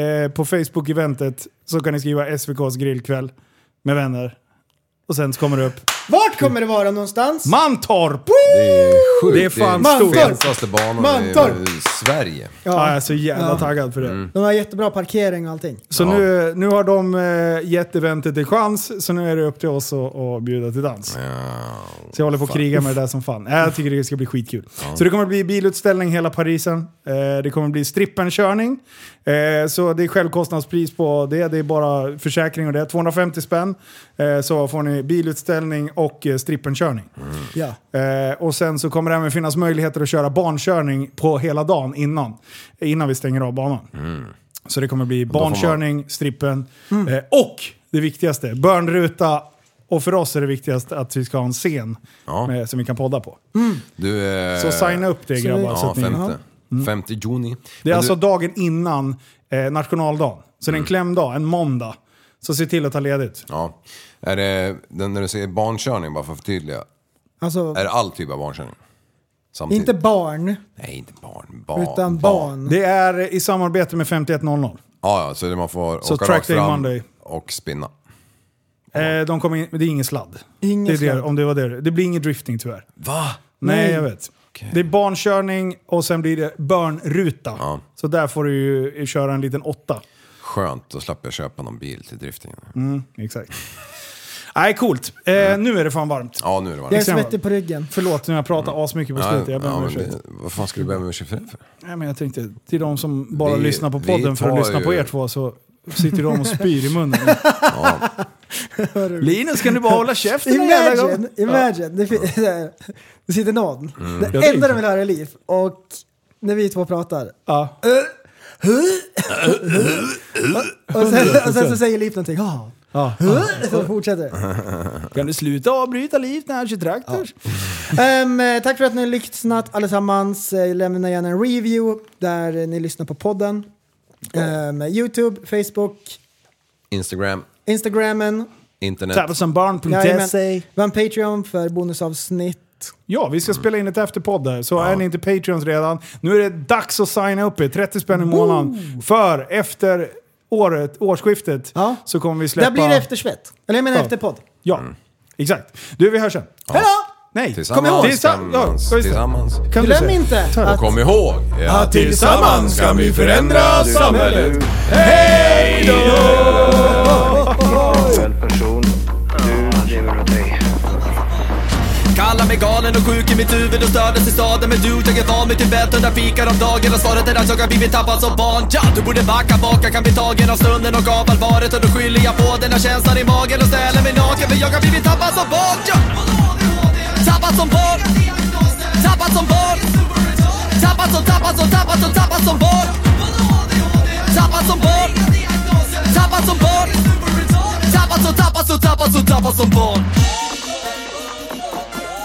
E: eh, på Facebook-eventet så kan ni skriva SVKs grillkväll med vänner. Och sen så kommer det upp
H: Vart kommer det vara någonstans?
E: Mantorp!
G: Det är sjukt.
E: Det är fan
G: det är
E: stort.
G: den fetaste banan i
H: Mantorp.
G: i Sverige.
E: Ja, alltså- jag
H: ja,
E: är så jävla
H: Ja.
E: taggad för det.
H: de har jättebra parkering och allting.
E: Så
G: Mm. Ja.
E: nu, nu har de eh, gett eventet en chans, så nu är det upp till oss att, att bjuda till dans.
G: Ja.
E: Så jag håller på att kriga med det där som fan. Äh, jag tycker det ska bli skitkul. Så det kommer bli bilutställning hela Parisen. Eh, det kommer bli strippenkörning. Eh, så det är självkostnadspris på det. Det är bara försäkring och det. 250 spänn. Eh, så får ni bilutställning och eh, strippenkörning.
H: Ja.
E: Eh, och sen så kommer det även finnas möjligheter att köra barnkörning på hela dagen innan. Innan vi stänger av banan. Så det kommer bli
G: Mm. får man-
E: barnkörning, strippen eh, och det viktigaste, börnruta. Och för oss är det viktigast att vi ska ha en scen
G: Ja.
E: med, som vi kan podda på.
G: Du, eh,
E: Så signa upp det
H: så-
E: grabbar. så
G: Ja,
E: att ni,
G: 50.
E: Mm.
G: 50 juni.
E: det är
G: Men
E: alltså
G: du, Mm.
E: dagen innan eh, nationaldagen. Så det är en klämdag, en måndag. Så se till att ta ledigt.
G: ja. Är det, den- när du säger barnkörning, bara för att förtydliga.
H: Alltså,
G: Är det all typ av barnkörning? Samtidigt?
H: inte barn,
G: Nej, inte barn. barn
H: utan barn.
E: Det är i samarbete med 5100.
G: Ja, ja, så man får
E: Så
G: åka
E: track
G: rakt
E: day
G: fram
E: Monday.
G: och spinna.
E: Eh, de kommer in, det är ingen sladd.
H: Ingen
E: det är Det,
H: sladd.
E: om det, var det. det blir ingen drifting tyvärr.
G: Va?
E: Nej, jag vet. Det är barnkörning och sen blir det börnruta.
G: Ja.
E: Så där får du ju köra en liten åtta.
G: Skönt, då slapp jag köpa någon bil till driftingen.
E: Mm. Exakt. Nej, coolt. Eh,
G: Mm.
E: Nu är det fan varmt.
G: Ja, nu är det varmt.
H: Jag är
E: Exakt.
H: svettig på ryggen.
E: Förlåt nu har jag pratat asmycket på slutet. Jag ber om
G: Mm. men
E: ursäkt.
G: det- Vad fan skulle du be om ursäkt för det för?
E: Nej, men jag tänkte, till de som bara
G: Vi-
E: lyssnar på
G: vi
E: podden för att
G: tar
E: lyssna på
G: ju-
E: er två så sitter de och spyr i munnen. Linus, kan du bara hålla käften en jävla gång?
H: Imagine, imagine. Det, fin- det sitter någon.
E: Jag
H: Det enda
E: tänker.
H: de vill höra är liv. Och när vi två pratar.
E: Ja.
H: Och sen, och sen så säger Liv någonting. Ja.
E: Ja.
H: Så fortsätter det.
E: Kan du sluta avbryta liv när han kör traktor?
H: Ehm, eh, Tack för att ni har lyssnat allesammans. Eh, Lämna gärna en review där ni lyssnar på podden. Ehm, Youtube, Facebook,
G: Instagram,
H: Instagramen.
G: internet.
H: E.
E: Tablesonbarn.se
H: Jajamän. Vi har en Patreon för bonusavsnitt.
E: Ja, vi ska spela in ett efterpodd där. Så är ni inte Patreons redan, nu är det dags att signa upp er. 30 spänn i månaden. För efter året, årsskiftet
H: Ja.
E: så kommer vi släppa...
H: Där blir det eftersvett. Eller jag menar
E: Ja.
H: efterpodd.
E: Ja, exakt. Du, vi hörs sen.
H: Hej då!
E: Nej,
G: Tillsammans,
E: kom ihåg!
G: tillsammans,
E: ja, just det.
G: tillsammans.
E: Kan du
H: Glöm
E: säga?
H: inte
E: Tack.
H: att...
G: Kom ihåg att tillsammans kan vi förändra samhället.
C: Själv person, du lever åt dig.
A: Kallar mig galen och sjuk i mitt huvud och stördes i staden Men du, jag är van vid Tibet under fikar om dagen Och svaret är att jag har blivit tappad som barn ja, Du borde backa bak, jag kan bli tagen av stunden och av allvaret Och då skyller jag på den här känslan i magen och ställer mig naken För jag har blivit tappad som barn ja. Tappad som barn Tappad som barn Tappad som, tappad som, tappad som, tappad som barn Tappad som barn Tappad som barn Tappad som, tappad som, tappad som, tappad som barn